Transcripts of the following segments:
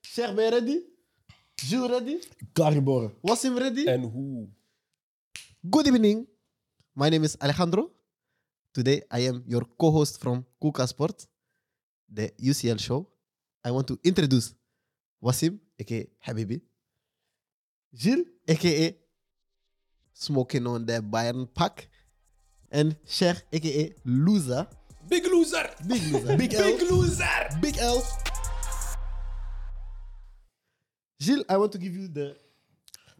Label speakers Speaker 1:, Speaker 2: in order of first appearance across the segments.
Speaker 1: Zeg, ben je ready? Jules ready?
Speaker 2: Klaar geboren.
Speaker 1: Wassim ready?
Speaker 2: Eh.
Speaker 3: En hoe?
Speaker 1: Good evening. My name is Alejandro. Today I am your co-host from Kuka Sport, the UCL show. I want to introduce Wasim, aka Habibi. Gilles, aka Smoking on the Bayern Pack. And Cher, aka Loser.
Speaker 3: Big loser!
Speaker 1: Big Loser.
Speaker 2: Big L.
Speaker 3: Big loser!
Speaker 2: Big L.
Speaker 1: Gilles, I want to give you the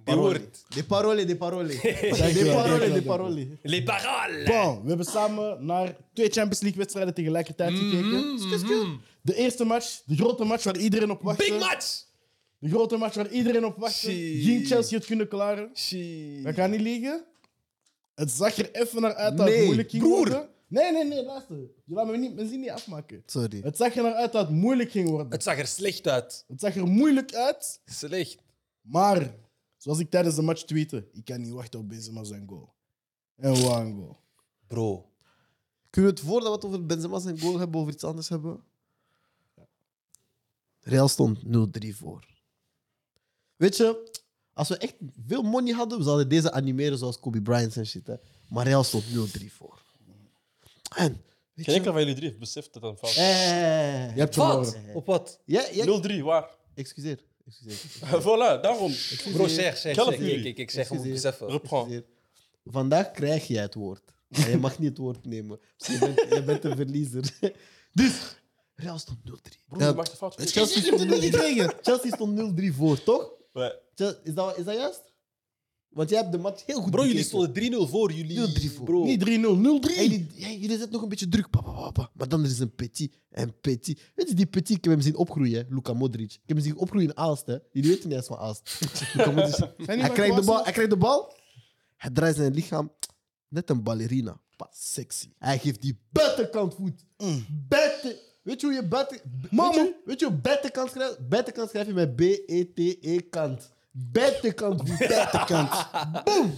Speaker 3: Die woord.
Speaker 1: De parole, de parole. De
Speaker 2: Dankjewel,
Speaker 1: parole,
Speaker 2: dankjewel,
Speaker 1: de parole.
Speaker 3: Les paroles!
Speaker 2: Bam. We hebben samen naar twee Champions League wedstrijden tegelijkertijd
Speaker 3: Mhm.
Speaker 2: gekeken. De eerste match, de grote match waar iedereen op wachtte.
Speaker 3: Big match!
Speaker 2: De grote match waar iedereen op wachtte.
Speaker 3: Shit.
Speaker 2: Ging Chelsea het kunnen klaren? Dat
Speaker 3: Shit.
Speaker 2: kan niet liegen. Het zag er even naar uit dat
Speaker 1: Nee,
Speaker 2: het moeilijk ging
Speaker 3: broer.
Speaker 2: worden. Nee, nee, nee, luister. Je laat me niet, mijn zin niet afmaken.
Speaker 1: Sorry.
Speaker 2: Het zag er naar uit dat het moeilijk ging worden.
Speaker 3: Het zag er slecht uit.
Speaker 2: Het zag er moeilijk uit,
Speaker 3: Slecht.
Speaker 2: maar zoals ik tijdens de match tweette, ik kan niet wachten op Benzema zijn goal. En wat een goal.
Speaker 3: Bro.
Speaker 1: Kunnen we het voordat we het over Benzema zijn goal hebben, over iets anders hebben? Real stond 0-3 voor. Weet je, als we echt veel money hadden, we zouden deze animeren zoals Kobe Bryant en shit. Hè. Maar Real stond 0-3 voor. En, weet
Speaker 4: Geen
Speaker 1: je...
Speaker 4: enkele van jullie drie heeft beseft dat het een fout is.
Speaker 1: Eh,
Speaker 2: Je hebt
Speaker 3: Wat?
Speaker 2: verloren.
Speaker 3: Op wat?
Speaker 1: ja, ja,
Speaker 4: 0-3, waar?
Speaker 1: excuseer. Excuseer.
Speaker 4: voilà, daarom.
Speaker 3: Bro, zeg, zeg,
Speaker 4: Help
Speaker 3: zeg.
Speaker 4: jullie.
Speaker 3: Ik, ik, ik zeg, we
Speaker 1: Excuseer.
Speaker 3: moeten beseffen.
Speaker 4: Reprend.
Speaker 1: Excuseer. Vandaag krijg jij het woord. Maar je mag niet het woord nemen. Dus Je bent, je bent een verliezer. Dus, Real stond 0-3.
Speaker 4: Broer,
Speaker 1: Dat-
Speaker 4: je maakt een fout.
Speaker 1: Chelsea stond 0 gekregen. Chelsea stond 0-3 voor, toch?
Speaker 4: Ja.
Speaker 1: Chel- Is dat, is dat juist? Want jij hebt de match heel goed
Speaker 3: Bro, jullie
Speaker 1: bekeken.
Speaker 3: stonden 3-0 voor. Jullie,
Speaker 1: 0-3 voor.
Speaker 3: bro.
Speaker 2: Niet 3-0, 0-3.
Speaker 1: En jullie, ja, jullie zetten nog een beetje druk. Papa, papa. Maar dan er is een petit en petit. Weet je, die petit, ik heb hem zien opgroeien, hè, Luka Modric. Ik heb hem zien opgroeien in Aalst. Hè. Jullie weten niet eens van Aalst. Luka Modric.
Speaker 2: Zijn die
Speaker 1: Hij
Speaker 2: maar
Speaker 1: krijgt, de
Speaker 2: gewassen?
Speaker 1: bal, hij krijgt de bal. Hij draait zijn lichaam. Net een ballerina. Pa, sexy. Hij geeft die buitenkant voet. Buiten. Weet je hoe je buiten... b- Weet je, weet je hoe buitenkant schrijft? Buitenkant schrijf je met B-E-T-E E kant. Buitenkant voet. Buitenkant. Boom.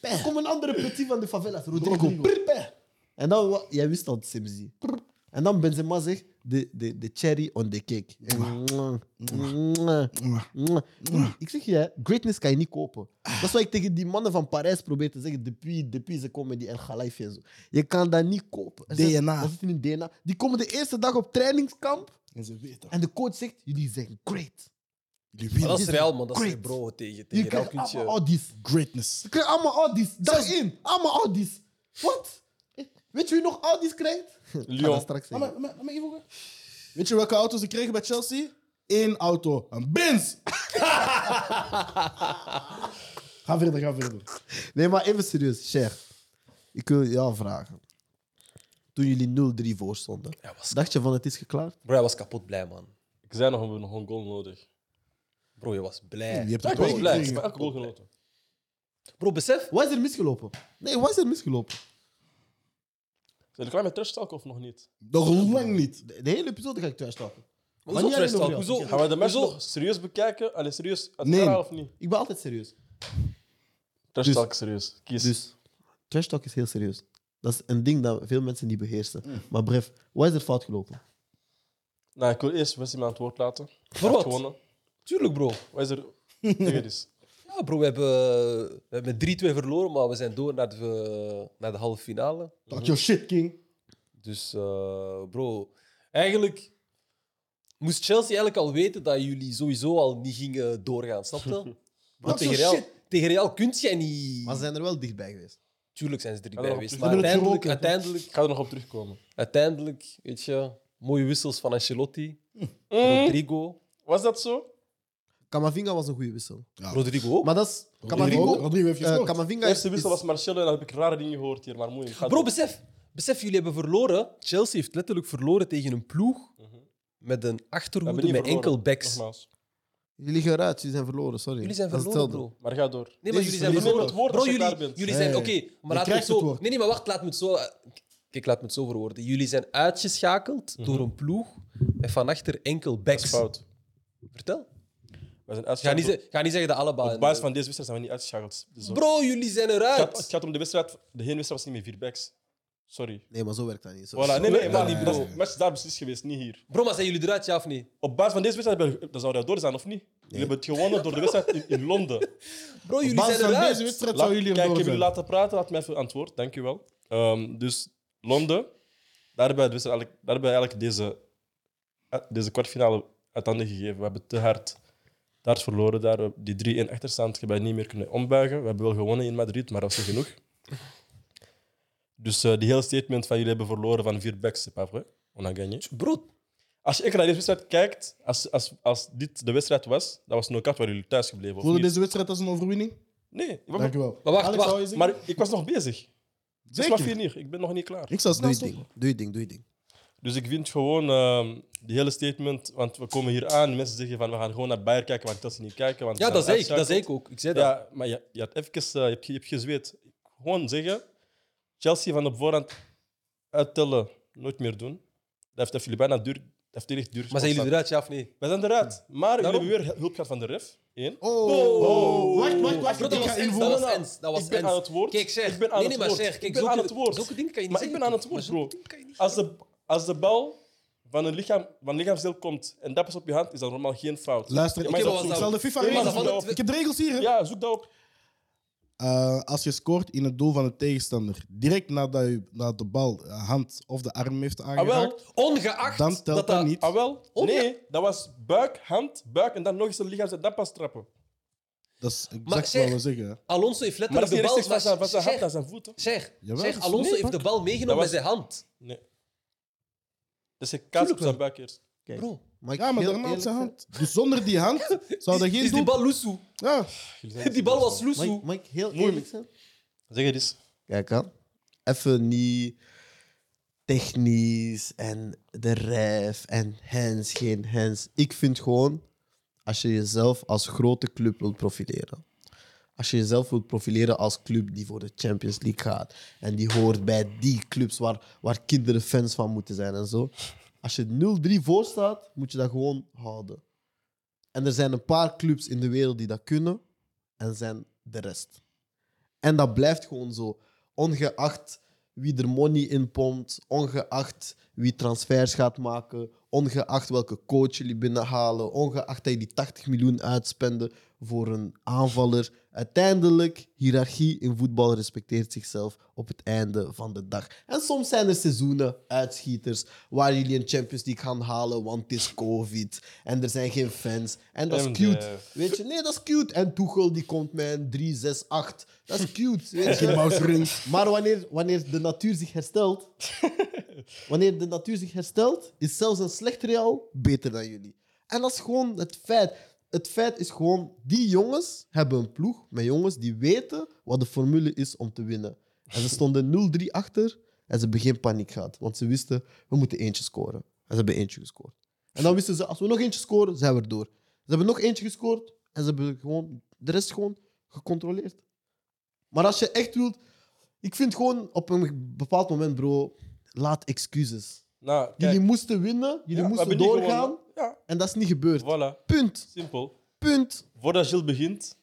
Speaker 1: Er Kom een andere petit van de favelas. Rodrigo.
Speaker 2: Rodrigo.
Speaker 1: Brr, peh. En dan... wa- Jij wist al, Simzi. Brr. En dan Benzema zegt... De, de, de cherry on the cake. Mwah. Mwah. Mwah. Ik zeg je, hè, greatness kan je niet kopen. Dat is wat ik tegen die mannen van Parijs probeer te zeggen. Depuis, depuis ze komen die El Khalifi en zo. Je kan dat niet kopen. Er zit-
Speaker 2: DNA.
Speaker 1: Dat zit in hun DNA. Die komen de eerste dag op trainingskamp
Speaker 2: En ze weten.
Speaker 1: en de coach zegt: Jullie zijn great.
Speaker 2: Jullie
Speaker 3: Maar
Speaker 2: winnen.
Speaker 3: dat is
Speaker 1: Dit-
Speaker 3: Real, man. Dat is
Speaker 1: Great.
Speaker 3: bro tegen,
Speaker 1: Je
Speaker 3: tegen Real.
Speaker 1: krijgt
Speaker 3: kun
Speaker 1: allemaal
Speaker 3: je-
Speaker 1: Audi's.
Speaker 2: Greatness.
Speaker 1: Je krijgt allemaal Audi's. Daarin. Allemaal Audi's. Wat? Weet je wie nog Audi's krijgt? Ik ga dat straks
Speaker 2: Laat
Speaker 1: zeggen.
Speaker 2: me- laat me even horen. Weet je welke auto's ze kregen bij Chelsea? Eén auto. Een Benz. ga verder, ga verder.
Speaker 1: Nee, maar even serieus, Cher. Ik wil jou vragen. Toen jullie 0-3 voor stonden,
Speaker 3: Hij was,
Speaker 1: dacht je van het is geklaard?
Speaker 3: bro, hij was kapot blij, man.
Speaker 4: Ik zei nog, we hebben nog een goal nodig.
Speaker 3: Bro, je was blij.
Speaker 2: Je hebt
Speaker 3: Hij
Speaker 2: het
Speaker 3: was
Speaker 2: ook
Speaker 3: blij.
Speaker 2: gekregen.
Speaker 3: Hij was
Speaker 4: Elke goal
Speaker 3: kapot blij.
Speaker 4: genoten.
Speaker 3: Bro, besef.
Speaker 1: Wat is er misgelopen? Nee, wat is er misgelopen?
Speaker 4: Zijn jullie klaar met trash talk of nog niet?
Speaker 2: Nog lang niet.
Speaker 1: De, de hele episode ga ik trash-talken.
Speaker 3: Hoezo
Speaker 1: Wanneer
Speaker 3: trash
Speaker 1: hebben
Speaker 3: talk?
Speaker 1: we
Speaker 3: Hoezo?
Speaker 4: Gaan we de match
Speaker 3: hoezo-
Speaker 4: nog serieus bekijken? Allee, serieus? Het
Speaker 2: Nee.
Speaker 4: verhaal of niet?
Speaker 1: Ik ben altijd serieus.
Speaker 4: Trash
Speaker 2: Dus-
Speaker 4: talk, serieus. Kies.
Speaker 1: Dus, trash-talk is heel serieus. Dat is een ding dat veel mensen niet beheersen. Maar bref, wat is er fout gelopen?
Speaker 4: Nou, ik wil eerst Wesley me aan het woord laten. Hij heeft
Speaker 3: wat?
Speaker 4: gewonnen.
Speaker 3: Tuurlijk, bro.
Speaker 4: Wat is er? dus. Tegen is.
Speaker 3: Ja, bro, we hebben, we hebben met 3-2 verloren, maar we zijn door naar de, naar de halve finale.
Speaker 2: Talk your shit, King.
Speaker 3: Dus, eh, bro, eigenlijk moest Chelsea eigenlijk al weten dat jullie sowieso al niet gingen doorgaan, snap je? Want
Speaker 2: Wat
Speaker 3: tegen
Speaker 2: voor
Speaker 3: Real,
Speaker 2: shit?
Speaker 3: tegen Real kun jij niet...
Speaker 1: Maar ze zijn er wel dichtbij geweest.
Speaker 3: Tuurlijk zijn ze er niet
Speaker 4: Ja,
Speaker 3: bij
Speaker 4: dat
Speaker 3: geweest,
Speaker 4: klopt.
Speaker 3: maar
Speaker 2: Ze hebben het
Speaker 3: uiteindelijk,
Speaker 2: geroken, toch?
Speaker 3: uiteindelijk,
Speaker 4: Ik ga er nog op terugkomen.
Speaker 3: uiteindelijk, weet je, mooie wissels van Ancelotti,
Speaker 4: Mm,
Speaker 3: Rodrigo.
Speaker 4: Was dat zo?
Speaker 1: Kamavinga was een goede wissel.
Speaker 3: Rodrigo ook.
Speaker 1: Maar dat is...
Speaker 2: Rodrigo,
Speaker 1: Kamavinga,
Speaker 2: Rodrigo heeft
Speaker 1: eh,
Speaker 2: gescoord.
Speaker 1: Kamavinga
Speaker 4: De
Speaker 1: is...
Speaker 4: eerste wissel was Marcelo en dan heb ik rare dingen gehoord hier, maar moeilijk.
Speaker 3: Dus-
Speaker 4: Ga
Speaker 3: Bro,
Speaker 4: door.
Speaker 3: besef, besef, jullie hebben verloren. Chelsea heeft letterlijk verloren tegen een ploeg
Speaker 4: Mhm. We
Speaker 3: met een
Speaker 4: hebben
Speaker 3: achterhoede
Speaker 4: niet
Speaker 3: met
Speaker 4: verloren,
Speaker 3: enkel backs.
Speaker 4: Nogmaals.
Speaker 1: Jullie liggen eruit, jullie zijn verloren, sorry.
Speaker 3: Jullie zijn
Speaker 1: Dat is
Speaker 3: verloren,
Speaker 1: hetzelfde.
Speaker 3: bro.
Speaker 4: Maar ga door.
Speaker 1: Dit
Speaker 3: Nee, maar jullie
Speaker 1: is-
Speaker 3: zijn
Speaker 1: dit is
Speaker 4: neem
Speaker 3: verloren.
Speaker 4: het woord
Speaker 3: Bro,
Speaker 4: als je
Speaker 3: jullie,
Speaker 4: klaar bent.
Speaker 3: jullie zijn...
Speaker 1: Nee.
Speaker 3: Oké, maar laat me
Speaker 2: krijgt
Speaker 3: het
Speaker 2: het
Speaker 3: zo...
Speaker 2: woord.
Speaker 3: Nee, nee, maar wacht. Laat me het zo... Kijk, laat me het zo verwoorden. Jullie zijn uitgeschakeld door een ploeg met van achter enkel
Speaker 4: Mhm. Dat is
Speaker 3: backs.
Speaker 4: fout.
Speaker 3: Vertel.
Speaker 4: We
Speaker 3: Ga
Speaker 4: zijn
Speaker 3: niet,
Speaker 4: uitgeschakeld.
Speaker 3: ze- ga niet zeggen dat allebei...
Speaker 4: Op basis van deze wedstrijd zijn we niet uitgeschakeld. Dus zo.
Speaker 3: Bro, jullie zijn
Speaker 4: Het gaat, het
Speaker 3: eruit.
Speaker 4: gaat om de wedstrijd. De hele wedstrijd was niet meer vier backs. Sorry.
Speaker 1: Nee, maar zo werkt dat niet. Zo,
Speaker 4: Voilà, nee, nee,
Speaker 3: Ja,
Speaker 4: maar
Speaker 3: ja, ja.
Speaker 4: dat is- match is daar beslist geweest, niet hier.
Speaker 3: Bro, maar zijn jullie eruit, ja of nee?
Speaker 4: Op basis van deze wedstrijd hebben- dan zou dat door zijn, of niet? Jullie hebben het gewonnen door de wedstrijd in, in Londen.
Speaker 3: Bro,
Speaker 2: Op
Speaker 3: jullie
Speaker 2: basis
Speaker 3: zijn
Speaker 2: van
Speaker 3: eruit.
Speaker 2: deze wedstrijd
Speaker 4: Laat-
Speaker 2: zou jullie
Speaker 4: Kijk,
Speaker 2: hem
Speaker 4: ik heb
Speaker 2: door
Speaker 4: jullie
Speaker 2: zijn.
Speaker 4: laten praten, laat mij even antwoord, dankjewel. Ehm dus Londen, daar hebben we, de wedstrijd eigenlijk, daar hebben we eigenlijk deze, eh, deze kwartfinale uit handen gegeven. We hebben te hard daar verloren, daar, We hebben die 3-1 achterstand hebben we niet meer kunnen ombuigen. We hebben wel gewonnen in Madrid, maar dat is niet genoeg. Dus eh die hele statement van jullie hebben verloren van vier backs, c'est pas vrai? On a gagné.
Speaker 3: Bro,
Speaker 4: Als je echt naar deze wedstrijd kijkt, als, als, als dit de wedstrijd was, dat was knock-out waar jullie thuis gebleven, of
Speaker 2: Voelde
Speaker 4: niet?
Speaker 2: deze wedstrijd als een overwinning?
Speaker 4: Nee, ik
Speaker 2: Dank
Speaker 4: was,
Speaker 2: je wel.
Speaker 3: Maar wacht,
Speaker 2: Alex,
Speaker 3: wacht,
Speaker 2: zou je zeggen?
Speaker 4: maar ik was nog bezig. Het is
Speaker 2: Zeker.
Speaker 4: maar 4 uur, ik ben nog niet klaar.
Speaker 2: Ik zou
Speaker 1: doe
Speaker 2: snel
Speaker 1: je
Speaker 2: stoppen.
Speaker 1: ding. Doe je ding, doe je ding.
Speaker 4: Dus ik vind gewoon ehm die hele statement, want we komen hier aan, mensen zeggen van we gaan gewoon naar Bayern kijken, want dat ze niet kijken. Want
Speaker 3: ja,
Speaker 4: ze
Speaker 3: dat
Speaker 4: zijn
Speaker 3: zei ik, dat zei ik ook. Ik zei dat.
Speaker 4: Ja, maar je, je, had even, eh, je, hebt, je hebt gezweet. Gewoon zeggen, Chelsea van op voorhand uittellen, nooit meer doen. Dat heeft, dat heeft jullie bijna duur, dat heeft jullie echt duur
Speaker 3: Maar zijn jullie
Speaker 4: gestaan.
Speaker 3: eruit, ja of nee?
Speaker 4: We zijn eruit, maar jullie
Speaker 3: Daarom?
Speaker 4: hebben weer hulp gehad van de ref. Eén.
Speaker 1: Oh,
Speaker 2: Wacht, wacht,
Speaker 3: Ah,
Speaker 2: wacht.
Speaker 3: bro,
Speaker 2: Ik
Speaker 3: dat was
Speaker 2: ga
Speaker 3: Ens, dat was
Speaker 2: invoeren.
Speaker 3: Ens. Dat was
Speaker 4: Ik ben
Speaker 3: Ens.
Speaker 4: aan het woord.
Speaker 3: Kijk, Sher.
Speaker 4: Ik ben aan
Speaker 3: nee,
Speaker 4: het
Speaker 3: nee, maar
Speaker 4: woord.
Speaker 3: Sher, kijk,
Speaker 4: Ik ben
Speaker 3: zulke-
Speaker 4: aan het woord.
Speaker 3: Zulke dingen kan je niet
Speaker 4: Maar ik
Speaker 3: zeggen.
Speaker 4: ben aan het
Speaker 3: toch?
Speaker 4: woord,
Speaker 3: Maar zulke
Speaker 4: bro.
Speaker 3: dingen kan je niet
Speaker 4: Als de, als de bal van een, lichaam, van een lichaamsdeel komt en dat pas op je hand, is dat normaal geen fout.
Speaker 2: Luister,
Speaker 4: Ja,
Speaker 2: ik,
Speaker 4: maar
Speaker 2: heb-
Speaker 4: is dat
Speaker 2: ik
Speaker 4: zo?
Speaker 2: zal de FIFA
Speaker 4: Ja, maar is
Speaker 2: regels
Speaker 4: dat
Speaker 2: doen.
Speaker 4: van de-
Speaker 2: Ik heb de regels hier. hè.
Speaker 4: Ja, zoek dat op.
Speaker 2: Eh, als je scoort in het doel van de tegenstander, direct nadat je nadat de bal de hand of de arm heeft
Speaker 4: Ah, wel.
Speaker 2: aangeraakt,
Speaker 3: zeggen. Ongeacht
Speaker 2: dan telt dat, niet.
Speaker 4: Ah, wel?
Speaker 3: Oh,
Speaker 4: nee, dat was buik, hand, buik en dan nog eens een lichaam en dan pas trappen.
Speaker 2: Dat is exact
Speaker 3: Maar
Speaker 2: wat
Speaker 3: zeg-
Speaker 2: we zeggen.
Speaker 3: Alonso heeft
Speaker 4: Maar dat
Speaker 3: letterlijk
Speaker 4: is
Speaker 3: de
Speaker 4: niet
Speaker 3: bal...
Speaker 4: rechtstreeks van zijn, van zijn hand
Speaker 3: Sher,
Speaker 4: naar zijn voet. hè?
Speaker 3: Sher,
Speaker 2: Jawel,
Speaker 3: Sher,
Speaker 2: dat is
Speaker 3: Alonso
Speaker 2: nee,
Speaker 3: heeft de bal meegenomen
Speaker 4: Dat
Speaker 3: bij
Speaker 4: was-
Speaker 3: zijn hand.
Speaker 4: Nee. Dus je kaas
Speaker 1: wel.
Speaker 4: op zijn buik eerst.
Speaker 1: Bro, mag ik
Speaker 2: Ja, maar
Speaker 1: heel
Speaker 2: daarna op
Speaker 1: eerlijk
Speaker 2: zijn
Speaker 1: zijn?
Speaker 2: hand. Dus zonder die hand zou dat
Speaker 3: Is,
Speaker 2: geen
Speaker 3: is die
Speaker 2: doel...
Speaker 3: bal loesoe?
Speaker 2: Ja.
Speaker 3: Die bal was
Speaker 1: Mag ik-
Speaker 3: loesoe.
Speaker 1: mag ik heel
Speaker 4: Moeilijk.
Speaker 1: eerlijk zijn?
Speaker 4: Zeg het eens.
Speaker 1: Kijk aan. Even niet technisch en de ref en hands, geen hands. Ik vind gewoon, als je jezelf als grote club wilt profileren, als je jezelf wilt profileren als club die voor de Champions League gaat en die hoort bij die clubs waar, waar kinderen fans van moeten zijn en zo. Als je 0-3 voor staat, moet je dat gewoon houden. En er zijn een paar clubs in de wereld die dat kunnen en zijn de rest. En dat blijft gewoon zo. Ongeacht wie er money in pompt, ongeacht wie transfers gaat maken, ongeacht welke coach jullie binnenhalen, ongeacht dat je die 80 miljoen uitspende voor een aanvaller. Uiteindelijk, hiërarchie in voetbal respecteert zichzelf op het einde van de dag. En soms zijn er seizoenen, uitschieters, waar jullie een Champions League gaan halen, want het is COVID en er zijn geen fans. En dat is
Speaker 4: MDF.
Speaker 1: cute. Weet je, nee, dat is cute. En Tuchel die komt met een 3, 6, 8. Dat is cute. Weet je. Maar wanneer, wanneer de natuur zich herstelt, wanneer de natuur zich herstelt, is zelfs een slecht Real beter dan jullie. En dat is gewoon het feit. Het feit is gewoon, die jongens hebben een ploeg met jongens die weten wat de formule is om te winnen. En ze stonden 0-3 achter en ze hebben geen paniek gehad. Want ze wisten, we moeten eentje scoren. En ze hebben eentje gescoord. En dan wisten ze, als we nog eentje scoren, zijn we er door. Ze hebben nog eentje gescoord en ze hebben gewoon de rest gewoon gecontroleerd. Maar als je echt wilt... Ik vind gewoon op een bepaald moment, bro, laat excuses.
Speaker 4: Nou, kijk.
Speaker 1: Jullie moesten winnen, jullie
Speaker 4: Ja, we
Speaker 1: moesten
Speaker 4: hebben niet
Speaker 1: doorgaan
Speaker 4: gewonnen. Ja,
Speaker 1: en dat is niet gebeurd.
Speaker 4: voilà.
Speaker 1: Punt.
Speaker 4: Simpel.
Speaker 1: Punt.
Speaker 4: Voordat Gilles begint,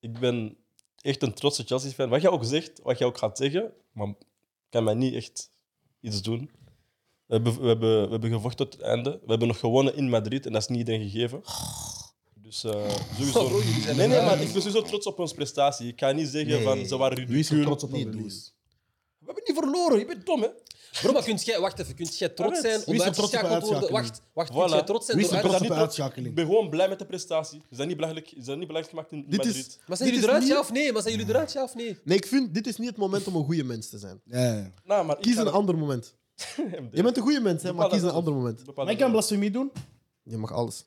Speaker 4: ik ben echt een trotse Chelsea-fan. Wat jij ook zegt, wat jij ook gaat zeggen, maar kan mij niet echt iets doen. We hebben, we hebben, we hebben gevochten tot het einde. We hebben nog gewonnen in Madrid en dat is niet iedereen gegeven. Dus eh, sowieso.
Speaker 3: Bro, jullie zijn
Speaker 4: Nee, nee,
Speaker 3: eruit.
Speaker 4: maar ik ben sowieso trots op ons prestatie. Ik kan niet zeggen
Speaker 1: Nee.
Speaker 4: van ze waren
Speaker 2: Wie is er
Speaker 4: ridicuul.
Speaker 2: trots op
Speaker 1: Niet
Speaker 2: een
Speaker 1: doen.
Speaker 2: release?
Speaker 4: We hebben niet verloren, je bent dom, hè?
Speaker 3: Bro, maar kunt jij... Wacht even, kunt jij trots
Speaker 4: Wie is
Speaker 3: zijn
Speaker 4: er
Speaker 3: om
Speaker 2: trots op
Speaker 3: uitgeschakeld te worden?
Speaker 2: uitschakeling?
Speaker 3: Wacht, wacht,
Speaker 4: Voilà.
Speaker 3: kunt jij trots zijn
Speaker 2: Wie is
Speaker 3: door
Speaker 2: er trots
Speaker 3: uit-
Speaker 2: op een
Speaker 4: Ik
Speaker 2: uitschakeling?
Speaker 4: ben gewoon blij met de prestatie. Is dat niet belangrijk, is dat niet belangrijk gemaakt in
Speaker 1: Dit
Speaker 4: Madrid?
Speaker 1: is,
Speaker 3: Maar zijn
Speaker 1: dit
Speaker 3: jullie
Speaker 1: is
Speaker 3: eruit,
Speaker 1: niet-
Speaker 3: ja of nee? Maar zijn jullie eruit, ja of nee?
Speaker 1: Nee, ik vind dit is niet het moment om een goede mens te zijn.
Speaker 2: Ja, ja.
Speaker 4: Nou, maar ik
Speaker 1: Kies
Speaker 4: ga
Speaker 1: een
Speaker 4: dat-
Speaker 1: ander moment. Je bent een goede mens, hè, maar
Speaker 4: Bepaal
Speaker 1: kies een
Speaker 4: dat zelf.
Speaker 1: ander moment.
Speaker 4: Bepaal
Speaker 2: Maar ik
Speaker 4: dat
Speaker 2: kan
Speaker 4: zelf.
Speaker 2: blasfemie doen.
Speaker 1: Je mag alles.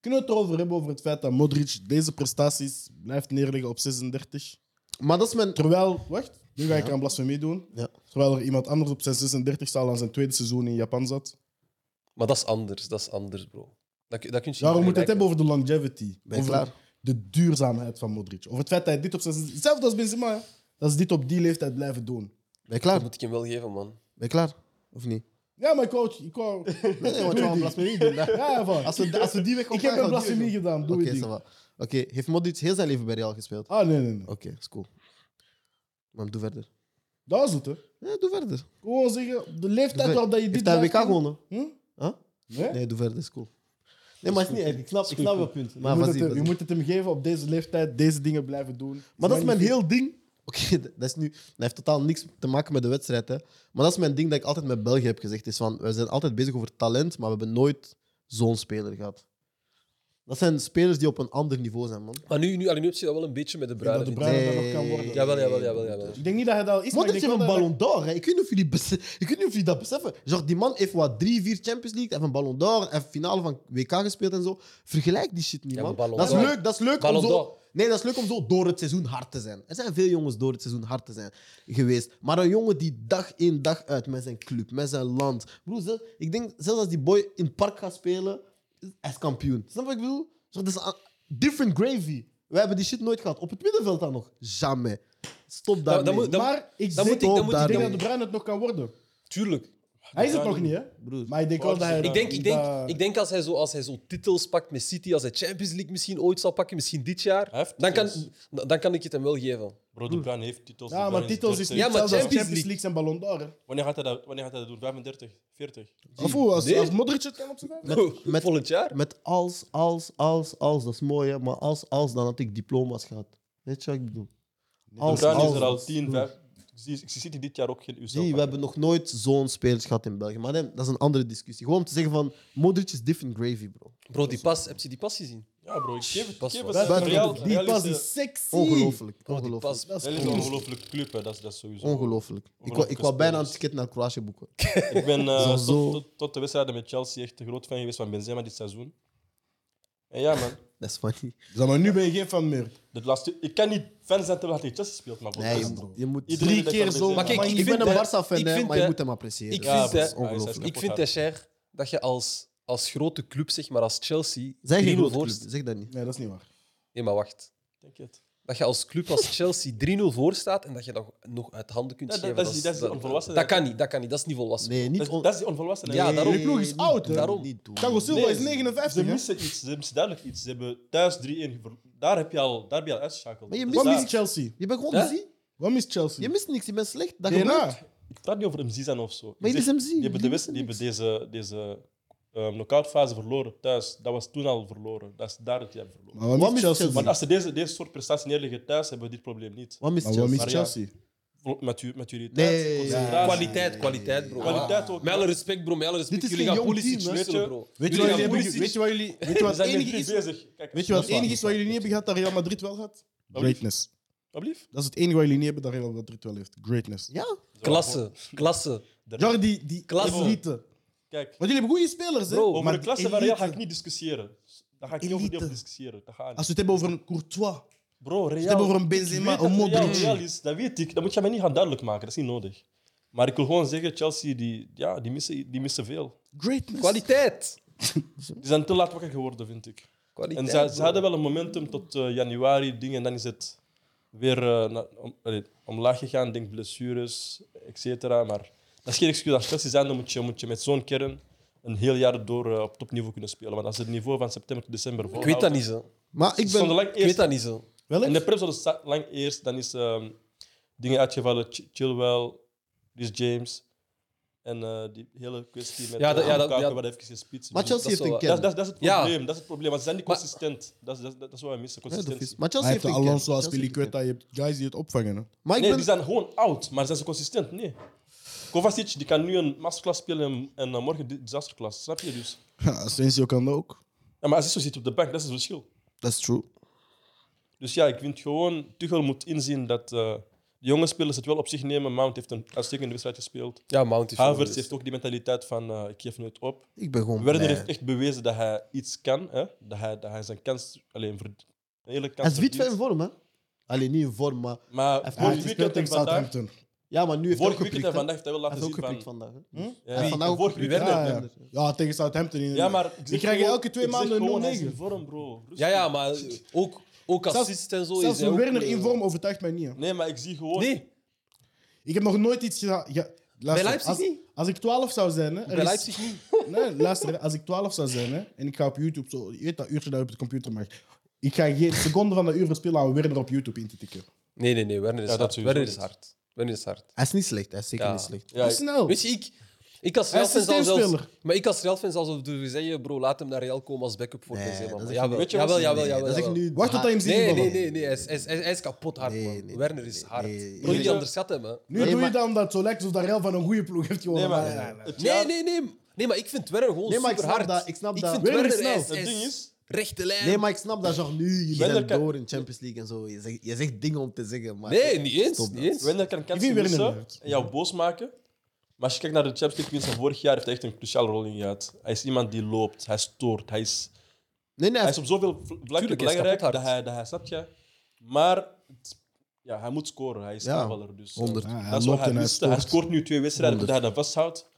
Speaker 2: Kunnen we het erover hebben over het feit dat Modric deze prestaties blijft neerleggen op 36?
Speaker 1: Maar dat is mijn...
Speaker 2: Terwijl, wacht, nu ga ik
Speaker 1: Ja.
Speaker 2: aan blasfemie doen.
Speaker 1: Ja.
Speaker 2: Terwijl er iemand anders op zijn 36 staal aan zijn tweede seizoen in Japan zat.
Speaker 3: Maar dat is anders, dat is anders, bro. Dat, dat kun je
Speaker 2: Daarom moeten we het hebben over de longevity.
Speaker 1: Ben je
Speaker 2: over
Speaker 1: klaar?
Speaker 2: de duurzaamheid van Modric. Over het feit dat hij dit op zijn... Hetzelfde als Benzema, hè. Dat ze dit op die leeftijd blijven doen.
Speaker 1: Ben je klaar?
Speaker 4: Ah.
Speaker 3: Dat moet ik hem wel geven, man.
Speaker 1: Ben je klaar? Of niet?
Speaker 2: Ja, maar ik wou... Ik wou...
Speaker 1: Nee, nee, want je wou een blasfemie doen. hè.
Speaker 2: Ja, voilà.
Speaker 1: Als we, als we die weg
Speaker 2: Ik
Speaker 1: opgaan,
Speaker 2: heb een
Speaker 1: gaan we die
Speaker 2: blasfemie
Speaker 1: weg
Speaker 2: gedaan.
Speaker 1: op-
Speaker 2: Doe
Speaker 1: Oké,
Speaker 2: je
Speaker 1: ça
Speaker 2: ding.
Speaker 1: va. Oké, heeft Modric heel zijn leven bij Real gespeeld?
Speaker 2: Ah, nee, nee, nee.
Speaker 1: Oké, is cool. Maar doe verder.
Speaker 2: Dat was het, hè.
Speaker 1: Ja, doe verder.
Speaker 2: Gewoon zeggen, de leeftijd
Speaker 1: Doe
Speaker 2: waarop dat je
Speaker 1: Heeft
Speaker 2: dit...
Speaker 1: hij
Speaker 2: blijft
Speaker 1: WK
Speaker 2: doen-
Speaker 1: gewonnen?
Speaker 2: Hm?
Speaker 1: Huh?
Speaker 2: Nee?
Speaker 1: Nee, doe verder, is cool.
Speaker 5: Nee, maar het is niet erg. Ik snap, ik snap je punt.
Speaker 1: Maar
Speaker 2: je, moet
Speaker 1: was die-
Speaker 2: het, hem-
Speaker 1: was
Speaker 2: je
Speaker 1: die-
Speaker 2: moet het hem geven op deze leeftijd, deze dingen blijven doen.
Speaker 1: Maar dat is mijn
Speaker 2: niet-
Speaker 1: heel ding. Oké, dat is nu. Dat heeft totaal niks te maken met de wedstrijd. Hè. Maar dat is mijn ding dat ik altijd met België heb gezegd. Is van, we zijn altijd bezig over talent, maar we hebben nooit zo'n speler gehad. Dat zijn spelers die op een ander niveau zijn, man.
Speaker 3: Maar Ah, nu, nu, allee, nu heb je dat wel een beetje met de
Speaker 2: Ik denk dat de
Speaker 3: bruine.
Speaker 2: bruine dat nog kan
Speaker 1: Nee.
Speaker 2: worden.
Speaker 3: Jawel, jawel, jawel, jawel.
Speaker 2: Ik denk niet dat hij dat al is, maar ik
Speaker 1: Modric
Speaker 2: denk
Speaker 1: heeft een
Speaker 2: wel dat hij-
Speaker 1: ballon d'or. hè. Ik weet niet of jullie, bese- ik weet niet of jullie dat beseffen. Genre, die man heeft wat drie, vier Champions League, heeft een ballon d'or, heeft finale van WK gespeeld en zo. Vergelijk die shit niet,
Speaker 3: Ja,
Speaker 1: man.
Speaker 3: maar Ballon
Speaker 1: dat is
Speaker 3: d'Or.
Speaker 1: leuk, dat is leuk om
Speaker 3: Ballon
Speaker 1: zo...
Speaker 3: d'Or.
Speaker 1: Nee, dat is leuk om zo door het seizoen hard te zijn. Er zijn veel jongens door het seizoen hard te zijn geweest. Maar een jongen die dag in dag uit met zijn club, met zijn land. Broer, zelf- ik denk zelfs als die boy in het park gaat spelen, hij is kampioen. Snap je wat ik bedoel? Zo, dat is een different gravy. We hebben die shit nooit gehad. Op het middenveld dan nog. Jamais. Stop daarmee.
Speaker 3: dat moet- dat-
Speaker 2: Maar ik
Speaker 3: Dan
Speaker 2: denk-
Speaker 3: moet ik, dan
Speaker 1: Stop
Speaker 3: moet
Speaker 1: daar
Speaker 2: ik denk
Speaker 1: dan.
Speaker 2: dat de bruine het nog kan worden.
Speaker 3: Tuurlijk.
Speaker 2: Hij is het
Speaker 4: Bruyne-
Speaker 2: nog niet, hè.
Speaker 1: Broer.
Speaker 2: Maar ik denk wel dat hij...
Speaker 3: Ik denk, ik denk,
Speaker 2: dat-
Speaker 3: ik denk als, hij zo, als hij zo titels pakt met City, als hij Champions League misschien ooit zal pakken, misschien dit jaar,
Speaker 4: Hij heeft
Speaker 3: dan kan,
Speaker 4: titels.
Speaker 3: dan kan ik het hem wel geven.
Speaker 4: Bro, De Bruyne heeft titels. De
Speaker 2: Ja, maar
Speaker 4: Bruyne
Speaker 2: titels is
Speaker 4: 30.
Speaker 2: niet
Speaker 3: Ja, maar
Speaker 2: hetzelfde als
Speaker 3: Champions
Speaker 2: Champions League en Ballon d'Or. hè.
Speaker 4: Wanneer gaat hij dat, wanneer gaat hij dat doen? 35, 40?
Speaker 2: Of hoe, als,
Speaker 3: Nee.
Speaker 2: als Modric het kan op zijn vijf?
Speaker 3: Met,
Speaker 1: met-
Speaker 3: Volgend jaar?
Speaker 1: Met als, als, als, als, dat is mooi, hè? maar als, als, dan had ik diploma's gehad. Weet je wat ik bedoel?
Speaker 4: De
Speaker 1: Als,
Speaker 4: Bruyne is
Speaker 1: als.
Speaker 4: er al 10,
Speaker 1: Broer,
Speaker 4: 5. Ik zie- Ik zie City dit jaar ook geen UCL.
Speaker 1: Zie, we hebben nog nooit zo'n spelers gehad in België. Maar nee, dat is een andere discussie. Gewoon om te zeggen van, Modric is different gravy, bro.
Speaker 3: Bro, die pas, heb je die pas gezien?
Speaker 4: Ja, bro, ik geef het.
Speaker 3: Pas
Speaker 4: ik geef
Speaker 3: wel.
Speaker 4: het.
Speaker 1: Buiten-
Speaker 4: Real-
Speaker 1: die
Speaker 4: Real
Speaker 2: Die
Speaker 4: is
Speaker 2: pas
Speaker 4: de-
Speaker 2: is sexy.
Speaker 1: Ongelooflijk.
Speaker 3: Die pas.
Speaker 1: Ongelooflijk.
Speaker 2: Dat
Speaker 4: Real
Speaker 2: is
Speaker 4: is een
Speaker 2: cool.
Speaker 4: ongelooflijke club, hè. Dat is, dat is sowieso.
Speaker 1: Ongelooflijk. Ik wou, ik wou
Speaker 4: Ongelooflijke
Speaker 1: bijna een
Speaker 4: spelers.
Speaker 1: ticket naar Kroatië boeken.
Speaker 4: Ik ben eh,
Speaker 1: Zo,
Speaker 4: tot,
Speaker 1: zo.
Speaker 4: tot, tot de wedstrijden met Chelsea echt een groot fan geweest van Benzema dit seizoen. En ja, man.
Speaker 1: Dat is funny.
Speaker 2: Zeg maar, nu ben je geen fan meer.
Speaker 4: De laatste, ik kan niet fan zijn terwijl hij tegen Chelsea speelt, maar voor
Speaker 1: Nee,
Speaker 4: de
Speaker 1: je
Speaker 4: rest-
Speaker 1: moet... Je moet
Speaker 4: Iedereen
Speaker 2: Drie
Speaker 4: denkt
Speaker 2: keer
Speaker 4: dat
Speaker 2: zo.
Speaker 4: Benzema-
Speaker 3: Maar kijk,
Speaker 1: ik,
Speaker 3: ik
Speaker 1: ben
Speaker 3: vind
Speaker 1: een
Speaker 3: dat-
Speaker 1: Barca-fan,
Speaker 3: ik
Speaker 1: hè,
Speaker 3: vind
Speaker 1: maar je
Speaker 3: dat-
Speaker 1: moet hem appreciëren.
Speaker 3: Ik
Speaker 1: Ja,
Speaker 3: vind
Speaker 1: dat is
Speaker 3: dat-
Speaker 1: ongelooflijk.
Speaker 3: Ik vind, Teixeira, dat je als, als grote club, zeg maar als Chelsea...
Speaker 1: Zeg geen
Speaker 3: 3-0
Speaker 1: grote
Speaker 3: voor-
Speaker 1: club, zeg dat niet.
Speaker 2: Nee, dat is niet waar.
Speaker 3: Nee, maar wacht.
Speaker 4: Denk je het?
Speaker 3: Dat je als club als Chelsea 3-0 voor staat en dat je dat nog uit handen kunt
Speaker 4: Ja, dat-
Speaker 3: geven.
Speaker 4: dat is- dat is onvolwassen.
Speaker 3: Dat kan niet, dat kan niet. Dat is niet volwassen.
Speaker 1: Nee,
Speaker 4: Dat
Speaker 1: niet...
Speaker 4: is,
Speaker 1: on-
Speaker 4: dat is die onvolwassenheid.
Speaker 3: Ja, daarom.
Speaker 2: Die ploeg is
Speaker 1: niet-
Speaker 2: oud, hè.
Speaker 1: daarom niet doen.
Speaker 2: Thiago Silva is
Speaker 4: Nee,
Speaker 2: 59,
Speaker 4: Ze
Speaker 2: hè.
Speaker 4: missen iets, ze missen duidelijk iets. Ze hebben thuis 3-1 verloren. Daar heb je al, daar heb je al uitgeschakeld.
Speaker 1: Maar je
Speaker 4: Dus
Speaker 1: mist-
Speaker 2: Wat
Speaker 4: daar-
Speaker 2: mist Chelsea?
Speaker 1: Je bent gewoon
Speaker 3: Ja?
Speaker 1: zie.
Speaker 2: Wat mist Chelsea?
Speaker 1: Je mist niks, je bent slecht. Dat gebeurt.
Speaker 2: DNA.
Speaker 4: Ik praat niet over hem zijn of zo. Ik
Speaker 1: Maar je
Speaker 4: zeg,
Speaker 1: is hem zien.
Speaker 4: die hebben, de west, die hebben deze, deze ehm knock-outfase verloren thuis. Dat was toen al verloren. Dat is daar dat je hebt verloren.
Speaker 2: Maar wat mist Chelsea?
Speaker 1: Chelsea?
Speaker 4: Want als ze deze, deze soort prestatie neerleggen thuis, hebben we dit probleem niet.
Speaker 1: Wat mist
Speaker 2: Maar wat
Speaker 1: Chelsea?
Speaker 2: mist
Speaker 4: Maar ja.
Speaker 2: Chelsea?
Speaker 4: Vol- Matu maturiteit,
Speaker 1: Nee.
Speaker 4: concentratie.
Speaker 1: Ja.
Speaker 3: Kwaliteit, kwaliteit, bro.
Speaker 4: Kwaliteit ook.
Speaker 3: Met alle respect, bro. Met alle respect.
Speaker 1: Dit is
Speaker 3: Jullie
Speaker 1: geen
Speaker 3: gaan
Speaker 1: jong
Speaker 3: Pulisic
Speaker 1: team, hè?
Speaker 3: sleutelen, bro.
Speaker 2: Weet je
Speaker 3: Jullie
Speaker 2: wat
Speaker 3: gaan
Speaker 2: jullie-
Speaker 3: Pulisic-
Speaker 2: weet je wat jullie... Weet je wat
Speaker 4: We
Speaker 2: het
Speaker 4: zijn met
Speaker 2: enige
Speaker 4: drie
Speaker 2: is...
Speaker 4: bezig. Kijk,
Speaker 2: Weet je wat het
Speaker 4: dat is waar.
Speaker 2: enige is wat jullie niet hebben gehad dat Real Madrid wel had? Greatness.
Speaker 4: Alblieft.
Speaker 2: Dat is het enige wat jullie niet hebben dat Real Madrid wel heeft. Greatness.
Speaker 1: Ja,
Speaker 3: Klasse, klasse.
Speaker 2: Jordi, die
Speaker 3: Klasse.
Speaker 2: elite.
Speaker 4: Kijk,
Speaker 2: Want jullie hebben goede spelers, hè?
Speaker 3: Bro,
Speaker 4: over
Speaker 2: Maar
Speaker 4: de klasse
Speaker 2: elite.
Speaker 4: van Real ga ik niet discussiëren. Dus Daar ga ik niet over die
Speaker 2: Elite.
Speaker 4: over discussiëren. Dat
Speaker 2: Als
Speaker 4: gaat niet.
Speaker 2: we het hebben over een Courtois,
Speaker 4: Bro, Real...
Speaker 2: we hebben over een Benzema,
Speaker 4: Ik weet
Speaker 2: een
Speaker 4: dat Real
Speaker 2: Modric.
Speaker 4: Real is, dat weet ik. Dat moet je mij niet gaan duidelijk maken. Dat is niet nodig. Maar ik wil gewoon zeggen, Chelsea, die, ja, die, missen, die missen veel.
Speaker 2: greatness.
Speaker 3: Kwaliteit.
Speaker 4: Die zijn te laat wakker geworden, vind ik. En
Speaker 3: Kwaliteit.
Speaker 4: ze, ze
Speaker 3: bro.
Speaker 4: hadden wel een momentum tot eh, januari, dingen, en dan is het weer eh, na- om, allee, omlaag gegaan, denk blessures, et cetera. Maar dat is geen excuus. Als Chelsea zijn, dan moet je, moet je met zo'n kern een heel jaar door eh, op topniveau kunnen spelen. Want als ze het niveau van september tot december
Speaker 3: Ik weet dat niet, zo.
Speaker 1: maar ik
Speaker 4: Ze stonden
Speaker 1: ben...
Speaker 4: lang
Speaker 3: Ik weet
Speaker 4: eerst,
Speaker 3: dat niet, zo.
Speaker 2: Welk?
Speaker 4: in de prep stonden ze sta- lang eerst, dan is ehm, dingen uitgevallen. Ch- Chilwell, Rhys James en eh, die hele kwestie met
Speaker 3: Ja, dat-
Speaker 4: eh,
Speaker 3: ja, dat-
Speaker 4: Lukaku,
Speaker 3: ja.
Speaker 4: wat even gespitst.
Speaker 1: Maar
Speaker 4: Dus-
Speaker 1: Chelsea heeft
Speaker 3: wel-
Speaker 1: een
Speaker 4: dat,
Speaker 1: kern.
Speaker 4: dat, dat is het
Speaker 3: Ja.
Speaker 4: probleem. Dat is het probleem. Want ze zijn niet
Speaker 3: Maar-
Speaker 4: consistent. Dat is, dat, dat is wat we missen.
Speaker 1: Ja, dat
Speaker 4: Consistentie.
Speaker 1: is- Maar Chelsea
Speaker 2: Hij heeft
Speaker 1: heeft
Speaker 2: de
Speaker 1: een kern.
Speaker 2: Alonso als
Speaker 1: Chelsea heeft een
Speaker 2: Peliqueta. Je hebt guys die het opvangen. Hè.
Speaker 1: kern. Maar ik
Speaker 4: nee, die
Speaker 1: ben...
Speaker 4: zijn gewoon oud, maar zijn ze consistent? Nee. Kovacic die kan nu een masterclass spelen en, en eh, morgen di- disasterclass. Snap je dus?
Speaker 2: Ja, Asensio kan dat ook.
Speaker 4: Ja, maar Azizo zit op de bank, dat is het verschil.
Speaker 2: That's true.
Speaker 4: Dus ja, ik vind gewoon, Tuchel moet inzien dat eh, de jonge spelers het wel op zich nemen. Mount heeft een uitstekende wedstrijd gespeeld.
Speaker 3: Ja, Mount is
Speaker 4: Havertz heeft ook die mentaliteit van eh, ik geef nooit op.
Speaker 1: Ik ben gewoon
Speaker 4: Werner
Speaker 1: blij.
Speaker 4: heeft echt bewezen dat hij iets kan. Hè? Dat, hij, dat hij zijn kans alleen verdient. Een hele kans
Speaker 1: Hij is wit van in
Speaker 4: verdient.
Speaker 1: vorm, hè. Alleen niet in vorm, maar...
Speaker 4: Maar
Speaker 1: heeft
Speaker 4: vorige
Speaker 2: Hij
Speaker 1: die
Speaker 4: weekend
Speaker 2: speelt
Speaker 4: en
Speaker 2: tegen
Speaker 4: vandaag-
Speaker 2: Southampton.
Speaker 1: Ja, maar nu heeft hij ook
Speaker 4: Vorige weekend en
Speaker 1: geprikt. hè. Hij
Speaker 4: vandaag heeft hij wel laten
Speaker 1: heeft ook
Speaker 4: zien
Speaker 1: geprikt
Speaker 4: van...
Speaker 1: vandaag. hè.
Speaker 2: Hm?
Speaker 4: Ja.
Speaker 1: Hij heeft vandaag ook
Speaker 4: Vorige
Speaker 1: geprikt.
Speaker 4: weekend,
Speaker 2: Ja,
Speaker 4: hè.
Speaker 2: ja. ja, tegen Southampton.
Speaker 4: Ja,
Speaker 2: inderdaad.
Speaker 4: maar ik
Speaker 2: Die
Speaker 4: zeg
Speaker 2: krijgen
Speaker 4: gewoon-
Speaker 2: elke twee
Speaker 4: ik zeg
Speaker 2: maanden
Speaker 4: gewoon,
Speaker 2: een
Speaker 4: hij is
Speaker 2: 0-9.
Speaker 4: in vorm, bro. Rustig.
Speaker 3: Ja, ja, maar ook, ook assist en zo.
Speaker 2: Zelfs
Speaker 3: is hij
Speaker 2: een
Speaker 3: ook,
Speaker 2: Werner
Speaker 3: eh,
Speaker 2: in vorm overtuigt mij niet. hè.
Speaker 4: Nee, maar ik zie gewoon...
Speaker 3: Nee,
Speaker 2: Ik heb nog nooit iets gedaan. Ja,
Speaker 3: bij
Speaker 2: luister,
Speaker 3: Leipzig
Speaker 2: als,
Speaker 3: niet.
Speaker 2: als ik 12 zou zijn, hè, er
Speaker 3: Bij
Speaker 2: is-
Speaker 3: Leipzig niet.
Speaker 2: Nee, luister, hè, als ik 12 zou zijn hè, en ik ga op YouTube zo, je weet dat uurtje dat je op de computer mag. Ik ga geen seconde van de uren spelen aan Werner op YouTube in te tikken.
Speaker 3: Nee, nee, nee. Werner is
Speaker 4: Ja, dat
Speaker 3: hard.
Speaker 4: sowieso
Speaker 3: Werner is
Speaker 4: niet.
Speaker 3: hard. Wanneer is het hard?
Speaker 1: Hij is niet slecht, hij is zeker
Speaker 3: Ja.
Speaker 1: niet slecht.
Speaker 4: Ja, ik-
Speaker 2: snel.
Speaker 3: Weet je, ik, ik als
Speaker 2: Hij
Speaker 3: Real
Speaker 2: is
Speaker 3: fan zou zelfs...
Speaker 2: systeemspeler.
Speaker 3: Maar ik als Real fan zou zo durven zeggen, bro, laat hem naar Real komen als backup voor
Speaker 1: Nee,
Speaker 3: Benzema.
Speaker 1: dat
Speaker 3: man.
Speaker 1: zeg ik
Speaker 3: Jawel,
Speaker 1: niet.
Speaker 3: jawel, jawel,
Speaker 1: Nee,
Speaker 3: jawel.
Speaker 1: dat zeg ik
Speaker 3: jawel.
Speaker 1: nu.
Speaker 2: Wacht tot hij hem ziet.
Speaker 3: Nee,
Speaker 2: vallen.
Speaker 3: nee, nee, nee. Hij, is, hij, is, hij is kapot hard,
Speaker 1: Nee,
Speaker 3: man.
Speaker 1: nee,
Speaker 3: Werner
Speaker 1: nee,
Speaker 3: is
Speaker 1: nee,
Speaker 3: hard.
Speaker 1: nee, nee.
Speaker 3: Bro,
Speaker 1: Nee,
Speaker 3: niet
Speaker 1: maar-
Speaker 3: onderschat hem, hè.
Speaker 2: Nu
Speaker 1: Nee,
Speaker 2: doe
Speaker 1: maar-
Speaker 2: je dat omdat het zo lijkt alsof dat Real van een goede ploeg heeft gewonnen.
Speaker 4: Nee, maar
Speaker 2: Nee, nee, nee.
Speaker 4: het
Speaker 3: Nee,
Speaker 4: jaar-
Speaker 3: nee, nee. Nee, maar ik vind Werner gewoon
Speaker 1: Nee, maar ik
Speaker 3: super hard.
Speaker 1: snap dat, ik snap dat.
Speaker 3: vind
Speaker 2: Werner
Speaker 3: Werner
Speaker 2: is snel.
Speaker 3: hij is-
Speaker 4: Het
Speaker 3: hij
Speaker 4: ding
Speaker 3: is
Speaker 4: is,
Speaker 3: rechte lijn.
Speaker 1: Nee, maar ik snap dat, genre, nu, jullie
Speaker 4: Werner
Speaker 1: zijn
Speaker 4: kan-
Speaker 1: door in Champions League en zo. Je zegt, je zegt dingen om te zeggen, maar...
Speaker 3: Nee, niet eens.
Speaker 1: Stop
Speaker 3: niet
Speaker 1: dat.
Speaker 3: eens.
Speaker 4: Wender kan kansen
Speaker 2: vind Werner
Speaker 4: missen
Speaker 2: leuk.
Speaker 4: en jou boos maken. Maar als je kijkt naar de Champions League winst van vorig jaar, heeft hij echt een cruciale rol in gehad. Hij is iemand die loopt, hij stoort, hij is,
Speaker 1: Nee, nee,
Speaker 4: hij is op zoveel vl- vlakken
Speaker 3: Tuurlijk, hij is
Speaker 4: belangrijk dat
Speaker 3: kapothard.
Speaker 4: hij, dat hij, snap je? Maar het- ja, hij moet scoren, hij is
Speaker 1: Ja,
Speaker 4: aanvaller. Dus, eh,
Speaker 1: 100.
Speaker 2: Ja, hij
Speaker 4: Dat is wat
Speaker 2: loopt
Speaker 4: hij
Speaker 2: en hij
Speaker 4: miste. Hij
Speaker 2: scoort.
Speaker 4: scoort nu twee wedstrijden, dat hij dat vasthoudt.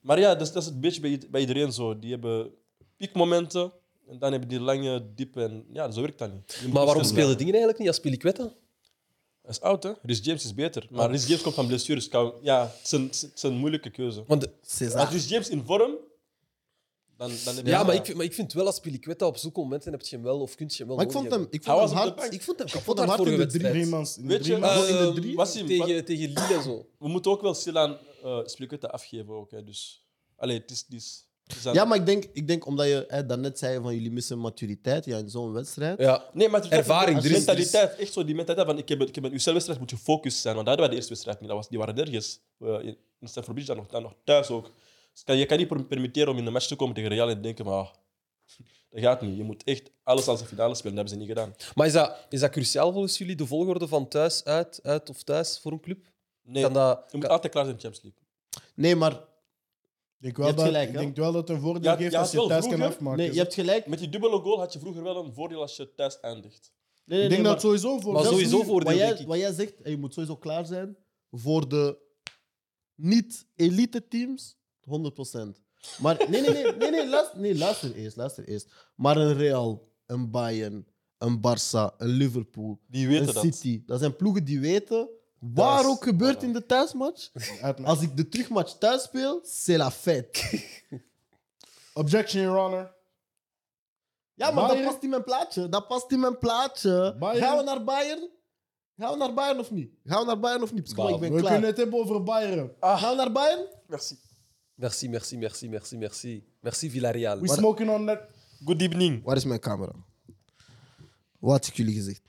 Speaker 4: Maar ja, dat is, dat is het beetje bij, i- bij iedereen zo. Die hebben piekmomenten en dan hebben die lange, diepe... En, ja, zo werkt dat niet. Je moet
Speaker 3: Maar waarom
Speaker 4: constant blijven.
Speaker 3: speelde dingen eigenlijk niet als Piliquetta?
Speaker 4: Hij is oud, hè? Rhys James is beter.
Speaker 3: Oh.
Speaker 4: Maar Rhys James komt van blessures. Kou- Ja, het is een, het is een moeilijke keuze.
Speaker 3: Want de-
Speaker 4: Als
Speaker 1: César.
Speaker 4: Rhys James in vorm... Dan, dan heb je
Speaker 3: ja, maar ik, vind- maar ik vind wel als Piliquetta op zoek momenten heb je hem wel of kun je hem wel
Speaker 1: Maar ik vond
Speaker 3: nodig
Speaker 1: hem, ik
Speaker 4: Hij
Speaker 1: vond hem
Speaker 4: was op de
Speaker 1: hard.
Speaker 4: bank.
Speaker 3: hebben. Ik vond hem
Speaker 1: ik
Speaker 3: kapot
Speaker 1: vond hem
Speaker 3: hard
Speaker 1: hard
Speaker 3: vorige
Speaker 1: in de drie-
Speaker 3: wedstrijd.
Speaker 2: Drie mans. in de
Speaker 4: Weet
Speaker 2: drie
Speaker 4: je,
Speaker 2: mans.
Speaker 1: in de
Speaker 3: Ehm,
Speaker 1: drie?
Speaker 4: Wassim,
Speaker 3: tegen, tegen Lille en zo.
Speaker 4: We moeten ook wel stil aan eh Spilicueta afgeven. Ook, hè? Dus, allee, het is... Het is, het is aan-
Speaker 1: Ja, maar ik denk, ik denk omdat je hè, daarnet zei van jullie missen maturiteit ja, in zo'n wedstrijd.
Speaker 3: Ja.
Speaker 4: Nee, maar het is-
Speaker 3: Ervaring,
Speaker 4: als
Speaker 3: er is-
Speaker 4: mentaliteit. Echt zo die mentaliteit van ik heb, ik heb een UCL-wedstrijd, moet je focus zijn. Want daar hadden wij de eerste wedstrijd niet. Dat was, die waren nergens. Eh, in in Stanford Bridge dan nog, dan nog thuis ook. Dus kan, je kan niet per- permitteren om in een match te komen tegen Real en te denken, maar ah, dat gaat niet. Je moet echt alles als een finale spelen. Dat hebben ze niet gedaan.
Speaker 3: Maar is dat, is dat cruciaal volgens jullie, de volgorde van thuis, uit, uit of thuis voor een club?
Speaker 4: Nee,
Speaker 3: Kan dat,
Speaker 4: je moet
Speaker 3: kan-
Speaker 4: altijd klaar zijn in de Champions League.
Speaker 1: Nee, maar
Speaker 2: Ik denk
Speaker 1: Je
Speaker 2: wel
Speaker 1: hebt
Speaker 2: dat-
Speaker 1: gelijk,
Speaker 2: ik
Speaker 1: hè?
Speaker 2: denk wel dat het een voordeel
Speaker 4: Ja,
Speaker 2: geeft
Speaker 4: ja,
Speaker 2: als je
Speaker 4: het wel
Speaker 2: thuis kan
Speaker 4: vroeger.
Speaker 2: afmaken.
Speaker 1: nee, je hebt gelijk.
Speaker 4: Met die dubbele goal had je vroeger wel een voordeel als je thuis eindigt.
Speaker 1: Nee, nee,
Speaker 2: Ik denk
Speaker 1: nee,
Speaker 2: dat het sowieso een voordeel
Speaker 3: Maar
Speaker 1: zelfs
Speaker 3: sowieso
Speaker 1: nu,
Speaker 3: voordeel,
Speaker 1: Wat
Speaker 3: denk
Speaker 1: jij,
Speaker 3: ik.
Speaker 1: wat jij zegt, en je moet sowieso klaar zijn voor de niet-elite teams, 100%. Maar nee, nee, nee, nee, nee, luister, nee, luister eerst, luister eerst. Maar een Real, een Bayern, een Barça, een Liverpool,
Speaker 4: Die
Speaker 1: een
Speaker 4: weten dat.
Speaker 1: City, dat zijn ploegen die weten waar
Speaker 4: Thuis,
Speaker 1: ook gebeurt
Speaker 4: voilà.
Speaker 1: in de thuismatch.
Speaker 2: Uit mijn-
Speaker 1: Als ik de terugmatch thuis speel, c'est la fête.
Speaker 2: Objection, Your Honor.
Speaker 1: Ja, maar
Speaker 2: Bayern?
Speaker 1: dat past in mijn plaatje. Dat past in mijn plaatje.
Speaker 2: Bayern?
Speaker 1: Gaan we naar Bayern? Gaan we naar Bayern of niet? Gaan we naar Bayern of niet? Psst, Kom, maar, ik ben
Speaker 2: We
Speaker 1: klaar.
Speaker 2: kunnen Ah. het hebben over Bayern.
Speaker 1: Gaan we naar Bayern?
Speaker 4: Merci.
Speaker 3: Merci, merci, merci, merci, merci. Merci Villarreal.
Speaker 2: We smoking on that.
Speaker 4: Good evening.
Speaker 1: Waar is mijn camera? Wat had ik jullie gezegd?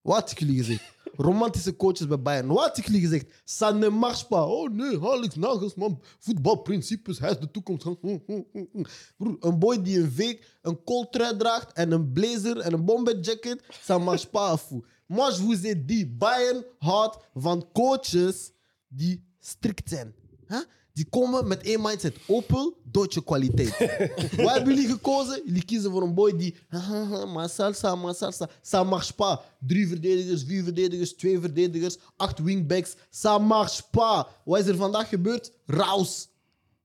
Speaker 1: Wat had ik jullie gezegd? Romantische coaches bij Bayern. Wat had ik jullie gezegd? Ça ne marche pas. Oh nee, Alex Nagelsman. Voetbalprincipes, hij is de toekomst. Hm, hm, hm, hm. Broer, een boy die een week een coltrui draagt en een blazer en een bomberjacket. Ça marche pas, fou. Moi, je vous ai dit, Bayern houdt van coaches die strikt zijn. Hè? Die komen met één mindset. Opel, Duitse kwaliteit. Waar hebben jullie gekozen? Jullie kiezen voor een boy die... maar salsa, maar salsa. Ça marche pas. Drie verdedigers, vier verdedigers, twee verdedigers, acht wingbacks. Ça marche pas. Wat is er vandaag gebeurd? Raus.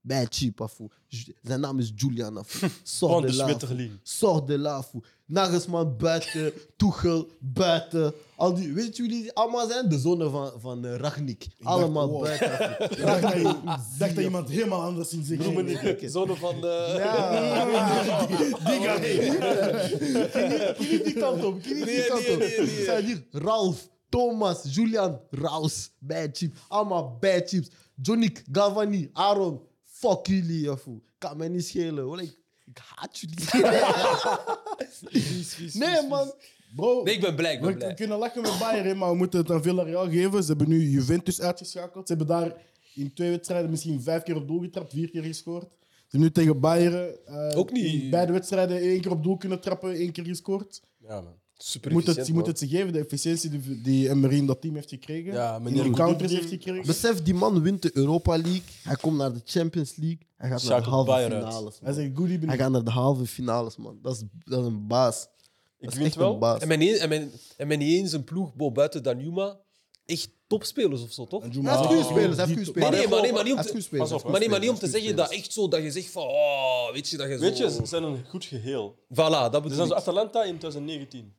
Speaker 1: Bij cheap, afu. Ju- Zijn naam is Julian, afu. Sort
Speaker 4: Van
Speaker 1: de
Speaker 4: de
Speaker 1: la,
Speaker 4: Zwitserling.
Speaker 1: Sort de la, afu. Nagelsman buiten, Tuchel buiten. Al die, weet jullie, die allemaal zijn de zonen van, van eh, Ragnik.
Speaker 2: dacht,
Speaker 1: Allemaal
Speaker 2: wow.
Speaker 1: buiten, afu.
Speaker 2: Ik dacht dat je- ik dacht dat iemand helemaal anders in zich
Speaker 1: Noem me niet
Speaker 2: ging.
Speaker 1: gek, hè.
Speaker 3: Zone van... eh,
Speaker 2: Ja. Die guy.
Speaker 1: Ging niet die kant op. Ging niet die
Speaker 3: Nee,
Speaker 1: kant
Speaker 3: nee,
Speaker 1: op.
Speaker 3: nee, nee.
Speaker 1: Zijn hier Ralf, Thomas, Julian, Raus, bad chips. Allemaal bad chips. Johnny, Gavani, Aaron. Fuck jullie, afo. Kan mij niet schelen. hoor. Ik, ik haat jullie. nee, man.
Speaker 2: Bro,
Speaker 3: Nee, ik ben blij, ik ben
Speaker 2: we, we
Speaker 3: blij.
Speaker 2: kunnen lachen met Bayern, maar we moeten het aan Villarreal geven. Ze hebben nu Juventus uitgeschakeld. Ze hebben daar in twee wedstrijden misschien vijf keer op doel getrapt, vier keer gescoord. Ze hebben nu tegen Bayern eh,
Speaker 3: Ook niet.
Speaker 2: in beide wedstrijden één keer op doel kunnen trappen, één keer gescoord.
Speaker 4: Ja, man.
Speaker 3: Super
Speaker 2: Je moet, het, je
Speaker 3: efficiënt,
Speaker 2: moet het ze geven, de efficiëntie die, die Emery in dat team heeft gekregen.
Speaker 4: Ja,
Speaker 2: in
Speaker 4: meneer
Speaker 2: de counters
Speaker 4: Goodwin.
Speaker 2: heeft gekregen.
Speaker 1: Besef, die man wint de Europa League. Hij komt naar de Champions League. Hij gaat naar de
Speaker 4: Schakelt
Speaker 1: halve
Speaker 4: Bayern uit.
Speaker 1: finales. man.
Speaker 2: Hij zegt good
Speaker 1: Hij
Speaker 2: evening.
Speaker 1: gaat naar de halve finales, man. Dat is, dat is een baas.
Speaker 4: Ik
Speaker 1: Dat is
Speaker 4: win
Speaker 1: echt
Speaker 4: wel.
Speaker 1: een baas.
Speaker 3: En men, niet- en, men, en men niet eens een ploeg bo, buiten Danjuma. Echt topspelers of zo, toch?
Speaker 2: En
Speaker 3: Nee,
Speaker 1: Hij
Speaker 2: Juma-
Speaker 1: heeft goede spelers. Hij heeft
Speaker 2: die-
Speaker 1: goede spelers.
Speaker 3: nee, maar, nee, maar niet om
Speaker 1: Hij heeft
Speaker 3: te,
Speaker 1: goede spelers.
Speaker 4: Pas op,
Speaker 3: maar nee, maar niet om
Speaker 1: Hij
Speaker 3: te
Speaker 1: heeft goede
Speaker 3: zeggen dat echt zo dat je zegt van oh, weet je dat je zo...
Speaker 4: Weet je, Dus ze zijn een goed geheel.
Speaker 3: Voilà, dat
Speaker 4: Ze zijn
Speaker 3: bedoel
Speaker 4: zo
Speaker 3: ik.
Speaker 4: Atalanta in 2019.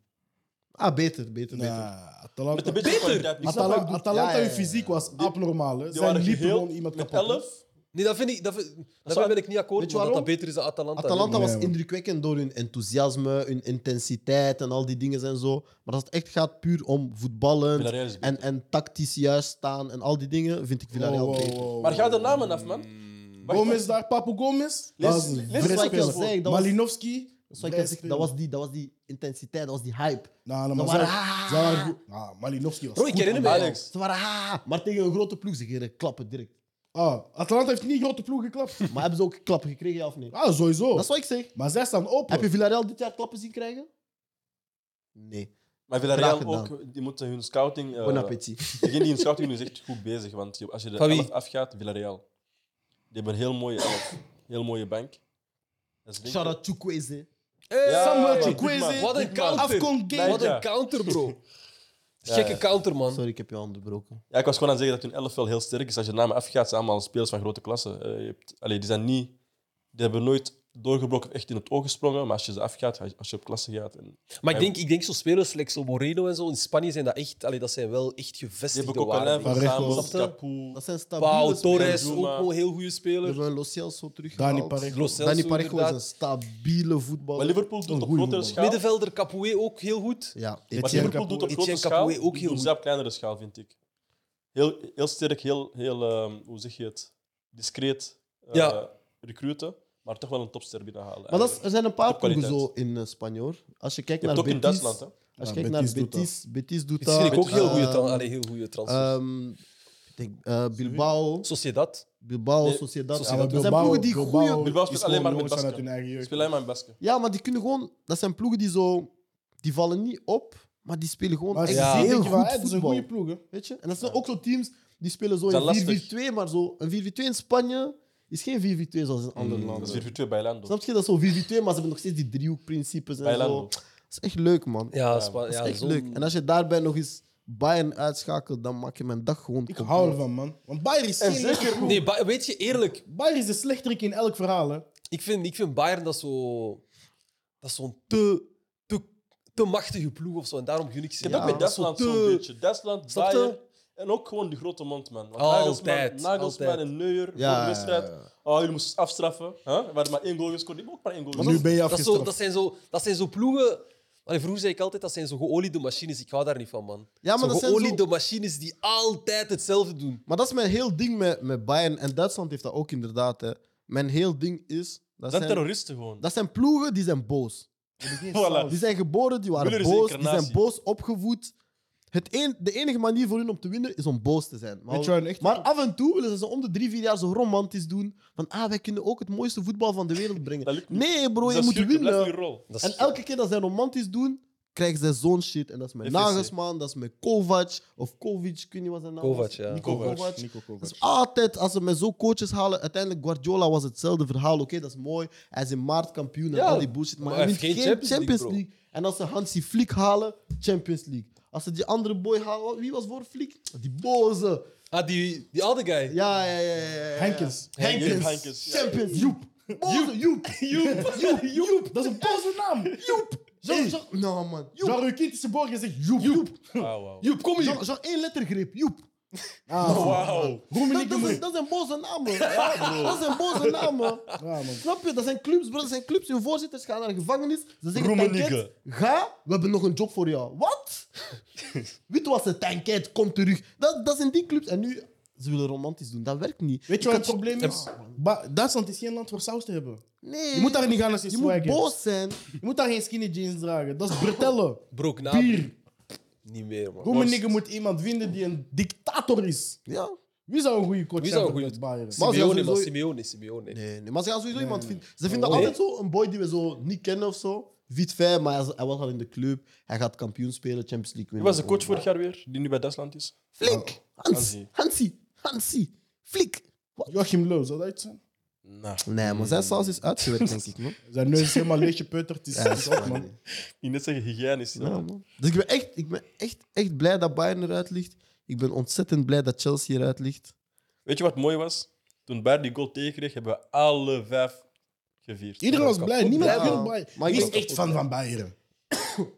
Speaker 1: Ah, beter, beter, beter.
Speaker 2: Nah, Atalanta.
Speaker 4: Met een beetje kwaliteit.
Speaker 2: Atala-
Speaker 1: wat je bedoelt.
Speaker 2: Atalanta,
Speaker 1: Ja, ja,
Speaker 2: hun
Speaker 1: ja.
Speaker 2: fysiek was abnormaal. Hè.
Speaker 4: Die
Speaker 2: Zij
Speaker 4: waren
Speaker 2: liepen
Speaker 4: geheel
Speaker 2: gewoon iemand
Speaker 4: met
Speaker 2: kapot. hè.
Speaker 4: 11.
Speaker 3: Nee, dat vind ik, dat, vind- daarmee
Speaker 4: zou-
Speaker 3: ben ik niet akkoord,
Speaker 1: Weet je
Speaker 3: omdat dat
Speaker 1: waarom?
Speaker 3: beter is dan Atalanta.
Speaker 1: Atalanta
Speaker 2: nee,
Speaker 1: was
Speaker 2: man.
Speaker 1: indrukwekkend door hun enthousiasme, hun intensiteit en al die dingen en zo. Maar als het echt gaat puur om voetballen
Speaker 4: Villarreal is
Speaker 1: en, en tactisch juist staan en al die dingen, vind ik Villarreal beter.
Speaker 4: Maar ga de namen af, man. Wacht,
Speaker 2: Gomez daar, Papu Gomez. Dat is een
Speaker 4: lees wat
Speaker 2: vrij
Speaker 4: ik al
Speaker 2: speler.
Speaker 1: zei, dat was-
Speaker 2: Malinowski.
Speaker 1: Dat is wat ik
Speaker 2: vrij
Speaker 1: zeg,
Speaker 2: speler.
Speaker 1: dat, was die, dat was die intensiteit, dat was die hype.
Speaker 2: Nou, nou,
Speaker 1: Dat
Speaker 2: maar
Speaker 1: waren-
Speaker 2: zij- zij waren goed. Nou, Malinowski was
Speaker 3: Bro, ik
Speaker 2: goed,
Speaker 3: herinner me,
Speaker 2: man.
Speaker 3: Alex.
Speaker 1: Ze waren "Ah", maar tegen een grote ploeg, ze gingen klappen direct.
Speaker 2: Ah, Atalanta heeft niet grote ploeg geklapt.
Speaker 1: Maar hebben ze ook klappen gekregen, ja of nee?
Speaker 2: Ah, sowieso.
Speaker 1: Dat is wat ik zeg.
Speaker 2: Maar zij staan open.
Speaker 1: Heb je Villarreal dit jaar klappen zien krijgen? Nee.
Speaker 4: Maar
Speaker 1: Graag
Speaker 4: Villarreal
Speaker 1: gedaan.
Speaker 4: ook, die moeten hun scouting... eh,
Speaker 1: Bon appétit.
Speaker 4: degene die hun scouting doen is echt goed bezig. Want je- als je de
Speaker 3: Van wie?
Speaker 4: 11 afgaat, Villarreal. Die hebben een heel mooie elf. Heel mooie bank. Dat is
Speaker 1: Shout out Chukwueze.
Speaker 3: Hey,
Speaker 4: Ja,
Speaker 2: Samuel
Speaker 4: ja,
Speaker 2: Chukwueze.
Speaker 3: Wat een
Speaker 2: man.
Speaker 3: counter.
Speaker 2: Afkon Gate.
Speaker 3: Wat
Speaker 4: Ja.
Speaker 3: een counter, bro.
Speaker 4: Ja,
Speaker 3: Gekke
Speaker 4: ja.
Speaker 3: counter, man.
Speaker 1: Sorry, ik heb je onderbroken.
Speaker 4: Ja, ik was gewoon aan het zeggen dat hun elf wel heel sterk is. Als je de namen afgaat, zijn allemaal spelers van grote klassen. Eh, je hebt, allee, die zijn niet... Die hebben nooit doorgebroken, echt in het oog gesprongen. Maar als je ze afgaat, als je- als je op klasse gaat... En, die
Speaker 3: Maar ik denk, ik denk zo'n spelers, Lexel Moreno en zo, in Spanje zijn dat echt, allee, dat zijn wel echt gevestigde
Speaker 4: hebben ook Alain
Speaker 3: waarden.
Speaker 4: van
Speaker 2: Parejo.
Speaker 4: Ramos,
Speaker 3: Snap je?
Speaker 4: Capoue.
Speaker 1: Dat zijn stabiele
Speaker 3: Pau
Speaker 1: spelers.
Speaker 3: Torres,
Speaker 4: Doe
Speaker 3: ook
Speaker 4: maar.
Speaker 3: wel een heel goede
Speaker 1: We
Speaker 3: speler.
Speaker 1: hebben Lo Celso teruggehaald.
Speaker 2: Dani Parejo.
Speaker 3: Lo Celso,
Speaker 1: Danny Parejo is een
Speaker 3: inderdaad.
Speaker 1: stabiele voetballer.
Speaker 4: Maar Liverpool doet
Speaker 2: Een
Speaker 4: op
Speaker 2: goeie
Speaker 4: grotere
Speaker 2: voetballer.
Speaker 4: schaal.
Speaker 3: Middenvelder Capoue ook heel goed.
Speaker 1: Ja,
Speaker 4: Wat
Speaker 1: Etienne.
Speaker 4: Liverpool doet op
Speaker 3: Etienne
Speaker 4: grote schaal,
Speaker 3: Capoue ook
Speaker 4: ook
Speaker 3: heel
Speaker 4: heel
Speaker 3: goed.
Speaker 4: ze op kleinere schaal, vind ik. Heel, heel sterk, heel, heel ehm, hoe zeg je het, discreet eh,
Speaker 3: Ja.
Speaker 4: recruiten, maar toch wel een topster binnenhalen.
Speaker 1: Maar dat is- er zijn een paar ploegen
Speaker 4: Topkwaliteit.
Speaker 1: zo in eh, Spanje hoor. Als je kijkt
Speaker 4: je
Speaker 1: naar
Speaker 4: hebt ook
Speaker 1: Betis,
Speaker 4: in Duitsland, hè?
Speaker 1: als je
Speaker 2: Ja,
Speaker 1: kijkt
Speaker 2: Betis
Speaker 1: naar
Speaker 2: doet dat.
Speaker 1: Betis, Betis doet
Speaker 3: Dit
Speaker 1: dat.
Speaker 3: vind ik ook heel goede
Speaker 1: Ehm,
Speaker 3: tran- allee, heel goede transfers.
Speaker 1: ehm, ik denk, eh, Bilbao,
Speaker 3: Sociedad.
Speaker 1: Bilbao,
Speaker 4: Nee,
Speaker 1: Sociedad.
Speaker 2: Ja, maar
Speaker 1: dat zijn
Speaker 2: Bilbao-
Speaker 1: ploegen die
Speaker 2: Bilbao
Speaker 1: goede.
Speaker 4: Bilbao
Speaker 2: is
Speaker 4: speelt
Speaker 2: gewoon
Speaker 4: alleen maar met
Speaker 2: jongens vanuit
Speaker 4: Basken.
Speaker 2: hun eigen jeugd.
Speaker 4: Speel alleen maar in Basken.
Speaker 1: Ja, maar die kunnen gewoon. Dat zijn ploegen die zo. Die vallen niet op, maar die spelen gewoon
Speaker 2: Maar
Speaker 1: echt
Speaker 3: ja,
Speaker 1: heel
Speaker 2: heel
Speaker 1: goed
Speaker 2: Het is een
Speaker 1: voetbal.
Speaker 2: goede ploeg, hè.
Speaker 1: Weet je? En dat zijn ook zo teams die spelen zo
Speaker 4: Zijn
Speaker 1: in
Speaker 4: lastig.
Speaker 1: 4-4-2, maar zo. Een 4-4-2 in Spanje is geen 4-4-2 zoals in andere
Speaker 4: Dat
Speaker 1: landen.
Speaker 4: is 4 voor 2 bij Lando.
Speaker 1: Snap je dat is zo 4-4-2, maar ze hebben nog steeds die driehoekprincipes en zo.
Speaker 4: Lando.
Speaker 1: Dat is echt leuk, man.
Speaker 3: Ja,
Speaker 4: Ja,
Speaker 3: Spa-
Speaker 4: dat
Speaker 1: Dat is
Speaker 3: ja,
Speaker 1: echt
Speaker 3: zo'n-
Speaker 1: leuk. En als je daarbij nog eens Bayern uitschakelt, dan maak je mijn dag gewoon
Speaker 2: Ik
Speaker 1: compleet.
Speaker 2: hou ervan, man. Want Bayern is geen leuke ploeg.
Speaker 3: Nee, Ba- weet je, eerlijk,
Speaker 2: Bayern is de slechterik in elk verhaal, hè.
Speaker 3: ik vind, ik vind Bayern dat zo... Dat is zo'n te, te, te machtige ploeg of zo. En daarom gun ik ze.
Speaker 4: Ik heb
Speaker 3: Ja,
Speaker 4: ook met
Speaker 3: dat is
Speaker 4: Duitsland
Speaker 3: te-
Speaker 4: zo'n beetje. Duitsland,
Speaker 3: Snap je?
Speaker 4: Bayern en ook gewoon de grote mond, man. Want
Speaker 3: Altijd,
Speaker 4: Nagelsman, Nagelsman
Speaker 3: altijd.
Speaker 4: en Neuer voor
Speaker 1: Ja,
Speaker 4: de wedstrijd.
Speaker 1: ja, ja,
Speaker 4: Oh, jullie moesten afstraffen. Huh? We hadden maar één goal gescoord. Ik heb ook maar één goal
Speaker 2: nu ben je
Speaker 3: Dat, is zo, dat,
Speaker 2: afgestraft.
Speaker 3: zijn zo, dat zijn zo ploegen. Allee, vroeger zei ik altijd, dat zijn zo geoliede machines. Ik hou daar niet van, man.
Speaker 1: Ja, maar
Speaker 3: zo
Speaker 1: dat zijn
Speaker 3: geoliede
Speaker 1: zo...
Speaker 3: machines die altijd hetzelfde doen.
Speaker 1: Maar dat is mijn heel ding met, met Bayern. En Duitsland heeft dat ook inderdaad. Hè. Mijn heel ding is... Dat
Speaker 4: Dat zijn
Speaker 1: zijn,
Speaker 4: terroristen gewoon.
Speaker 1: dat zijn ploegen die zijn boos.
Speaker 4: Voilà.
Speaker 1: Die zijn geboren, die waren
Speaker 4: Müller is een
Speaker 1: boos. Die
Speaker 4: incarnatie.
Speaker 1: zijn boos opgevoed. Het een, de enige manier voor hun om te winnen is om boos te zijn. Maar,
Speaker 2: Weet je wel, echt-
Speaker 1: maar af en toe willen ze ze om de drie, vier jaar zo romantisch doen. Van, ah, wij kunnen ook het mooiste voetbal van de wereld
Speaker 4: Dat
Speaker 1: brengen.
Speaker 4: lukt niet.
Speaker 1: Nee, bro, Oh, je
Speaker 4: Dus dat
Speaker 1: moet
Speaker 4: schurken blijft
Speaker 1: winnen.
Speaker 4: hun rol.
Speaker 3: Dat is-
Speaker 1: En elke keer dat zij romantisch doen, krijgen zij zo'n shit. En dat is met
Speaker 4: FSC.
Speaker 1: Nagelsman, dat is met Kovac of Kovic, ik weet niet wat zijn naam is.
Speaker 3: Kovac, ja.
Speaker 1: Nico Kovac.
Speaker 2: Nico
Speaker 1: Dat
Speaker 2: Kovac.
Speaker 1: is altijd, als ze met zo'n coaches halen, uiteindelijk Guardiola was hetzelfde verhaal. Oké, dat is mooi. Hij is in maart kampioen en
Speaker 3: Ja,
Speaker 1: al die bullshit. Maar,
Speaker 3: maar
Speaker 1: hij
Speaker 3: hij
Speaker 1: wint geen
Speaker 3: heeft geen
Speaker 1: Champions,
Speaker 3: Champions
Speaker 1: League. En als ze Hansi Flick halen, Champions League. Als ze die andere boy halen, wie was voor Flick? Die boze.
Speaker 3: Ah, die, die other guy.
Speaker 1: Ja, ja, ja. ja, ja, ja.
Speaker 2: Henkens.
Speaker 1: Henkens.
Speaker 4: Henkens, ja.
Speaker 1: Champions. Joep. Boze Joep. Joep. Joep. Joep.
Speaker 2: Dat is een boze naam.
Speaker 1: Joep. Jean- Jean- Nou, man. Joep.
Speaker 2: Jean Rukiet is geboren en zegt Joep. Joep.
Speaker 4: Ah, wauw.
Speaker 1: Joep, kom hier. Zo'n één lettergreep. Joep. Nou,
Speaker 2: Ah,
Speaker 4: Wauw.
Speaker 1: Dat,
Speaker 2: Roemenieke
Speaker 1: dat, zijn,
Speaker 2: Moe.
Speaker 1: dat zijn boze namen. dat zijn boze namen.
Speaker 2: Ja, man.
Speaker 1: Snap je? Dat zijn clubs, bro. Dat zijn clubs. Hun voorzitters gaan naar de gevangenis. Ze zeggen,
Speaker 4: Roemenieke.
Speaker 1: tanket, ga. We hebben nog een job voor jou. Wat? Wit was het, tanket, kom terug. Dat, dat zijn die clubs. En nu, ze willen romantisch doen. Dat werkt niet.
Speaker 2: Weet je wat het
Speaker 1: kan-
Speaker 2: probleem is? Ba- Duitsland is geen land voor saus te hebben.
Speaker 1: Nee.
Speaker 2: Je moet daar niet gaan als je
Speaker 1: Je moet
Speaker 2: swag hebt.
Speaker 1: boos zijn.
Speaker 2: Je moet daar geen skinny jeans dragen. Dat is Bertelle.
Speaker 3: Bro, Gnabry.
Speaker 2: Bier.
Speaker 3: Niet meer, man.
Speaker 2: Roemenieke moet iemand vinden die een dictator is.
Speaker 1: Ja.
Speaker 2: Wie zou een goede coach
Speaker 3: Wie zou
Speaker 2: zijn
Speaker 3: een
Speaker 2: voor met
Speaker 3: goede-
Speaker 2: Bayern?
Speaker 1: Maar ze gaan
Speaker 3: Simeone, man.
Speaker 1: sowieso-
Speaker 3: Simeone, Simeone.
Speaker 1: Nee, nee, maar ze gaan sowieso iemand
Speaker 2: nee.
Speaker 1: vinden. Ze vinden
Speaker 2: Nee.
Speaker 1: altijd zo een boy die we zo niet kennen of zo. Viet vijf, maar hij, is- hij was al in de club. Hij gaat kampioen spelen, Champions League
Speaker 4: Wie
Speaker 1: winnen.
Speaker 4: was de coach Ah, vorig jaar weer, die nu bij Duitsland is?
Speaker 1: Flink. Hans.
Speaker 4: Hansi.
Speaker 1: Hansi. Hansi. Flik.
Speaker 2: Joachim Löw, zou dat iets zijn?
Speaker 4: Nou,
Speaker 1: Nee, maar zijn saus is uitgewerkt, denk ik, man.
Speaker 2: Zijn neus is helemaal leeg gepeuterd. Het is
Speaker 1: Hmm. Ja, dat is
Speaker 2: het is op,
Speaker 1: waar,
Speaker 2: man.
Speaker 1: nee.
Speaker 4: niet net zeggen hygiënisch. hè.
Speaker 1: Ja, man. Dus ik ben, echt, ik ben echt, echt blij dat Bayern eruit ligt. Ik ben ontzettend blij dat Chelsea eruit ligt.
Speaker 4: Weet je wat mooi was? Toen Bayern die goal tegenkreeg, hebben we alle vijf gevierd.
Speaker 2: Iedereen was blij. Niemand
Speaker 1: blij,
Speaker 2: wil
Speaker 1: man.
Speaker 2: Bayern.
Speaker 1: Maar ik
Speaker 2: Wie is
Speaker 1: ben ook
Speaker 2: echt fan van Bayern?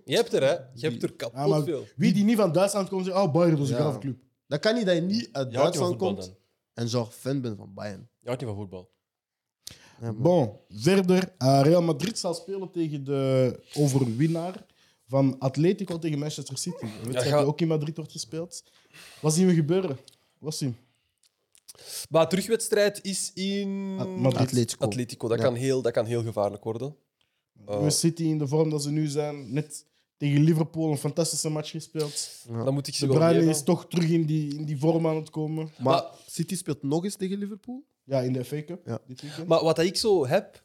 Speaker 3: Je hebt er, hè? Je hebt er
Speaker 2: Ja,
Speaker 3: kapot
Speaker 2: maar
Speaker 3: veel.
Speaker 2: wie die niet van Duitsland komt, zegt, oh, Bayern is een
Speaker 1: Ja.
Speaker 2: grafclub.
Speaker 1: Dat kan niet dat je niet uit
Speaker 4: Je houdt niet
Speaker 1: Duitsland
Speaker 4: van voetbal
Speaker 1: komt
Speaker 4: dan.
Speaker 1: en zo fan ben van Bayern.
Speaker 3: Je houdt niet van voetbal.
Speaker 1: Ja, man.
Speaker 2: Bon, verder. eh, Real Madrid zal spelen tegen de overwinnaar van Atletico tegen Manchester City. Een wedstrijd
Speaker 3: ga-
Speaker 2: die ook in Madrid wordt gespeeld. Wat zien we gebeuren? Wat zien
Speaker 3: Maar terugwedstrijd is in
Speaker 1: Ah,
Speaker 2: At- Madrid.
Speaker 1: Atletico.
Speaker 3: Atletico. Dat,
Speaker 1: Ja.
Speaker 3: kan heel, dat kan heel gevaarlijk worden. Eh,
Speaker 2: we? City in de vorm dat ze nu zijn. Net tegen Liverpool een fantastische match gespeeld.
Speaker 3: dan moet ik
Speaker 2: De
Speaker 3: ze wel
Speaker 2: Bruyne
Speaker 3: geven.
Speaker 2: is toch terug in die, in die vorm aan het komen.
Speaker 1: Maar
Speaker 3: Maar-
Speaker 1: City speelt nog eens tegen Liverpool.
Speaker 2: Ja, in de FA Cup
Speaker 1: Ja.
Speaker 2: dit weekend.
Speaker 3: Maar wat ik zo heb...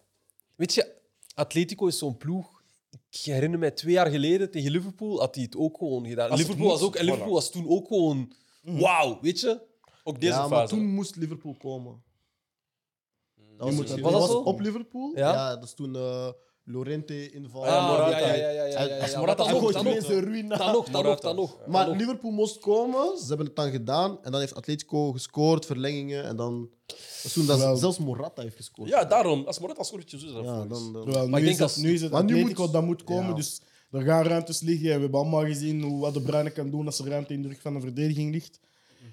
Speaker 3: Weet je, Atletico is zo'n ploeg... Ik herinner mij twee jaar geleden tegen Liverpool had hij het ook gewoon gedaan.
Speaker 4: Als het
Speaker 3: Liverpool was,
Speaker 4: moet,
Speaker 3: ook, en Liverpool
Speaker 4: voilà.
Speaker 3: was toen ook gewoon... Wauw, weet je?
Speaker 4: Ook deze
Speaker 1: ja, maar
Speaker 4: fase.
Speaker 1: toen moest Liverpool komen. Dat was,
Speaker 2: moet dat-
Speaker 1: dat
Speaker 2: Was
Speaker 3: dat
Speaker 1: was
Speaker 3: zo?
Speaker 1: op Liverpool.
Speaker 3: Ja.
Speaker 1: Ja, dat is toen eh Lorente inval.
Speaker 3: Ah, ja,
Speaker 4: Morata.
Speaker 3: ja, ja, ja, ja, ja, ja.
Speaker 1: Hij- hij
Speaker 3: Maar dat
Speaker 1: hij
Speaker 3: nog,
Speaker 1: gooit
Speaker 3: dat nog.
Speaker 1: ineens een ruïne.
Speaker 3: Dan nog, dan nog, dan nog.
Speaker 1: Maar Liverpool moest komen, ze hebben het dan gedaan. En dan heeft Atletico gescoord, verlengingen. En dan. dat is toen dat
Speaker 2: Wel-
Speaker 1: zelfs Morata heeft gescoord.
Speaker 4: Ja, daarom. Als Morata scoort, je zus.
Speaker 1: Ja, dan, dan-
Speaker 2: Terwijl
Speaker 3: Maar
Speaker 2: nu,
Speaker 3: ik
Speaker 2: is
Speaker 3: denk
Speaker 2: het,
Speaker 3: dat-
Speaker 2: nu is het
Speaker 1: want nu
Speaker 2: Atletico
Speaker 1: moet-
Speaker 2: dat moet komen,
Speaker 1: Ja.
Speaker 2: dus er gaan ruimtes liggen. En we hebben allemaal gezien hoe, wat de Bruyne kan doen als er ruimte in de rug van de verdediging ligt.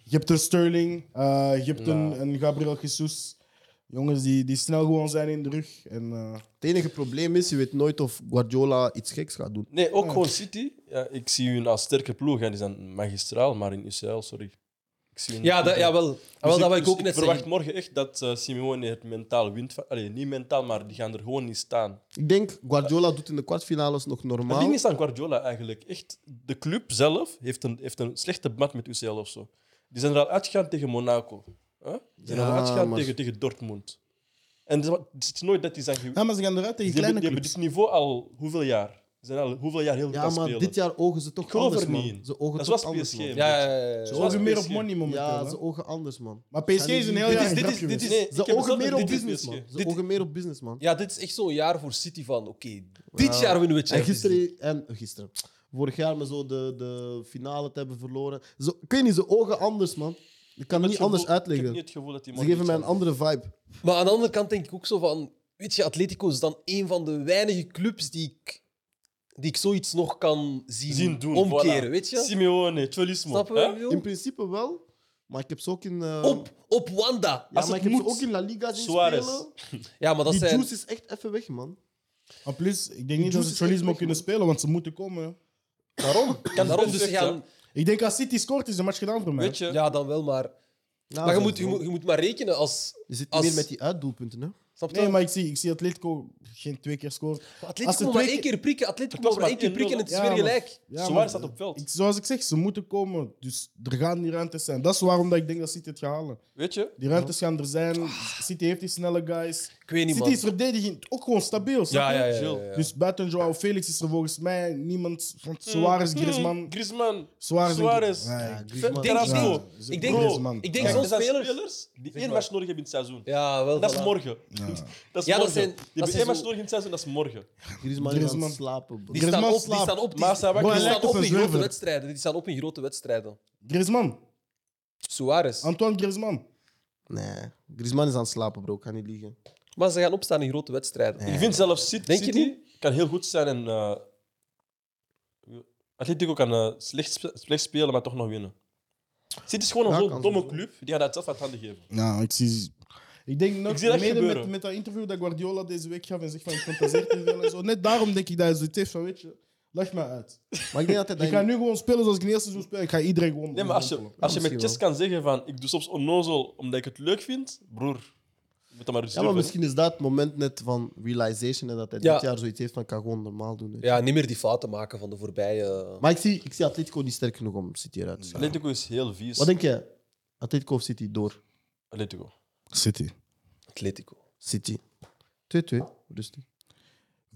Speaker 2: Je hebt een Sterling, eh, je hebt een, een Gabriel Jesus. Jongens die, die snel gewoon zijn in de rug. En, eh,
Speaker 1: Het enige probleem is, je weet nooit of Guardiola iets geks gaat doen.
Speaker 4: Nee, ook gewoon City. Ja, ik zie hun als sterke ploeg. En die zijn magistraal, maar in UCL, sorry. Ik zie hun
Speaker 3: Ja, dat, jawel. wel dat wil ik
Speaker 4: Dus
Speaker 3: ook net
Speaker 4: verwacht
Speaker 3: zeggen.
Speaker 4: morgen echt dat eh, Simeone het mentaal wint. van- Allee, niet mentaal, maar die gaan er gewoon niet staan.
Speaker 1: Ik denk, Guardiola doet in de kwartfinales nog
Speaker 4: Het
Speaker 1: normaal.
Speaker 4: ding is aan Guardiola eigenlijk. Echt, de club zelf heeft een, heeft een slechte band met UCL of zo. Die zijn er al uitgegaan tegen Monaco. Huh? Die zijn
Speaker 1: Ja,
Speaker 4: er al uitgegaan
Speaker 1: maar-
Speaker 4: tegen, tegen Dortmund. En het is- het is nooit dat die zijn... ge-
Speaker 2: ja, maar ze gaan eruit tegen
Speaker 4: Die
Speaker 2: kleine
Speaker 4: hebben, die hebben dit
Speaker 2: clubs.
Speaker 4: niveau al hoeveel jaar? Ze zijn al hoeveel jaar heel goed aan
Speaker 1: ja,
Speaker 4: het
Speaker 1: maar
Speaker 4: spelen.
Speaker 1: dit jaar ogen ze toch
Speaker 4: Ik geloof
Speaker 1: anders,
Speaker 4: er
Speaker 1: man.
Speaker 4: niet in.
Speaker 1: Ze ogen
Speaker 4: Dat
Speaker 1: toch
Speaker 4: was
Speaker 1: anders,
Speaker 4: PSG,
Speaker 1: man.
Speaker 4: man.
Speaker 3: Ja, ja, ja, ja.
Speaker 2: Ze ogen meer op
Speaker 4: PSG.
Speaker 2: money momenteel.
Speaker 1: Ja,
Speaker 2: hè.
Speaker 1: ze ogen anders, man.
Speaker 2: Maar PSG is een heel
Speaker 4: Dit
Speaker 2: jaar
Speaker 4: is- dit
Speaker 2: grap
Speaker 4: is- dit
Speaker 2: geweest.
Speaker 4: is-
Speaker 2: Nee,
Speaker 4: ik heb
Speaker 1: Ze ogen
Speaker 4: hetzelfde
Speaker 1: meer op
Speaker 4: met dit
Speaker 1: business,
Speaker 4: PSG.
Speaker 1: man. Ze
Speaker 3: Dit-
Speaker 1: ogen meer op business, man.
Speaker 3: Ja, dit is echt zo'n jaar voor City van... Oké, dit jaar winnen we
Speaker 1: En
Speaker 3: Champions League.
Speaker 1: gisteren, en gisteren, vorig jaar met zo de, de finale te hebben verloren. Ze, ik weet niet, ze ogen anders, man. Ik kan het
Speaker 4: Het
Speaker 1: niet
Speaker 4: gevoel-
Speaker 1: anders
Speaker 4: Ik
Speaker 1: uitleggen.
Speaker 4: heb niet het gevoel dat die
Speaker 1: Ze
Speaker 4: morgen
Speaker 1: geven mij een
Speaker 4: iets gaan
Speaker 1: andere vibe.
Speaker 3: Maar aan de andere kant denk ik ook zo van... Weet je, Atletico is dan een van de weinige clubs die ik, die ik zoiets nog kan zien,
Speaker 4: zien doen.
Speaker 3: omkeren,
Speaker 4: voilà.
Speaker 3: weet je?
Speaker 4: Simeone, Cholismo.
Speaker 3: Snappen
Speaker 4: hè?
Speaker 3: we? Wil?
Speaker 1: In principe wel, maar ik heb ze ook in... eh,
Speaker 3: Op, op Wanda.
Speaker 1: ja,
Speaker 4: als
Speaker 1: maar ik
Speaker 4: het
Speaker 1: heb ze
Speaker 4: moet.
Speaker 1: ook in La Liga zien
Speaker 4: Suarez.
Speaker 1: spelen.
Speaker 3: Ja, maar dat
Speaker 1: Die
Speaker 3: zijn...
Speaker 1: juice is echt even weg, man.
Speaker 2: En plus, ik denk niet
Speaker 1: Juice
Speaker 2: dat ze
Speaker 1: is
Speaker 2: Cholismo
Speaker 1: echt-
Speaker 2: kunnen spelen, want ze moeten komen. hè.
Speaker 3: Daarom. Daarom, dus ze
Speaker 4: perfect,
Speaker 3: gaan...
Speaker 2: Ik denk als City scoort, is de match gedaan voor mij.
Speaker 4: Weet je,
Speaker 3: Ja, dan wel, maar...
Speaker 1: Nou,
Speaker 3: Maar je
Speaker 1: zo-
Speaker 3: moet, je moet, je moet maar rekenen als...
Speaker 1: Je zit
Speaker 3: als-
Speaker 1: meer met die uitdoelpunten, hè.
Speaker 3: Snap je?
Speaker 2: Nee, maar ik zie, ik zie Atletico geen twee keer scoren. als
Speaker 3: Atletico
Speaker 2: ze
Speaker 3: moet maar
Speaker 2: twee
Speaker 3: één
Speaker 2: keer-
Speaker 3: keer prikken. Atletico
Speaker 4: Het
Speaker 3: moet
Speaker 4: was
Speaker 3: maar één
Speaker 4: maar
Speaker 3: keer prikken en
Speaker 4: 1-0,
Speaker 3: het is
Speaker 2: ja,
Speaker 3: weer
Speaker 2: maar-
Speaker 3: gelijk.
Speaker 2: Ja,
Speaker 4: Suarez
Speaker 2: maar-
Speaker 4: staat op veld.
Speaker 2: Ik- zoals ik zeg, ze moeten komen. Dus er gaan die ruimtes zijn. Dat is waarom dat ik denk dat City het gaat halen.
Speaker 4: Weet je?
Speaker 2: Die ruimtes gaan er zijn.
Speaker 4: Ah.
Speaker 2: City heeft die snelle guys.
Speaker 3: Ik weet niet,
Speaker 2: City
Speaker 3: man.
Speaker 2: is verdediging ook gewoon stabiel. snap je?
Speaker 3: ja, ja, ja,
Speaker 4: Chill.
Speaker 3: ja.
Speaker 2: Dus buiten Joao Felix is er volgens mij niemand van Suarez, Griezmann.
Speaker 4: Mm, Griezmann.
Speaker 2: Suarez. en-
Speaker 4: Suarez.
Speaker 2: Ja, ja.
Speaker 1: Griezmann.
Speaker 4: Denk-
Speaker 2: Ja,
Speaker 4: Bro,
Speaker 2: ze-
Speaker 3: ik denk-
Speaker 2: Bro,
Speaker 4: ik
Speaker 2: man.
Speaker 3: Ik denk
Speaker 4: Kijk,
Speaker 3: zo'n
Speaker 4: er zijn
Speaker 3: spelers...
Speaker 4: spelers die één match nodig hebben in het seizoen.
Speaker 3: Ja, wel.
Speaker 4: En dat is
Speaker 3: voilà.
Speaker 4: morgen. Dat is
Speaker 3: Ja, dat
Speaker 4: morgen.
Speaker 3: zijn-
Speaker 4: Die
Speaker 3: dat
Speaker 4: hebben
Speaker 3: zijn
Speaker 4: één match
Speaker 3: zo-
Speaker 4: nodig in het seizoen, dat is morgen.
Speaker 1: Griezmann is aan
Speaker 2: Griezmann.
Speaker 1: het slapen, bro.
Speaker 3: Die staan,
Speaker 2: Griezmann
Speaker 3: op, die
Speaker 2: slaapt.
Speaker 3: staan op, die,
Speaker 4: Maar Salah-
Speaker 3: die
Speaker 4: Hij
Speaker 3: staan
Speaker 2: lijkt
Speaker 3: op
Speaker 2: op
Speaker 3: in
Speaker 2: een
Speaker 3: grote
Speaker 2: zwerver.
Speaker 3: wedstrijden. Die staan op in grote wedstrijden.
Speaker 2: Griezmann.
Speaker 3: Suarez.
Speaker 2: Antoine Griezmann.
Speaker 1: Nee, Griezmann is aan het slapen, bro. Ik kan niet liegen.
Speaker 3: Maar ze gaan opstaan in grote wedstrijden.
Speaker 4: Ik vind zelfs City,
Speaker 3: Denk je
Speaker 4: City kan heel goed zijn en... eh, Atletico kan eh, slecht, spe- slecht spelen, maar toch nog winnen. City is gewoon
Speaker 1: Ja,
Speaker 4: een zo'n
Speaker 1: kan
Speaker 4: domme
Speaker 1: zo.
Speaker 4: club. Die gaat dat zelf uit handen geven.
Speaker 2: Nou, ik zie... Ik denk nog,
Speaker 4: Ik zie dat
Speaker 2: mede
Speaker 4: gebeuren.
Speaker 2: met, met dat interview dat Guardiola deze week gaf en zegt van ik fantaseer te veel en zo. Net daarom denk ik dat hij zoiets heeft van, weet je, leg mij uit.
Speaker 1: Maar ik denk dat hij
Speaker 2: Ik
Speaker 1: dat
Speaker 2: ga nu gewoon spelen zoals ik in het eerste seizoen speel. Ik ga iedereen gewoon...
Speaker 4: Nee, maar als je, als je met
Speaker 1: misschien
Speaker 4: chess kan zeggen van ik doe soms onnozel omdat ik het leuk vind, broer, je moet dat maar eens
Speaker 1: Ja, maar
Speaker 4: durven.
Speaker 1: misschien is dat het moment net van realization en dat hij
Speaker 3: Ja.
Speaker 1: dit jaar zoiets heeft van ik kan gewoon normaal doen. hè.
Speaker 3: Ja, niet meer die fouten maken van de voorbije... eh,
Speaker 1: Maar ik zie, ik zie Atletico niet sterk genoeg om City eruit te slaan.
Speaker 4: Atletico is heel vies.
Speaker 1: Wat denk jij? Atletico of City door?
Speaker 4: Atletico.
Speaker 2: City.
Speaker 3: Atletico.
Speaker 1: City. 2-2, rustig.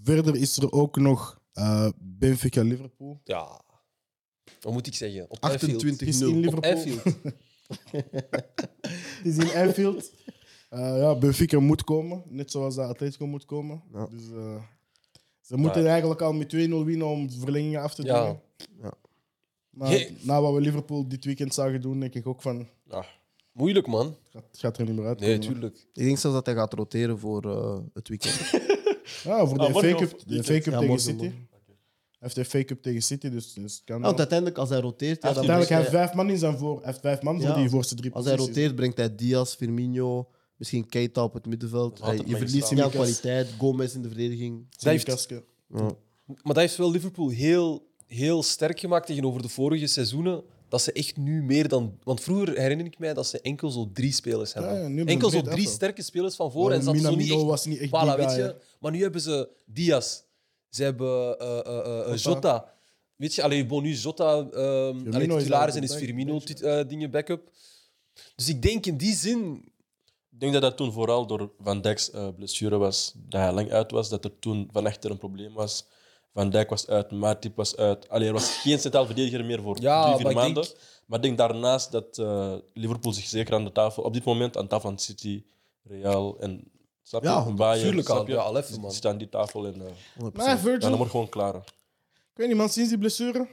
Speaker 2: Verder is er ook nog eh, Benfica-Liverpool.
Speaker 3: Ja. Wat moet ik zeggen? Op Anfield.
Speaker 1: 28
Speaker 2: Het is in
Speaker 1: 0
Speaker 3: Op
Speaker 2: Liverpool.
Speaker 3: Anfield.
Speaker 2: Het is in Anfield. Eh, ja, Benfica moet komen. Net zoals dat Atletico moet komen.
Speaker 1: Ja.
Speaker 2: Dus, eh, ze moeten eigenlijk al met 2-0 winnen om verlengingen af te doen.
Speaker 3: Ja.
Speaker 1: Ja.
Speaker 2: Maar
Speaker 3: Hey.
Speaker 2: na wat we Liverpool dit weekend zagen doen, denk ik ook van... Het
Speaker 4: Ja.
Speaker 3: Moeilijk, man.
Speaker 2: gaat, het gaat er niet meer uit.
Speaker 3: Nee, tuurlijk.
Speaker 1: Ik denk zelfs dat hij gaat roteren voor eh, het weekend.
Speaker 2: Ja, voor de
Speaker 4: Ah,
Speaker 2: FA
Speaker 4: morgen
Speaker 2: Cup,
Speaker 4: of
Speaker 2: de
Speaker 4: weekend?
Speaker 2: FA Cup
Speaker 1: Ja,
Speaker 2: tegen
Speaker 1: morgen,
Speaker 2: City.
Speaker 1: morgen.
Speaker 2: heeft een fake-up tegen City, dus, dus het kan
Speaker 1: Ja,
Speaker 2: wel.
Speaker 1: want uiteindelijk, als hij roteert... Ja, dan
Speaker 2: Uiteindelijk hij
Speaker 1: brengt
Speaker 2: heeft vijf man in zijn voor, hij heeft vijf man voor
Speaker 1: Ja.
Speaker 2: die voorste drie
Speaker 1: hij- als hij
Speaker 2: posities.
Speaker 1: roteert, brengt hij Diaz, Firmino, misschien Keita op het middenveld.
Speaker 3: altijd
Speaker 1: Hij, je
Speaker 3: maar
Speaker 1: verliest
Speaker 3: gestaan.
Speaker 1: niet aan kwaliteit. Gomez in de verdediging.
Speaker 3: Dat heeft-
Speaker 2: Simicaske.
Speaker 1: Ja.
Speaker 3: Maar dat heeft wel Liverpool heel, heel sterk gemaakt tegenover de vorige seizoenen. Dat ze echt nu meer dan. Want vroeger herinner ik mij dat ze enkel zo drie spelers hebben.
Speaker 2: Ja, ja, nu hebben ze
Speaker 3: enkel zo
Speaker 2: breed
Speaker 3: drie
Speaker 2: af,
Speaker 3: sterke spelers van voor. En
Speaker 2: Waarom
Speaker 3: zat zo
Speaker 2: Oh,
Speaker 3: niet
Speaker 2: Minamino
Speaker 3: echt.
Speaker 2: was niet echt
Speaker 3: Voilà,
Speaker 2: die
Speaker 3: weet
Speaker 2: guy, hè.
Speaker 3: je. Maar nu hebben ze Diaz. Ze hebben eh, eh, eh, eh, Jota. Weet je, alleen bon, nu is Jota ehm
Speaker 2: is
Speaker 3: allee, titularis en
Speaker 2: eigenlijk
Speaker 3: is
Speaker 2: een
Speaker 3: Firmino
Speaker 2: back,
Speaker 3: tit- eh, dingen backup. Dus ik denk in die zin.
Speaker 2: Nou,
Speaker 4: Ik denk dat dat toen vooral door Van Dijk's eh, blessure was, dat hij lang uit was, dat er toen van echter een probleem was. Van Dijk was uit, Matip was uit. Alleen er was geen centraal verdediger meer voor
Speaker 3: Ja,
Speaker 4: drie, vier
Speaker 3: maar ik
Speaker 4: maanden.
Speaker 3: denk-
Speaker 4: Maar ik denk daarnaast dat eh, Liverpool zich zeker aan de tafel, op dit moment aan de tafel van City, Real en snap je,
Speaker 1: Ja,
Speaker 4: en Bayern,
Speaker 3: tuurlijk al.
Speaker 4: snap je?
Speaker 3: Ja, al even,
Speaker 4: Die
Speaker 3: man.
Speaker 4: zitten aan die tafel en eh,
Speaker 2: Maar
Speaker 4: ja, dan
Speaker 2: Virgil,
Speaker 4: wordt gewoon klaar.
Speaker 2: ik weet niet, man, sinds die blessure.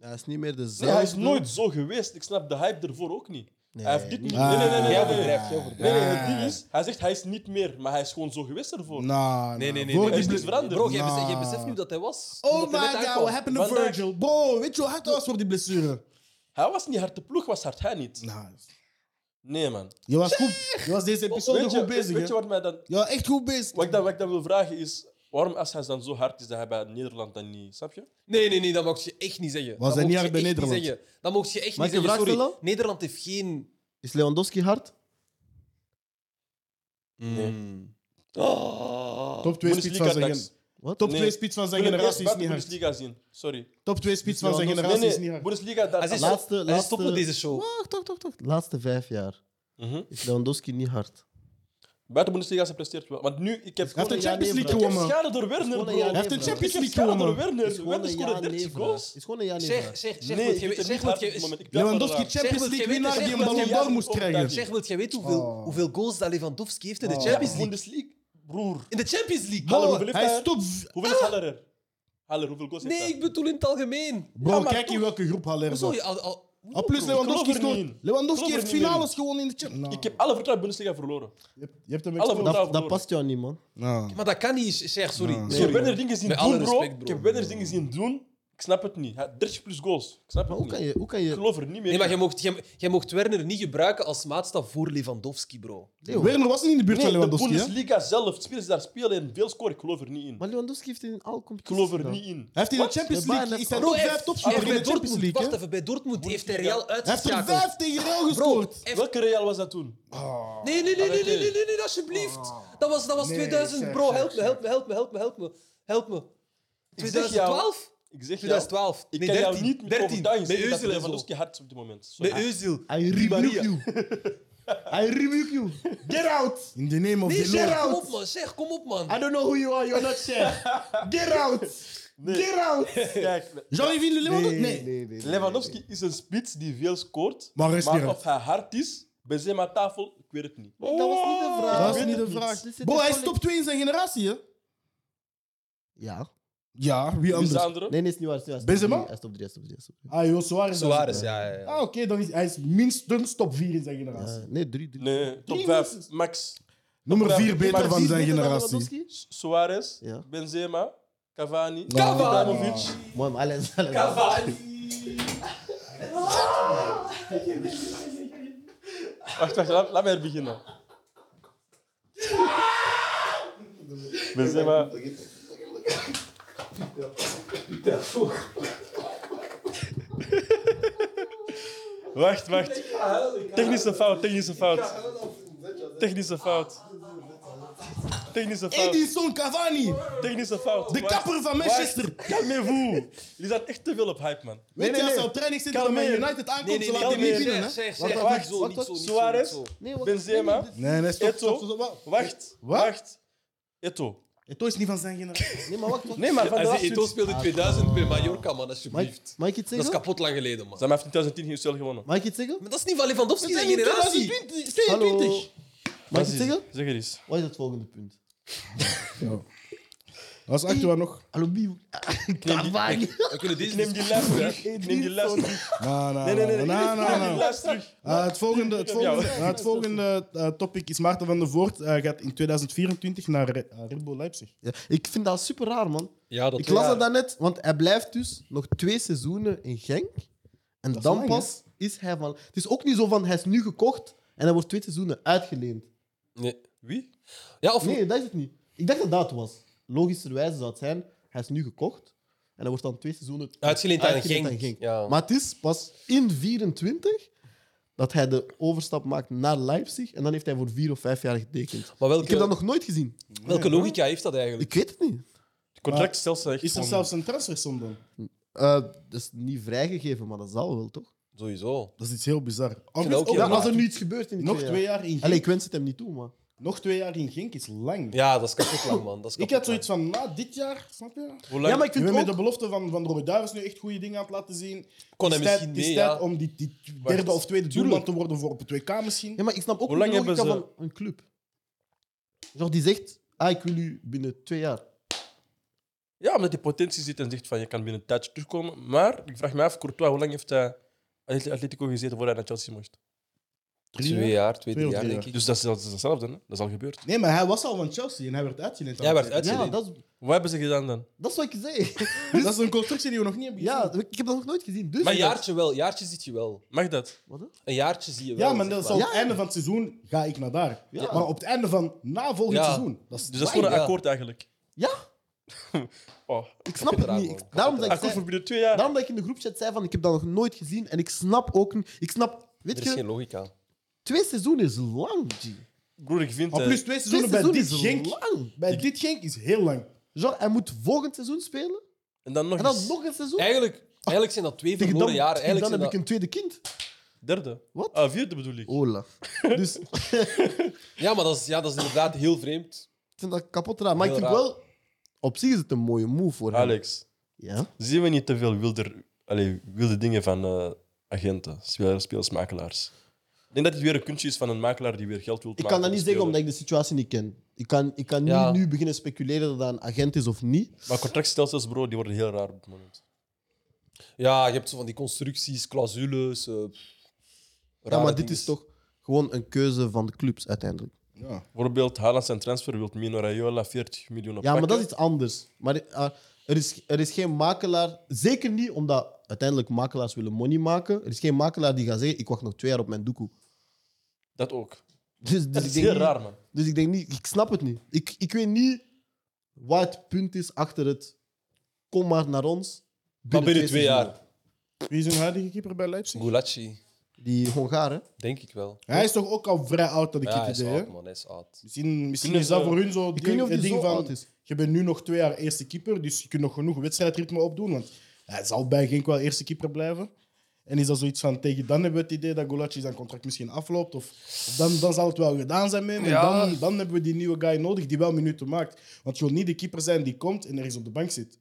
Speaker 1: Hij is niet meer dezelfde.
Speaker 4: Nee, hij is nooit zo geweest. Ik snap de hype ervoor ook niet. hij heeft dit niet.
Speaker 2: Ah.
Speaker 4: Nee, nee, nee, nee.
Speaker 3: Jij
Speaker 4: nee, nee.
Speaker 3: overdrijft, jij overdrijft.
Speaker 4: Nee, nee, het
Speaker 2: Nee.
Speaker 4: ding is, hij zegt hij is niet meer, maar hij is gewoon zo geweest ervoor.
Speaker 2: Nah,
Speaker 3: Nee, nee, nee.
Speaker 2: Voor
Speaker 3: nee,
Speaker 4: is
Speaker 2: die
Speaker 4: niet
Speaker 2: bl-
Speaker 3: nee.
Speaker 4: veranderd.
Speaker 3: Bro, jij beseft,
Speaker 2: Nou.
Speaker 3: jij beseft nu dat hij was.
Speaker 2: Oh
Speaker 3: omdat hij net
Speaker 2: my god,
Speaker 3: uitkwam.
Speaker 2: what happened to
Speaker 4: Vandaag-
Speaker 2: Virgil? Bro, weet je hoe hard hij was voor die blessure?
Speaker 4: Hij was niet hard, de ploeg was hard, hij niet.
Speaker 2: Nah,
Speaker 4: Nee, man. Dus
Speaker 2: je was goed. Je was deze episode
Speaker 4: Weet je,
Speaker 2: goed bezig,
Speaker 4: weet je
Speaker 2: hè?
Speaker 4: wat, mij dan,
Speaker 2: Je was echt goed bezig.
Speaker 4: wat, ik dan, wat ik dan wil vragen is, waarom als hij dan zo hard is dat hij bij Nederland dan niet, snap je?
Speaker 3: Nee, nee, nee, dat mocht je echt niet zeggen.
Speaker 2: Was
Speaker 3: dat
Speaker 2: hij niet
Speaker 3: mocht je
Speaker 2: hard bij
Speaker 3: echt
Speaker 2: Nederland?
Speaker 3: zeggen. Dat mocht je echt
Speaker 1: Mag
Speaker 3: niet
Speaker 1: ik een
Speaker 3: zeggen.
Speaker 1: vraag
Speaker 3: Sorry.
Speaker 1: stellen?
Speaker 3: Nederland heeft geen.
Speaker 1: Is Lewandowski hard?
Speaker 4: Nee.
Speaker 2: Top 2 spits
Speaker 4: Bundesliga
Speaker 2: Mm. van zijn
Speaker 4: dags.
Speaker 2: gen-
Speaker 1: Wat?
Speaker 2: Top
Speaker 4: Nee.
Speaker 2: 2 spits van zijn
Speaker 4: Wil je
Speaker 2: generatie is
Speaker 4: eerst buiten
Speaker 2: niet hard.
Speaker 4: Bundesliga zien, sorry.
Speaker 2: Top 2 spits van zijn
Speaker 4: Nee,
Speaker 2: generatie
Speaker 4: nee,
Speaker 2: is niet hard.
Speaker 4: Bundesliga, dat...
Speaker 3: Hij is
Speaker 4: dat-
Speaker 1: Laatste,
Speaker 3: Hij stopt met
Speaker 1: laatste-
Speaker 3: deze show.
Speaker 1: Wacht, wacht, wacht, wacht. Laatste vijf jaar
Speaker 4: Mhm.
Speaker 1: is Lewandowski niet hard.
Speaker 4: Buiten Bundesliga, ze presteert wel. Want nu, ik heb
Speaker 2: Hij heeft de
Speaker 1: Ja, nee,
Speaker 2: Champions League
Speaker 4: Ik heb
Speaker 2: gewonnen.
Speaker 4: schade door Werner,
Speaker 1: Gewoon een
Speaker 4: bro.
Speaker 1: jaar
Speaker 2: Hij heeft de
Speaker 1: nee,
Speaker 2: Champions
Speaker 4: Ik heb
Speaker 2: League
Speaker 4: schade door
Speaker 2: gewonnen.
Speaker 1: Is
Speaker 4: Werner.
Speaker 1: gewoon
Speaker 4: Werner
Speaker 1: een
Speaker 4: scoorde
Speaker 1: ja-nee
Speaker 4: 30
Speaker 1: vraag.
Speaker 4: goals.
Speaker 1: Is gewoon een ja-nee
Speaker 3: Zeg,
Speaker 1: vraag.
Speaker 3: zeg, zeg,
Speaker 4: Nee,
Speaker 3: wilt
Speaker 4: ik
Speaker 3: jij-
Speaker 4: vind het
Speaker 3: zeg,
Speaker 4: niet
Speaker 3: wilt
Speaker 4: hard
Speaker 3: jij-
Speaker 4: op het moment. Ik dacht
Speaker 2: Lewandowski,
Speaker 4: eraan.
Speaker 3: Zeg,
Speaker 2: Champions
Speaker 3: wat
Speaker 2: League
Speaker 3: jij weet,
Speaker 2: winnaar
Speaker 3: zeg
Speaker 2: die een
Speaker 3: wat jij
Speaker 2: ballon
Speaker 4: weet.
Speaker 2: d'Or moest
Speaker 3: zeg,
Speaker 2: krijgen.
Speaker 4: Zeg,
Speaker 3: wilt jij weten hoeveel,
Speaker 2: Oh.
Speaker 3: hoeveel goals dat Lewandowski heeft in de
Speaker 2: Oh.
Speaker 3: Champions League?
Speaker 4: Bundesliga, broer.
Speaker 3: In de Champions League.
Speaker 4: Hallo,
Speaker 3: Bro,
Speaker 4: hoeveel heeft
Speaker 2: Hij
Speaker 4: hij?
Speaker 2: is top...
Speaker 4: Hoeveel is Haller er? Haller, hoeveel goals heeft
Speaker 3: Nee,
Speaker 4: hij?
Speaker 3: ik bedoel in het algemeen.
Speaker 2: Bro,
Speaker 4: Ja, maar
Speaker 2: kijk in
Speaker 4: toch.
Speaker 2: welke groep Haller
Speaker 3: Hoezo?
Speaker 2: zat.
Speaker 3: je Al, al,
Speaker 2: Ah, plus
Speaker 3: Bro,
Speaker 2: Lewandowski
Speaker 4: geloof er niet
Speaker 2: scoort.
Speaker 4: in.
Speaker 2: Lewandowski
Speaker 4: Geloof er
Speaker 2: heeft
Speaker 4: niet meer
Speaker 2: finales gewonnen in de Champions
Speaker 4: Ik heb alle vertrouwen in Bundesliga verloren.
Speaker 2: Je hebt- je hebt hem
Speaker 4: Alle
Speaker 2: exposed.
Speaker 4: vertrouwen.
Speaker 1: Dat, dat past jou niet, man.
Speaker 2: Nou.
Speaker 3: Maar dat kan niet, zeg, sorry.
Speaker 2: Nee.
Speaker 4: Ik
Speaker 3: sorry
Speaker 4: heb Werner dingen zien
Speaker 3: Met alle
Speaker 4: doen, bro.
Speaker 3: respect, bro.
Speaker 4: Ik heb Werner dingen zien doen. Ik snap het niet. Hij had 30 plus goals. Ik snap
Speaker 1: Maar hoe
Speaker 4: het niet.
Speaker 1: kan je... Hoe kan
Speaker 4: Ik
Speaker 1: je
Speaker 4: geloof er niet meer
Speaker 3: Nee, maar
Speaker 4: in.
Speaker 3: jij mocht, jij, jij mocht Werner niet gebruiken als maatstaf voor Lewandowski, bro.
Speaker 1: Leo,
Speaker 2: Werner was niet in de buurt van
Speaker 4: Nee, de
Speaker 2: Lewandowski, hè?
Speaker 4: Bundesliga zelf. de Spelers die daar spelen en veel scoren. Ik geloof er niet in.
Speaker 1: maar Lewandowski heeft in al
Speaker 4: Ik geloof
Speaker 1: competities
Speaker 4: er
Speaker 1: gedaan.
Speaker 4: niet in.
Speaker 2: Hij heeft in de
Speaker 1: Wat?
Speaker 2: Champions
Speaker 1: Bij Bayern
Speaker 2: League... Is hij
Speaker 1: heeft-
Speaker 2: top
Speaker 3: Bro, hij
Speaker 2: 5
Speaker 3: heeft-
Speaker 2: topschutter in
Speaker 3: hij
Speaker 2: de
Speaker 3: heeft bij
Speaker 2: Champions
Speaker 3: Dortmund-
Speaker 2: League, hè?
Speaker 3: Wacht even, bij Dortmund heeft hij
Speaker 4: Bundesliga.
Speaker 3: Real
Speaker 2: Hij heeft er
Speaker 3: uitgeschakeld.
Speaker 2: 5 tegen Real
Speaker 3: Bro,
Speaker 2: gescoord.
Speaker 3: heeft-
Speaker 4: Welke Real was dat toen?
Speaker 3: Nee, nee, nee, nee, nee, nee, nee, nee, alsjeblieft.
Speaker 2: Ah.
Speaker 3: Dat was, dat was
Speaker 2: Nee,
Speaker 3: 2000,
Speaker 2: zeg,
Speaker 3: bro.
Speaker 2: zeg,
Speaker 3: Help me,
Speaker 2: zeg.
Speaker 3: help me, help me, help me, help me. Help me.
Speaker 4: zeg jou-
Speaker 3: 2012?
Speaker 4: Ik zeg jou,
Speaker 3: 2012.
Speaker 4: ik
Speaker 3: nee,
Speaker 4: kan
Speaker 3: 13.
Speaker 4: jou niet meer
Speaker 3: 13.
Speaker 4: overtuigen
Speaker 3: Met
Speaker 4: zeggen dat
Speaker 3: Özil en zo.
Speaker 4: Lewandowski hard is op dit moment. Sorry.
Speaker 3: Met Özil.
Speaker 1: I
Speaker 3: Di
Speaker 1: rebuke
Speaker 3: Maria.
Speaker 1: you. I rebuke you.
Speaker 2: Get out! In the name of
Speaker 3: Nee,
Speaker 2: the Lord.
Speaker 3: zeg, kom op, man. Zeg, kom op, man.
Speaker 1: I don't know who you are. You are not chef.
Speaker 2: Get out! Get out!
Speaker 4: Kijk,
Speaker 2: Jean-Yves Lewandowski? Nee.
Speaker 4: Lewandowski is een spits die veel scoort.
Speaker 2: Maar hij is niet
Speaker 4: Maar
Speaker 2: hard.
Speaker 4: of hij hard is, Benzema tafel, ik weet het niet.
Speaker 1: Dat was niet de vraag.
Speaker 2: Dat is
Speaker 4: weet
Speaker 2: niet
Speaker 4: het
Speaker 2: de
Speaker 4: niet.
Speaker 2: vraag.
Speaker 1: Dit zit
Speaker 2: Bro,
Speaker 1: in
Speaker 2: hij is
Speaker 1: college.
Speaker 2: top 2 in zijn generatie, hè?
Speaker 1: Ja.
Speaker 2: Ja, wie
Speaker 4: Wie is de
Speaker 2: anders?
Speaker 4: andere?
Speaker 1: Nee, nee, is niet waar. is niet waar.
Speaker 2: Benzema?
Speaker 1: Hij is top drie, hij is top drie, hij is top drie.
Speaker 2: Ah, joh, Suarez.
Speaker 3: Suarez, ja, ja, ja.
Speaker 2: Ah, oké, dan is hij is minstens top 4 in zijn generatie.
Speaker 1: Ja, Nee, drie, drie.
Speaker 4: Nee, top
Speaker 2: Drie
Speaker 4: 5,
Speaker 2: minstens.
Speaker 4: Max.
Speaker 2: Nummer
Speaker 4: Ja.
Speaker 2: 4
Speaker 1: Maar
Speaker 2: beter
Speaker 1: drie
Speaker 2: van zijn
Speaker 1: beter dan
Speaker 2: generatie.
Speaker 1: Lewandowski?
Speaker 4: S- Suarez,
Speaker 1: Ja.
Speaker 4: Benzema, Cavani,
Speaker 3: Ah,
Speaker 2: Cavani.
Speaker 4: Ibrahimovic.
Speaker 1: Mooi, maar alles. alles-
Speaker 4: Wacht, wacht, laat, laat mij er beginnen. Benzema. Wacht, wacht. Technische fout, technische fout. Technische fout. Technische fout.
Speaker 2: Edinson Cavani,
Speaker 4: Technische fout.
Speaker 2: de kapper van Manchester.
Speaker 4: Calmez-vous. Jullie zijn echt te veel op hype, man.
Speaker 2: Weet je, als hij op training zit en bij
Speaker 4: Kalmeer.
Speaker 2: United aankomt,
Speaker 3: Nee, nee,
Speaker 2: ze
Speaker 3: nee,
Speaker 2: laten hem
Speaker 3: nee,
Speaker 2: niet
Speaker 4: Kalmeer.
Speaker 2: binnen, hè?
Speaker 3: zeg, zeg,
Speaker 1: Wacht,
Speaker 3: zeg,
Speaker 1: wacht,
Speaker 3: niet zo,
Speaker 1: wacht,
Speaker 3: niet
Speaker 1: wacht.
Speaker 3: zo, niet zo,
Speaker 4: Suarez,
Speaker 3: niet zo.
Speaker 1: Nee, wacht.
Speaker 4: Benzema.
Speaker 1: Nee,
Speaker 2: Nee, nee, stop,
Speaker 4: Eto.
Speaker 2: stop, stop, stop.
Speaker 4: Wacht,
Speaker 2: Wat?
Speaker 4: wacht. Eto.
Speaker 2: Eto is niet van zijn generatie.
Speaker 1: nee, maar wacht. wacht.
Speaker 4: Nee, maar van de
Speaker 3: Als
Speaker 4: laatste...
Speaker 3: Eto'o speelde
Speaker 2: Ah.
Speaker 3: in 2000 bij Mallorca, man,
Speaker 1: Mag ik,
Speaker 3: alsjeblieft.
Speaker 1: mag ik iets
Speaker 3: Dat is
Speaker 1: zeggen?
Speaker 3: kapot lang geleden, man.
Speaker 4: Ze hebben in 2010 in UCL gewonnen.
Speaker 1: Mag ik iets zeggen?
Speaker 3: Maar dat is niet van Lewandowski zijn
Speaker 2: zijn in
Speaker 3: generatie.
Speaker 2: 2020,
Speaker 1: Hallo.
Speaker 2: 22.
Speaker 1: Mag ik
Speaker 4: Zeg
Speaker 1: iets
Speaker 4: eens,
Speaker 1: zeggen?
Speaker 4: Zeg er eens.
Speaker 1: Wat is het volgende punt?
Speaker 2: Dat is actueel nog.
Speaker 1: Aluminium. Carvajal.
Speaker 3: We kunnen deze
Speaker 4: Neem die les terug. Neem die les terug.
Speaker 2: Nee, nee,
Speaker 4: Nee, nee, nee. nee,
Speaker 2: nee, nee,
Speaker 4: Neem
Speaker 2: nee.
Speaker 4: die les terug.
Speaker 2: Eh, het volgende, het
Speaker 4: Ja,
Speaker 2: volgende,
Speaker 4: ja.
Speaker 2: eh, het volgende eh, topic is Maarten van der Voort. eh, gaat in 2024 naar Re- eh, Red Bull Leipzig.
Speaker 1: Ja, ik vind dat super raar, man.
Speaker 3: Ja, dat
Speaker 1: Ik las dat net, want hij blijft dus nog twee seizoenen in Genk. En
Speaker 2: is
Speaker 1: dan
Speaker 2: lang, hè?
Speaker 1: pas is hij van... Het is ook niet zo van, hij is nu gekocht en hij wordt twee seizoenen uitgeleend.
Speaker 3: Nee. Wie? Ja, of
Speaker 1: Nee, dat is het niet. Ik dacht dat dat het was. Logischerwijze zou het zijn, hij is nu gekocht en hij wordt dan twee seizoenen
Speaker 3: Uitgeleend aan Genk. Ja.
Speaker 1: Maar het is pas in 24 dat hij de overstap maakt naar Leipzig en dan heeft hij voor vier of vijf jaar getekend.
Speaker 3: Maar welke,
Speaker 1: Ik heb dat nog nooit gezien.
Speaker 3: welke logica heeft dat
Speaker 1: Ik
Speaker 3: eigenlijk?
Speaker 1: weet het niet.
Speaker 4: Het contract stelt zich echt
Speaker 2: Is er
Speaker 4: gewoon-
Speaker 2: zelfs een transfersom dan?
Speaker 1: Eh, dat is niet vrijgegeven, maar dat zal wel, toch?
Speaker 3: Sowieso.
Speaker 2: Dat is iets heel bizar.
Speaker 3: vind dat ook
Speaker 2: ook
Speaker 3: heel
Speaker 1: Ja,
Speaker 2: nog,
Speaker 1: als er nu iets gebeurt in die
Speaker 2: nog
Speaker 1: twee
Speaker 2: twee jaar in Genk.
Speaker 1: Allee, ik wens het hem niet toe, maar...
Speaker 2: Nog twee jaar in Genk is lang.
Speaker 3: Ja, dat is kapot lang, man. Dat is
Speaker 2: Ik
Speaker 3: kapot
Speaker 2: had zoiets van, na dit jaar, snap je?
Speaker 4: Hoe lang?
Speaker 1: Ja, maar ik
Speaker 2: Je
Speaker 1: vind
Speaker 2: bent met
Speaker 1: ook...
Speaker 2: de belofte van, van Roy Duivels nu echt goede dingen aan het laten zien.
Speaker 3: lang. kon hij
Speaker 2: het is tijd,
Speaker 3: misschien
Speaker 2: het is
Speaker 3: mee,
Speaker 2: tijd
Speaker 3: ja.
Speaker 2: om die, die
Speaker 4: Wacht,
Speaker 2: derde of tweede
Speaker 4: tuurlijk.
Speaker 2: doelman te worden voor op het 2K misschien.
Speaker 1: Ja, maar ik snap ook
Speaker 4: Hoe
Speaker 1: de
Speaker 4: lang hebben
Speaker 1: logica
Speaker 4: ze-
Speaker 1: van een club. Zo, die zegt, ah, ik wil u binnen twee jaar.
Speaker 4: Ja, omdat die potentie zit en zegt van je kan binnen een tijdje terugkomen. Maar ik vraag me af, Courtois, hoe lang heeft hij Atlet- Atletico gezeten voordat hij naar Chelsea mocht?
Speaker 2: Drie
Speaker 3: Twee jaar,
Speaker 2: Twee
Speaker 3: twee, drie
Speaker 2: of
Speaker 3: jaar,
Speaker 2: drie
Speaker 3: denk ik.
Speaker 4: Dus dat is, dat is hetzelfde, hè? dat is al gebeurd.
Speaker 2: Nee, maar hij was al van Chelsea en hij werd uitgeleend. aan
Speaker 3: Jij werd
Speaker 2: Chelsea.
Speaker 3: uitgeleend.
Speaker 1: Ja, dat is,
Speaker 4: Wat hebben ze gedaan dan? Dus
Speaker 1: dat is wat ik zei.
Speaker 2: Dat is een constructie die we nog niet hebben
Speaker 1: Ja,
Speaker 2: gezien.
Speaker 1: ik heb dat nog nooit gezien. Dus
Speaker 3: Maar een jaartje wel. Een jaartje ziet je wel.
Speaker 4: Mag dat?
Speaker 1: Wat, hè?
Speaker 3: Een jaartje zie je wel.
Speaker 2: Ja, maar
Speaker 3: zeg
Speaker 2: dat is al
Speaker 3: maar.
Speaker 1: Ja.
Speaker 2: het einde van het seizoen ga ik naar daar.
Speaker 1: Ja.
Speaker 2: Maar op het einde van na volgend
Speaker 3: Ja.
Speaker 2: seizoen. Dat is
Speaker 4: Dus dat is
Speaker 2: waar.
Speaker 4: gewoon een
Speaker 3: Ja.
Speaker 4: akkoord eigenlijk.
Speaker 1: Ja,
Speaker 4: Oh,
Speaker 1: ik snap
Speaker 3: vind
Speaker 1: het
Speaker 3: het raar,
Speaker 1: niet.
Speaker 3: man.
Speaker 1: Ik- daarom, dat ik
Speaker 4: akkoord
Speaker 1: zei,
Speaker 4: voor binnen twee jaar.
Speaker 1: daarom dat ik in de groepchat zei van, ik heb dat nog nooit gezien. En ik snap ook niet... Ik snap...
Speaker 3: Er
Speaker 1: Weet
Speaker 3: is geen
Speaker 1: je,
Speaker 3: logica.
Speaker 1: twee seizoenen is lang, G.
Speaker 4: Broer, ik vind...
Speaker 2: Maar
Speaker 4: eh,
Speaker 2: plus twee
Speaker 1: Twee
Speaker 2: seizoenen bij
Speaker 1: seizoenen
Speaker 2: dit
Speaker 1: is
Speaker 2: Genk.
Speaker 1: lang.
Speaker 2: Bij dit Genk is heel lang.
Speaker 1: Genre, hij moet volgend seizoen spelen.
Speaker 4: En dan nog
Speaker 1: En dan
Speaker 4: eens
Speaker 1: nog een seizoen.
Speaker 3: Eigenlijk, eigenlijk zijn dat twee
Speaker 1: Tegen
Speaker 3: verloren
Speaker 1: dan-
Speaker 3: jaren.
Speaker 1: tegen
Speaker 3: Eigenlijk
Speaker 1: dan
Speaker 3: zijn
Speaker 1: heb ik
Speaker 3: dat...
Speaker 1: een tweede kind.
Speaker 4: derde.
Speaker 1: Wat?
Speaker 4: Ah, vierde bedoel ik.
Speaker 1: Ola. Dus ik
Speaker 3: Ja, maar dat is, ja, dat is inderdaad heel vreemd.
Speaker 1: vind dat kapot raar. Maar ik
Speaker 3: Heel
Speaker 1: vind
Speaker 3: raar.
Speaker 1: wel... Op zich is het een mooie move voor hem.
Speaker 4: Alex,
Speaker 1: Ja.
Speaker 4: zien we niet te veel wilder, allee, wilde dingen van eh, agenten, spelers, spelers, makelaars? Ik denk dat het weer een kunstje is van een makelaar die weer geld wil maken.
Speaker 1: Ik kan dat niet
Speaker 4: voor
Speaker 1: zeggen
Speaker 4: een
Speaker 1: omdat ik de situatie niet ken. Ik kan, ik kan
Speaker 3: Ja.
Speaker 1: niet nu beginnen speculeren dat dat een agent is of niet.
Speaker 4: speler. Maar contractstelsels, bro, die worden heel raar op het moment.
Speaker 3: Ja, je hebt zo van die constructies, clausules. eh,
Speaker 1: Ja,
Speaker 3: rare
Speaker 1: maar dit
Speaker 3: dingen.
Speaker 1: is toch gewoon een keuze van de clubs uiteindelijk.
Speaker 2: Ja.
Speaker 4: Bijvoorbeeld, Haaland zijn transfer wil Mino Raiola 40 miljoen op
Speaker 1: Ja, maar dat is iets anders. Maar eh, er, is, er is geen makelaar, zeker niet omdat uiteindelijk makelaars willen money maken. Er is geen makelaar die gaat zeggen: Ik wacht nog twee jaar op mijn doekoe.
Speaker 4: Dat ook.
Speaker 1: Dus, dus
Speaker 4: Dat
Speaker 1: ik
Speaker 4: is
Speaker 1: denk
Speaker 4: heel
Speaker 1: niet-
Speaker 4: raar, man.
Speaker 1: Dus ik denk niet, ik snap het niet. Ik, ik weet niet wat het punt is achter het. Kom maar naar ons.
Speaker 3: Maar binnen twee
Speaker 1: seizoenen.
Speaker 3: jaar.
Speaker 2: Wie is hun huidige keeper bij Leipzig?
Speaker 3: Gulacsi,
Speaker 1: Die Hongaren.
Speaker 3: denk ik wel.
Speaker 2: Hij is toch ook al vrij oud, dat ik
Speaker 3: Ja, hij
Speaker 2: het
Speaker 3: is
Speaker 2: idee hè?
Speaker 3: oud, man. Hij is oud.
Speaker 2: Misschien, misschien
Speaker 4: Kunnen
Speaker 2: is dat
Speaker 4: ze-
Speaker 2: voor hun zo
Speaker 1: Ik weet niet
Speaker 2: ding,
Speaker 1: of die
Speaker 2: het
Speaker 1: zo
Speaker 2: ding
Speaker 1: oud
Speaker 2: van...
Speaker 1: is.
Speaker 2: Je bent nu nog twee jaar eerste keeper, dus je kunt nog genoeg wedstrijdritme opdoen. Want hij zal bij Genk wel eerste keeper blijven. En is dat zoiets van tegen dan hebben we het idee dat Golacci zijn contract misschien afloopt. Of of dan, dan zal het wel gedaan zijn met hem. En
Speaker 3: Ja.
Speaker 2: dan, dan hebben we die nieuwe guy nodig die wel minuten maakt. Want je wil niet de keeper zijn die komt en er is op de bank zit.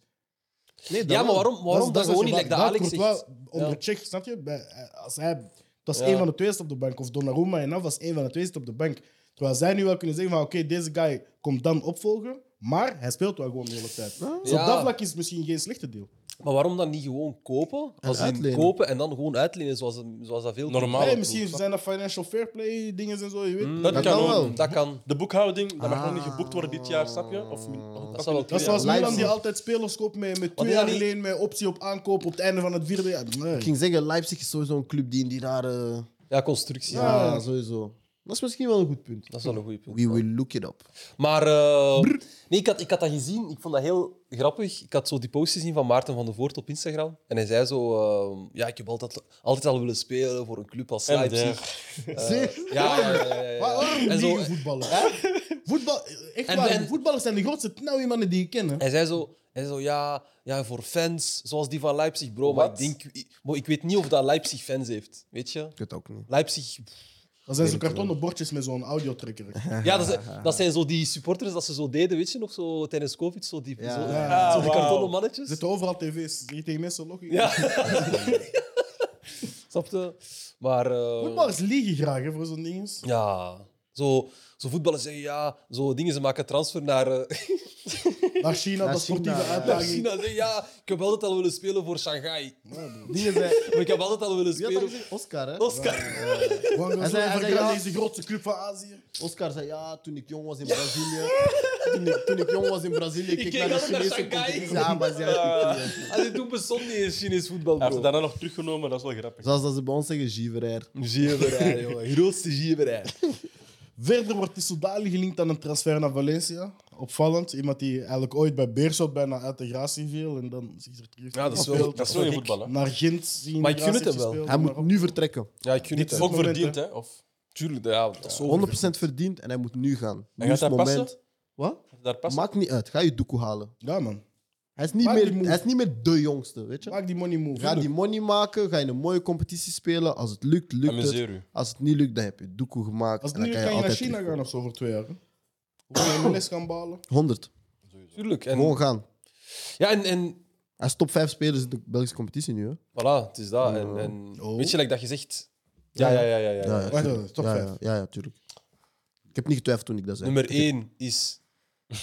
Speaker 1: Nee,
Speaker 3: Ja, maar waarom,
Speaker 2: Dat is-
Speaker 3: waarom dat,
Speaker 2: is
Speaker 3: gewoon
Speaker 2: het
Speaker 3: niet, like dat
Speaker 2: gevaar.
Speaker 3: Alex
Speaker 2: Dat wordt
Speaker 3: zegt?
Speaker 2: wel Onder
Speaker 3: Ja.
Speaker 2: Tsjech, snap je? Bij- Als hij, dat is
Speaker 3: Ja.
Speaker 2: één van de twee is op de bank. Of Donnarumma en Nav was één van de twee is op de bank. Terwijl zij nu wel kunnen zeggen van oké, deze guy komt dan opvolgen. Maar hij speelt wel gewoon de hele tijd. Dus
Speaker 3: Ja.
Speaker 2: op dat vlak is het misschien geen slechte deal.
Speaker 3: Maar waarom dan niet gewoon kopen? Als in
Speaker 1: uitlenen.
Speaker 3: kopen en dan gewoon uitlenen, zoals, zoals dat veel
Speaker 4: Normaal.
Speaker 2: Nee,
Speaker 4: dat
Speaker 2: misschien
Speaker 4: klopt.
Speaker 2: zijn dat financial fair play dingen en zo, je weet.
Speaker 3: Mm.
Speaker 4: Dat,
Speaker 1: dat
Speaker 4: kan
Speaker 1: kan
Speaker 4: ook.
Speaker 1: wel.
Speaker 3: doen. Dat kan.
Speaker 4: De boekhouding, dat mag nog niet
Speaker 1: Ah.
Speaker 4: geboekt worden dit jaar, snap je? Of, min- of
Speaker 3: Dat zou wel
Speaker 2: Dat is
Speaker 3: Ja,
Speaker 2: zoals Milan die
Speaker 1: Leipzig.
Speaker 2: altijd spelers koopt met, met twee
Speaker 3: is dat
Speaker 2: jaar
Speaker 3: niet-
Speaker 2: alleen met optie op aankoop op het einde van het vierde jaar. Nee.
Speaker 1: Ik ging zeggen, Leipzig is sowieso een club die in die rare...
Speaker 3: Ja, constructie.
Speaker 1: Ja, sowieso. Dat is misschien wel een goed punt.
Speaker 3: Dat is wel een goede punt.
Speaker 1: We will look it up.
Speaker 3: Maar eh, nee, ik, had, ik had dat gezien. Ik vond dat heel grappig. Ik had zo die post gezien van Maarten van der Voort op Instagram. En hij zei zo... eh, ja, ik heb altijd, altijd al willen spelen voor een club als
Speaker 4: En
Speaker 3: Leipzig. Eh,
Speaker 1: Zeg.
Speaker 3: ja, ja, ja, ja, ja.
Speaker 2: Waarom
Speaker 3: En zo-
Speaker 2: liegen voetballers? Voetbal, echt
Speaker 3: En-
Speaker 2: waar,
Speaker 3: en-
Speaker 2: voetballers zijn de grootste knauwiemannen die je kent. hè.
Speaker 3: Hij zei zo... Hij zei zo ja, ja, voor fans, zoals die van Leipzig, bro. Maar ik,
Speaker 4: Wat?
Speaker 3: denk, ik, maar ik weet niet of dat Leipzig fans heeft. Weet je?
Speaker 1: Ik weet het ook niet.
Speaker 3: Leipzig...
Speaker 2: Dat zijn zo'n
Speaker 1: Weet ik
Speaker 2: kartonnen bordjes met zo'n audiotrekker.
Speaker 3: Ja, dat zijn, dat zijn zo die supporters dat ze zo deden, weet je nog? Zo tijdens COVID, zo die,
Speaker 1: Ja.
Speaker 3: zo,
Speaker 2: Ja,
Speaker 3: zo die
Speaker 4: wauw.
Speaker 3: kartonnen mannetjes.
Speaker 2: Zitten overal tv's. Zeg je tegen mensen logisch.
Speaker 3: Ja. Snap je? Maar... eh,
Speaker 2: Voetballers liegen graag hè, voor zo'n ding.
Speaker 3: Ja, Zo, zo voetballers zeggen ja, zo dingen, ze maken transfer naar, eh,
Speaker 2: Naar China,
Speaker 1: Naar
Speaker 2: dat sportieve
Speaker 1: China, ja.
Speaker 3: naar
Speaker 2: uitdaging.
Speaker 3: China. Zeggen, ja, ik heb altijd al willen spelen voor Shanghai.
Speaker 1: Dingen zijn...
Speaker 3: Maar ik heb altijd al willen
Speaker 1: Wie had dat
Speaker 3: spelen
Speaker 1: gezegd? Oscar, hè?
Speaker 3: Oscar.
Speaker 1: Hij
Speaker 2: Wangen
Speaker 1: zei- hij zei, ja.
Speaker 2: is de grootste club van Azië.
Speaker 1: Oscar zei, ja, toen ik jong was in Brazilië... Toen, ik, toen ik jong was in Brazilië, keek
Speaker 3: keek
Speaker 1: naar de
Speaker 3: altijd naar
Speaker 1: Chinese
Speaker 3: Shanghai.
Speaker 1: competitie. Ja, maar ze
Speaker 4: Ah.
Speaker 3: Allee, toen bestond niet eens Chinees voetbal,
Speaker 4: Hij heeft
Speaker 3: bro.
Speaker 4: het daarna nog teruggenomen, dat is wel grappig.
Speaker 1: Zoals dat ze bij ons zeggen, Giverair.
Speaker 3: Gierberij, jongen. Grootste gierberij.
Speaker 2: Verder wordt Tissoudali gelinkt aan een transfer naar Valencia. Opvallend. Iemand die eigenlijk ooit bij Beerschot bijna uit de gratie viel. En dan zich er terug
Speaker 3: Ja, dat is wel-
Speaker 2: gespeeld.
Speaker 4: Dat is wel in voetbal, hè.
Speaker 2: Naar Gent zien.
Speaker 3: Maar ik gun het hem wel.
Speaker 1: Hij moet nu vertrekken.
Speaker 3: Ja, ik gun het hem.
Speaker 4: Ook
Speaker 2: moment,
Speaker 4: verdiend, hè? Of
Speaker 3: Tuurlijk, ja, dat is
Speaker 1: 100%
Speaker 3: zo.
Speaker 1: verdiend en hij moet nu gaan. Nu
Speaker 4: gaat
Speaker 1: is het
Speaker 4: hij
Speaker 1: moment.
Speaker 4: passen?
Speaker 1: Wat?
Speaker 4: daar past.
Speaker 1: Maakt niet uit. Ga je doekoe halen.
Speaker 2: Ja, man.
Speaker 1: Hij is, niet
Speaker 2: Maak die
Speaker 1: meer,
Speaker 2: move.
Speaker 1: hij is niet meer de jongste, weet je?
Speaker 2: Maak die money move.
Speaker 1: Ga die money maken, ga je een mooie competitie spelen. Als het lukt, lukt het.
Speaker 4: Amuseer u.
Speaker 1: Als het niet lukt, dan heb je doekoe gemaakt.
Speaker 2: Als het
Speaker 1: en
Speaker 2: niet
Speaker 1: dan
Speaker 2: lukt,
Speaker 1: kan
Speaker 2: kan
Speaker 1: je
Speaker 2: je naar
Speaker 1: altijd
Speaker 2: China gaan
Speaker 1: terugkomen.
Speaker 2: of zo voor twee jaar. hè. Hoe je MLS gaan balen.
Speaker 1: 100.
Speaker 3: Tuurlijk. En,
Speaker 1: Gewoon gaan.
Speaker 3: ja, en, en
Speaker 1: Hij is top 5 spelers in de Belgische competitie nu. Hè?
Speaker 3: voilà, het is dat. En, en,
Speaker 2: Oh.
Speaker 3: Weet je, like dat je zegt... Ja, ja, ja, ja. ja, ja.
Speaker 2: Wacht,
Speaker 1: tuurlijk.
Speaker 2: wacht, top
Speaker 1: ja,
Speaker 2: vijf.
Speaker 1: ja, ja, ja, tuurlijk. Ik heb niet getwijfeld toen ik dat zei.
Speaker 3: Nummer 1 is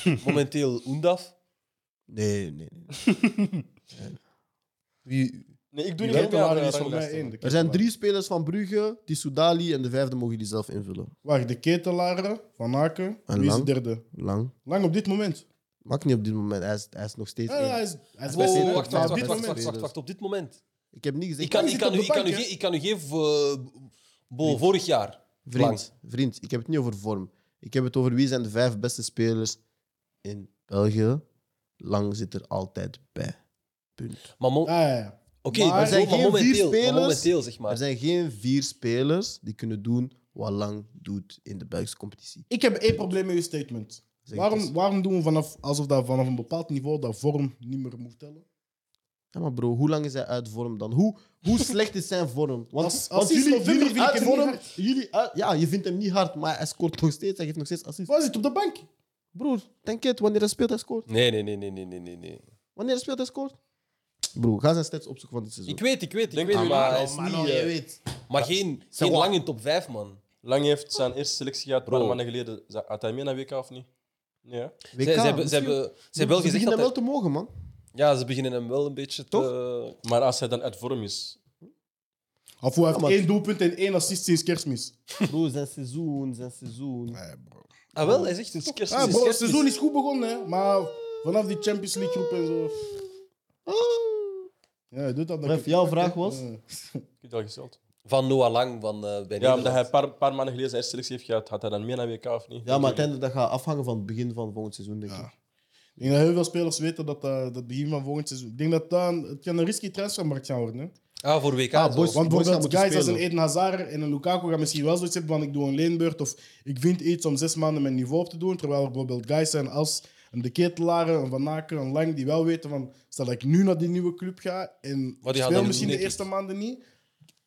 Speaker 3: momenteel Oendaf.
Speaker 1: Nee, nee. nee.
Speaker 3: Wie,
Speaker 4: Nee, ik doe
Speaker 2: Die
Speaker 4: niet mee aan
Speaker 2: Kentelaar
Speaker 4: de
Speaker 2: is voor mij
Speaker 4: ranglijsten.
Speaker 2: één. De
Speaker 1: Er zijn
Speaker 2: Ketelaren.
Speaker 1: drie spelers van Brugge, die Soudali en de vijfde mogen jullie zelf invullen.
Speaker 2: Wacht, de Ketelaren, Van Aken.
Speaker 1: En
Speaker 2: Wie is de
Speaker 1: Lang?
Speaker 2: derde?
Speaker 1: Lang.
Speaker 2: Lang op dit moment.
Speaker 1: Maakt niet op dit moment. Hij is, hij is nog steeds.
Speaker 2: Ja,
Speaker 1: één.
Speaker 2: hij is, hij is
Speaker 1: Wow,
Speaker 2: best in, hè?
Speaker 3: Oh, wacht, wacht,
Speaker 2: Maar
Speaker 3: wacht,
Speaker 2: op
Speaker 1: dit
Speaker 3: wacht, wacht,
Speaker 1: moment.
Speaker 3: wacht, wacht, wacht, op dit moment.
Speaker 1: Ik heb niet gezegd.
Speaker 3: Ik kan,
Speaker 2: hij
Speaker 3: ik
Speaker 2: zit
Speaker 3: kan,
Speaker 2: op
Speaker 3: u,
Speaker 2: de
Speaker 3: ik kan, u,
Speaker 2: bank, hè?
Speaker 3: geen- ik kan u geen voor, bo, vorig jaar.
Speaker 1: Vriend, vriend, ik heb het niet over vorm. Ik heb het over wie zijn de vijf beste spelers in België. Lang zit er altijd bij. Punt.
Speaker 3: Maar mo-
Speaker 2: Ja, ja, ja.
Speaker 3: oké,
Speaker 2: maar
Speaker 3: maar,
Speaker 2: er
Speaker 1: zijn
Speaker 3: mo- maar
Speaker 1: geen vier
Speaker 3: momenteel, maar
Speaker 1: spelers.
Speaker 3: momenteel, zeg maar.
Speaker 1: Er zijn geen vier spelers die kunnen doen wat Lang doet in de Belgische competitie.
Speaker 2: Ik heb één probleem met uw statement.
Speaker 1: Zeg dus. het
Speaker 2: Waarom,
Speaker 1: eens.
Speaker 2: waarom doen we vanaf, alsof dat vanaf een bepaald niveau dat vorm niet meer moet tellen?
Speaker 1: Ja, maar bro, hoe lang is hij uit vorm dan? Hoe, hoe slecht is zijn vorm? Want,
Speaker 2: Als- als
Speaker 1: want
Speaker 2: hij
Speaker 1: jullie,
Speaker 2: Slovenië
Speaker 1: jullie
Speaker 2: vind ik
Speaker 1: uit
Speaker 2: hem niet
Speaker 1: vorm-
Speaker 2: hard.
Speaker 1: jullie uit- ja, je vindt hem niet hard, maar hij scoort nog steeds. Hij geeft nog steeds assist.
Speaker 2: Waar zit op de bank?
Speaker 1: Broer, denk het, wanneer hij speelt, hij scoort.
Speaker 3: Nee, nee, nee, nee, nee, nee, nee, nee.
Speaker 1: Wanneer hij speelt, hij scoort. Broer, ga zijn stats opzoeken van dit seizoen. Oh,
Speaker 3: Ik weet, ik weet, ik
Speaker 4: Denk
Speaker 3: weet,
Speaker 4: aan
Speaker 3: maar hij is
Speaker 4: Mano,
Speaker 3: niet... eh,
Speaker 1: weet.
Speaker 3: maar geen, geen
Speaker 1: wat?
Speaker 3: lang in top 5, man.
Speaker 4: Lang heeft zijn eerste selectie gehad, een
Speaker 3: Bro.
Speaker 4: paar maanden geleden. Za- Had hij mee naar WK of niet? Nee, hè?
Speaker 3: Ze, ze hebben, ze, hebben, ze hebben wel
Speaker 1: ze
Speaker 3: gezegd
Speaker 1: beginnen
Speaker 3: dat...
Speaker 1: wel
Speaker 3: hij-
Speaker 1: te mogen, man.
Speaker 3: Ja, ze beginnen hem wel een beetje
Speaker 1: Toch?
Speaker 3: te...
Speaker 4: Maar als hij dan uit vorm is.
Speaker 2: Of hoe hij heeft
Speaker 1: maar-
Speaker 2: één doelpunt en één assist sinds kerstmis.
Speaker 1: Bro, zijn seizoen, zijn seizoen.
Speaker 2: Nee, bro.
Speaker 3: Ah, wel, hij zegt het.
Speaker 4: Sinds kerst.
Speaker 2: Ah, bro, het seizoen is goed begonnen, hè? maar vanaf die Champions League groep en zo. Ja, hij doet dat dan
Speaker 1: Bref, jouw vraag was?
Speaker 2: Ja.
Speaker 4: Ik heb het al gesteld.
Speaker 3: Van Noah Lang, van eh bij
Speaker 4: Ja,
Speaker 3: Nederland.
Speaker 4: omdat hij een paar, paar maanden geleden zijn eerste selectie heeft gehad. Had hij dan mee naar WK of niet?
Speaker 1: Ja, maar uiteindelijk dat gaat afhangen van het begin van volgend seizoen, denk ik.
Speaker 2: Ja. Ik denk dat heel veel spelers weten dat eh, dat begin van volgend seizoen. Ik denk dat dat een- het kan een risky transfermarkt gaan worden. Hè?
Speaker 3: Ah, voor WK.
Speaker 1: Ah, boys.
Speaker 3: zo.
Speaker 2: Want
Speaker 1: gaan
Speaker 2: bijvoorbeeld
Speaker 1: moeten
Speaker 2: guys als een
Speaker 1: spelen.
Speaker 2: Eden Hazard en een Lukaku gaan misschien wel zoiets hebben van ik doe een leenbeurt of ik vind iets om zes maanden mijn niveau op te doen. Terwijl er bijvoorbeeld guys zijn als een De Ketelaren, een Van Aken, een Lang die wel weten van stel dat ik nu naar die nieuwe club ga en
Speaker 3: gaan dat
Speaker 2: speel
Speaker 3: doen,
Speaker 2: misschien de
Speaker 3: denk ik.
Speaker 2: eerste maanden niet,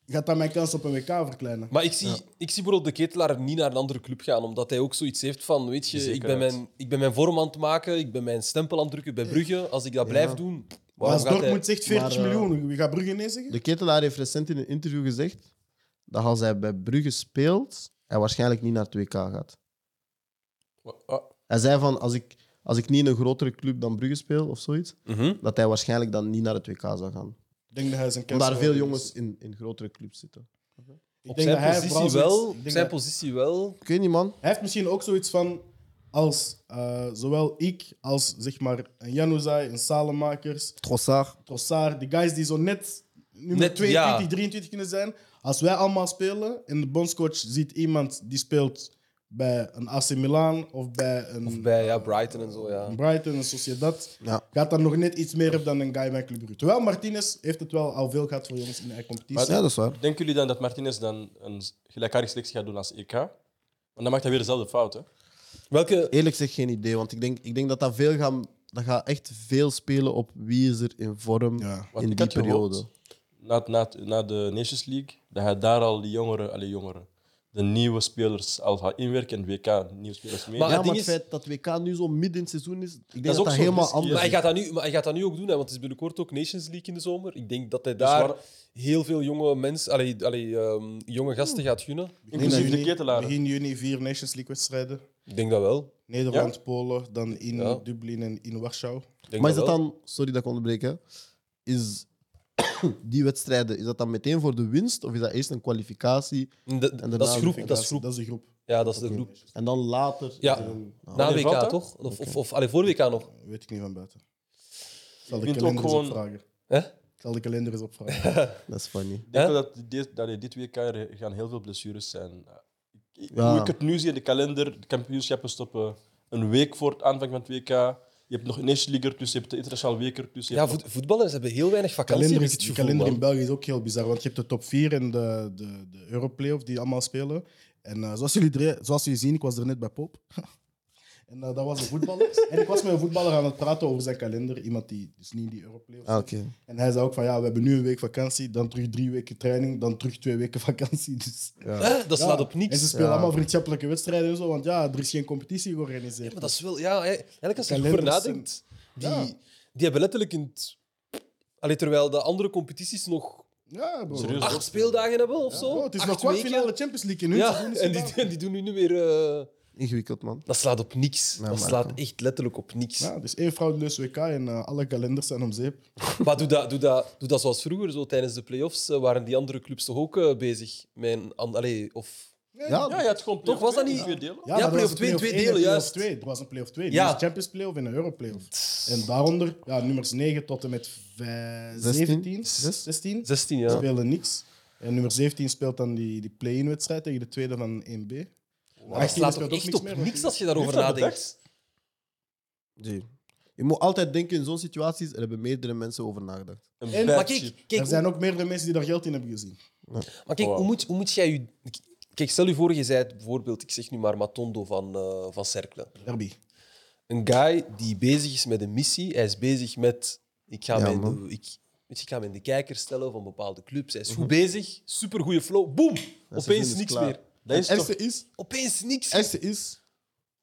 Speaker 2: gaat dat mijn kans op een WK verkleinen.
Speaker 3: Maar ik zie, ik zie bijvoorbeeld de ketelaar niet naar een andere club gaan, omdat hij ook zoiets heeft van, weet je, ik ben,
Speaker 4: Zekerheid.
Speaker 3: mijn, ik ben mijn vorm aan het maken, ik ben mijn stempel aan het drukken bij Brugge. Als ik dat blijf doen,
Speaker 2: Maar
Speaker 3: waarom
Speaker 2: als
Speaker 3: gaat hij...
Speaker 2: Dortmund zegt 40
Speaker 1: Maar, eh,
Speaker 2: miljoen, wie gaat Brugge nee zeggen?
Speaker 1: De ketelaar heeft recent in een interview gezegd dat als hij bij Brugge speelt, hij waarschijnlijk niet naar het 2K gaat.
Speaker 4: Ah,
Speaker 1: Hij zei van, als ik, als ik niet in een grotere club dan Brugge speel of zoiets,
Speaker 3: Mhm.
Speaker 1: dat hij waarschijnlijk dan niet naar het 2K zou gaan.
Speaker 2: Ik denk dat hij zijn kans
Speaker 1: Omdat er
Speaker 2: wel
Speaker 1: veel
Speaker 2: heeft.
Speaker 1: jongens in, in grotere clubs zitten.
Speaker 2: Ik denk
Speaker 3: Op
Speaker 2: dat
Speaker 3: zijn
Speaker 2: hij
Speaker 3: positie
Speaker 2: vooral
Speaker 3: wel.
Speaker 2: zoiets-
Speaker 3: Op
Speaker 2: ik denk
Speaker 3: zijn
Speaker 2: dat-
Speaker 3: positie wel.
Speaker 1: Ik weet niet, man.
Speaker 2: Hij heeft misschien ook zoiets van. Als eh, zowel ik als zeg maar een Januzaj, een Salemakers,
Speaker 1: Trossard.
Speaker 2: Trossard, de guys die zo net nummer
Speaker 3: Net,
Speaker 2: 22,
Speaker 3: ja.
Speaker 2: 23 kunnen zijn. Als wij allemaal spelen en de bondscoach ziet iemand die speelt bij een AC Milan of bij een
Speaker 3: Of bij ja, Brighton en zo, ja.
Speaker 2: een Brighton, een Sociedad,
Speaker 1: Ja.
Speaker 2: gaat dan nog net iets meer op dan een guy bij Club Brugge. Terwijl Martinez heeft het wel al veel gehad voor jongens in de eigen competitie.
Speaker 1: Ja, dat is waar.
Speaker 4: Denken jullie dan dat Martinez dan een gelijkaardige selectie gaat doen als EK? Want dan maakt hij weer dezelfde fout, hè?
Speaker 3: Welke...
Speaker 1: Eerlijk gezegd geen idee, want ik denk, ik denk dat dat veel gaan, dat gaat echt veel spelen op wie is er in vorm
Speaker 2: Ja.
Speaker 4: Want
Speaker 1: in
Speaker 4: ik
Speaker 1: die
Speaker 4: had gehoopt,
Speaker 1: periode.
Speaker 4: Na, na, na de Nations League, dat hij daar al die jongeren, alle jongeren, de nieuwe spelers al gaat inwerken en WK nieuwe spelers mee.
Speaker 3: Maar-
Speaker 4: Maar,
Speaker 3: het
Speaker 5: ja, maar
Speaker 3: ding
Speaker 5: het
Speaker 3: is-
Speaker 5: feit dat WK nu zo midden in het seizoen is, ik denk
Speaker 4: is
Speaker 5: dat
Speaker 4: ook
Speaker 5: dat,
Speaker 4: zo
Speaker 5: helemaal
Speaker 4: risky, hè.
Speaker 5: anders
Speaker 3: dus- Maar hij,
Speaker 5: is.
Speaker 3: gaat dat nu, maar hij gaat dat nu ook doen, hè, want het is binnenkort ook Nations League in de zomer. Ik denk dat hij daar
Speaker 4: waar-
Speaker 3: heel veel jonge mensen, allee, allee, ehm, jonge gasten gaat gunnen.
Speaker 4: Inclusief de
Speaker 2: juni-
Speaker 4: ketelaren.
Speaker 2: Begin juni vier Nations League wedstrijden.
Speaker 3: Ik denk dat wel.
Speaker 2: Nederland, Polen, dan in
Speaker 3: Ja.
Speaker 2: Dublin en in Warschau.
Speaker 3: Ik denk
Speaker 1: Maar is dat
Speaker 3: wel.
Speaker 1: dan, sorry dat ik onderbreek, hè, is die wedstrijden, is dat dan meteen voor de winst of is dat eerst een kwalificatie
Speaker 3: De-
Speaker 1: daarna
Speaker 3: dat is groep.
Speaker 1: de
Speaker 3: Dat is groep.
Speaker 2: Dat is de groep.
Speaker 3: Ja, dat is de groep.
Speaker 1: en dan later?
Speaker 3: Ja. Na
Speaker 4: Wanneer valt
Speaker 3: WK
Speaker 4: dat?
Speaker 3: toch? Of, of, of allee, voor WK nog.
Speaker 2: Weet ik niet van buiten. Ik zal de
Speaker 4: vind ook
Speaker 2: kalender eens
Speaker 4: gewoon-
Speaker 2: opvragen.
Speaker 3: Hè?
Speaker 2: Ik zal de kalender eens opvragen.
Speaker 1: Oh, Dat is funny.
Speaker 4: Ik denk
Speaker 3: Hè?
Speaker 4: dat dit, dat dit WK er gaan heel veel blessures zijn. Ik-
Speaker 1: Ja.
Speaker 4: Hoe ik het nu zie in de kalender, de kampioenschappen stoppen een week voor het aanvang van het WK. Je hebt nog een National League ertussen, je hebt de internationale week ertussen. je
Speaker 3: Ja,
Speaker 4: hebt
Speaker 3: voet- voetballers hebben heel weinig vakantie.
Speaker 2: kalender
Speaker 3: heb
Speaker 2: is,
Speaker 3: ik het
Speaker 2: de
Speaker 3: gevoel,
Speaker 2: kalender
Speaker 3: man.
Speaker 2: in België is ook heel bizar, want je hebt de top 4 en de, de, de Europlayoff die allemaal spelen. En eh, zoals, jullie, drie- zoals jullie zien, ik was er net bij Pop. en eh, dat was een voetballer. en ik was met een voetballer aan het praten over zijn kalender. Iemand die dus niet in die Europlayoff
Speaker 1: Ah,
Speaker 2: zit.
Speaker 1: Oké.
Speaker 2: En hij zei ook van, ja, we hebben nu een week vakantie, dan terug drie weken training, dan terug twee weken vakantie. Dus,
Speaker 3: Hè? Dat
Speaker 2: Ja.
Speaker 3: slaat op niks.
Speaker 2: En ze spelen
Speaker 1: Ja.
Speaker 2: allemaal vriendschappelijke wedstrijden en zo, want ja, er is geen competitie georganiseerd.
Speaker 3: Maar dat is wel, ja, hè, eigenlijk als je
Speaker 2: Kalenders
Speaker 3: erover nadenkt, die,
Speaker 2: Ja.
Speaker 3: die hebben letterlijk in het- Allee, terwijl de andere competities nog
Speaker 2: Ja, bro.
Speaker 4: Serieus?
Speaker 3: acht speeldagen hebben of zo.
Speaker 2: Oh, het is
Speaker 3: acht
Speaker 2: nog
Speaker 3: weken.
Speaker 2: kwartfinale Champions League in hun
Speaker 3: Ja,
Speaker 2: seizoen is
Speaker 3: en
Speaker 2: gedaan.
Speaker 3: die, en die doen nu niet meer. eh,
Speaker 1: Ingewikkeld, man.
Speaker 3: dat slaat op niks.
Speaker 1: Ja,
Speaker 3: dat
Speaker 1: maar-
Speaker 3: slaat echt letterlijk op niks.
Speaker 2: Ja, dus één fraudeleus WK en eh, alle kalenders zijn om zeep.
Speaker 3: Maar doe dat, doe, dat, doe dat zoals vroeger, zo tijdens de play-offs eh, waren die andere clubs toch ook eh, bezig. Mijn, an, allee, of,
Speaker 4: nog- Ja, je had gewoon
Speaker 3: Toch was dat niet-
Speaker 4: twee delen.
Speaker 3: Ja,
Speaker 2: maar er
Speaker 3: play-off
Speaker 2: was een
Speaker 3: twee,
Speaker 2: play-off
Speaker 3: twee
Speaker 2: één en
Speaker 3: delen,
Speaker 2: play-off
Speaker 3: juist.
Speaker 2: twee. Er was een play-off 2.
Speaker 3: Ja.
Speaker 2: Ja. Een Champions play-off en een Euro-play-off. En daaronder, ja, nummers 9 tot en met vij-
Speaker 1: 16?
Speaker 2: 17,
Speaker 1: Zes?
Speaker 2: 16
Speaker 3: 16 jaar.
Speaker 2: spelen niks. En nummer 17 speelt dan die, die play-in-wedstrijd tegen de tweede van 1B.
Speaker 3: Maar dat
Speaker 2: 18
Speaker 3: slaat
Speaker 2: speelt
Speaker 3: toch
Speaker 2: ook
Speaker 3: echt
Speaker 2: niks
Speaker 3: op
Speaker 2: meer,
Speaker 3: niks
Speaker 2: want-
Speaker 3: als je daarover
Speaker 4: Heeft dat
Speaker 3: nadenkt.
Speaker 4: bedacht?
Speaker 1: Gee. Je moet altijd denken in zo'n situaties, er hebben meerdere mensen over nagedacht.
Speaker 4: Een
Speaker 2: En-
Speaker 4: bad
Speaker 3: Maar
Speaker 4: chip.
Speaker 3: kijk,
Speaker 2: er
Speaker 3: kijk,
Speaker 2: zijn ook meerdere mensen die daar geld in hebben gezien.
Speaker 3: Maar kijk,
Speaker 4: Wow.
Speaker 3: hoe, moet, hoe moet jij je... Kijk, stel je voor, je zei bijvoorbeeld, ik zeg nu maar Matondo van, eh van Cercle.
Speaker 2: Derby.
Speaker 3: Een guy die bezig is met een missie, hij is bezig met... Ik ga,
Speaker 1: Ja,
Speaker 3: mijn,
Speaker 1: man.
Speaker 3: ik, weet je, ik ga mijn de kijker stellen van bepaalde clubs. Hij is goed bezig, supergoeie flow, boom!
Speaker 1: Mhm. seizoen
Speaker 3: Opeens
Speaker 1: is
Speaker 3: niks
Speaker 1: klaar.
Speaker 3: meer.
Speaker 4: Dat is
Speaker 1: Het
Speaker 4: toch...
Speaker 1: ergste is,
Speaker 3: Opeens niks.
Speaker 1: het ergste is,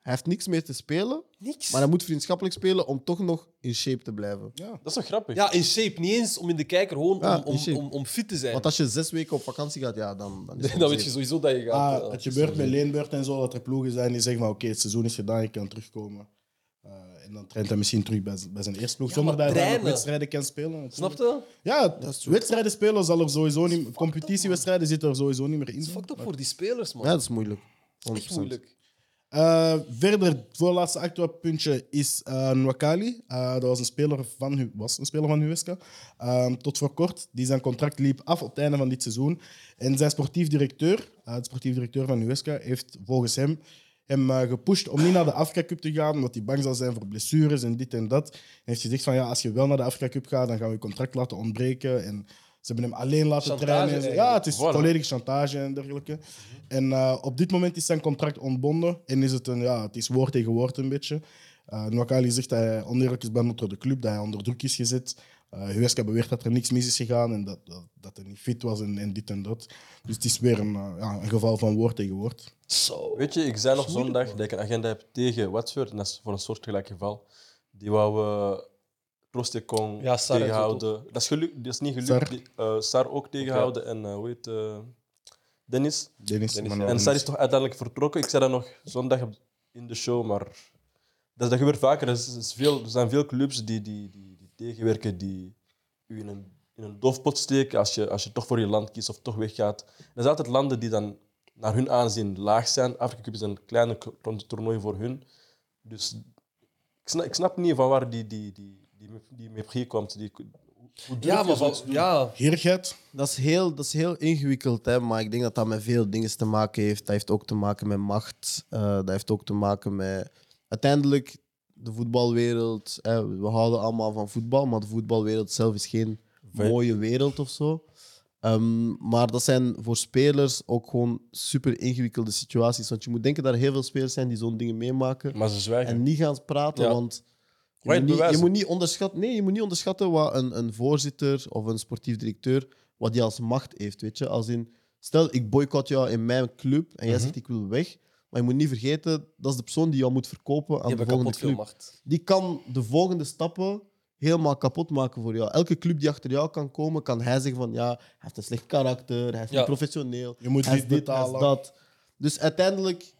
Speaker 1: hij heeft niks meer te spelen,
Speaker 3: Niks.
Speaker 1: maar hij moet vriendschappelijk spelen om toch nog in shape te blijven.
Speaker 4: Dat is toch grappig?
Speaker 3: Ja, in shape. Niet eens om in de kijker, gewoon
Speaker 1: Ja,
Speaker 3: om,
Speaker 1: in
Speaker 3: om,
Speaker 1: shape.
Speaker 3: om, om fit te zijn.
Speaker 1: Want als je zes weken op vakantie gaat, ja, dan, dan is het
Speaker 3: Dan
Speaker 1: een
Speaker 3: weet je
Speaker 1: zeep.
Speaker 3: sowieso dat je gaat...
Speaker 2: Ah,
Speaker 3: eh,
Speaker 2: het gebeurt met Leenbeurt en zo, dat er ploegen zijn die zeggen van oké, het seizoen is gedaan, je kan terugkomen. Eh, en dan traint hij misschien terug bij, z- bij zijn eerste ploeg,
Speaker 3: Ja,
Speaker 2: zonder
Speaker 3: maar
Speaker 2: dat hij dan nog
Speaker 3: trainen.
Speaker 2: wedstrijden kan spelen.
Speaker 3: Snap je?
Speaker 2: Ja, wedstrijden spelen zal er sowieso niet... Competitiewedstrijden zitten er sowieso niet meer in.
Speaker 3: Het is fucked up voor die spelers, man.
Speaker 1: Ja, dat is moeilijk.
Speaker 3: dat is echt
Speaker 1: 100%.
Speaker 3: moeilijk.
Speaker 2: Eh, verder, voorlaatste actueel puntje is eh Nwakali. Eh, dat was een speler van, Hu- was een speler van Huesca. Eh, tot voor kort. Die zijn contract liep af op het einde van dit seizoen. En zijn sportief directeur, eh, de sportief directeur van Huesca, heeft volgens hem hem eh, gepusht om niet naar de Afrika Cup te gaan, omdat hij bang zal zijn voor blessures en dit en dat. En heeft gezegd van ja, als je wel naar de Afrika Cup gaat, dan gaan we je contract laten ontbreken. En ze hebben hem alleen laten
Speaker 3: Chantage
Speaker 2: trainen. En-
Speaker 3: eigenlijk.
Speaker 2: Ja, het is
Speaker 4: Voilà.
Speaker 2: volledig chantage en dergelijke. En eh, op dit moment is zijn contract ontbonden en is het, een, ja, het is woord tegen woord een beetje. Eh Nwakali zegt dat hij oneerlijk is behandeld door de club, dat hij onder druk is gezet. Eh Huesca beweert dat er niks mis is gegaan en dat, dat, dat hij niet fit was en, en dit en dat. Dus het is weer een, eh, ja, een geval van woord tegen woord.
Speaker 3: Zo.
Speaker 4: Weet je, ik zei nog zondag dat ik een agenda heb tegen Watford. En dat is voor een soortgelijk geval. Die wou eh Prostekong
Speaker 3: Ja, Sar heeft
Speaker 4: tegenhouden. Dat is, gelukt, dat is niet
Speaker 2: Sar.
Speaker 4: gelukt. Die- eh, Sar ook tegenhouden. En eh hoe heet eh, Dennis.
Speaker 2: Dennis, Manuel
Speaker 4: En
Speaker 2: Dennis.
Speaker 4: Sar is toch uiteindelijk vertrokken. Ik zei dat nog zondag op- in de show. Maar dat, dat gebeurt vaker. Er, is- is veel, er zijn veel clubs die, die, die, die tegenwerken. Die u in een, in een doofpot steken als je, als je toch voor je land kiest of toch weggaat. Er zijn altijd landen die dan naar hun aanzien laag zijn. Afrika Cup is een kleine ko- toern- toernooi voor hun. Dus ik snap, ik snap niet van waar die, die, die, die, die meprie komt. Die, hoe durf
Speaker 3: Ja,
Speaker 4: je
Speaker 3: maar
Speaker 4: zoiets
Speaker 3: van,
Speaker 4: doen?
Speaker 3: ja,
Speaker 2: Heerigheid.
Speaker 1: Dat is heel, dat is heel ingewikkeld, hè? maar ik denk dat dat met veel dingen te maken heeft. Dat heeft ook te maken met macht. eh, dat heeft ook te maken met uiteindelijk de voetbalwereld. eh, we houden allemaal van voetbal, maar de voetbalwereld zelf is geen
Speaker 4: Wij-
Speaker 1: mooie wereld of zo. Ehm, maar dat zijn voor spelers ook gewoon super ingewikkelde situaties. Want je moet denken dat er heel veel spelers zijn die zo'n dingen meemaken
Speaker 4: Maar ze zwijgen.
Speaker 1: en niet gaan praten,
Speaker 4: Ja.
Speaker 1: want je
Speaker 4: Waar
Speaker 1: moet,
Speaker 4: je het
Speaker 1: niet, je
Speaker 4: bewijzen.
Speaker 1: moet niet onderschatten. Nee, je moet niet onderschatten wat een, een voorzitter of een sportief directeur wat die als macht heeft, weet je. Als in, Stel, ik boycott jou in mijn club en jij
Speaker 3: Mhm.
Speaker 1: zegt ik wil weg. Maar je moet niet vergeten, dat is de persoon die jou moet verkopen aan
Speaker 3: Die
Speaker 1: de
Speaker 3: hebben
Speaker 1: volgende
Speaker 3: kapot veel
Speaker 1: club.
Speaker 3: macht.
Speaker 1: Die kan de volgende stappen helemaal kapot maken voor jou. Elke club die achter jou kan komen, kan hij zeggen van ja, hij heeft een slecht karakter, hij is
Speaker 3: Ja.
Speaker 1: niet professioneel,
Speaker 2: Je moet
Speaker 1: hij is
Speaker 2: dit
Speaker 1: dit, hij is
Speaker 2: betalen.
Speaker 1: dat. Dus uiteindelijk,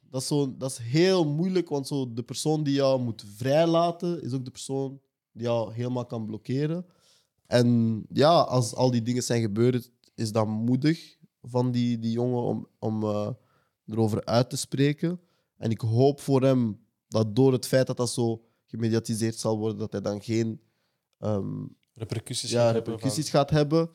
Speaker 1: dat is, zo, dat is heel moeilijk, want zo de persoon die jou moet vrijlaten, is ook de persoon die jou helemaal kan blokkeren. En ja, als al die dingen zijn gebeurd, is dat moedig van die, die jongen om, om eh, erover uit te spreken. En ik hoop voor hem dat door het feit dat dat zo gemediatiseerd zal worden, dat hij dan geen ehm,
Speaker 4: Repercussies.
Speaker 1: ja,
Speaker 4: gaan hebben
Speaker 1: repercussies gaat hebben.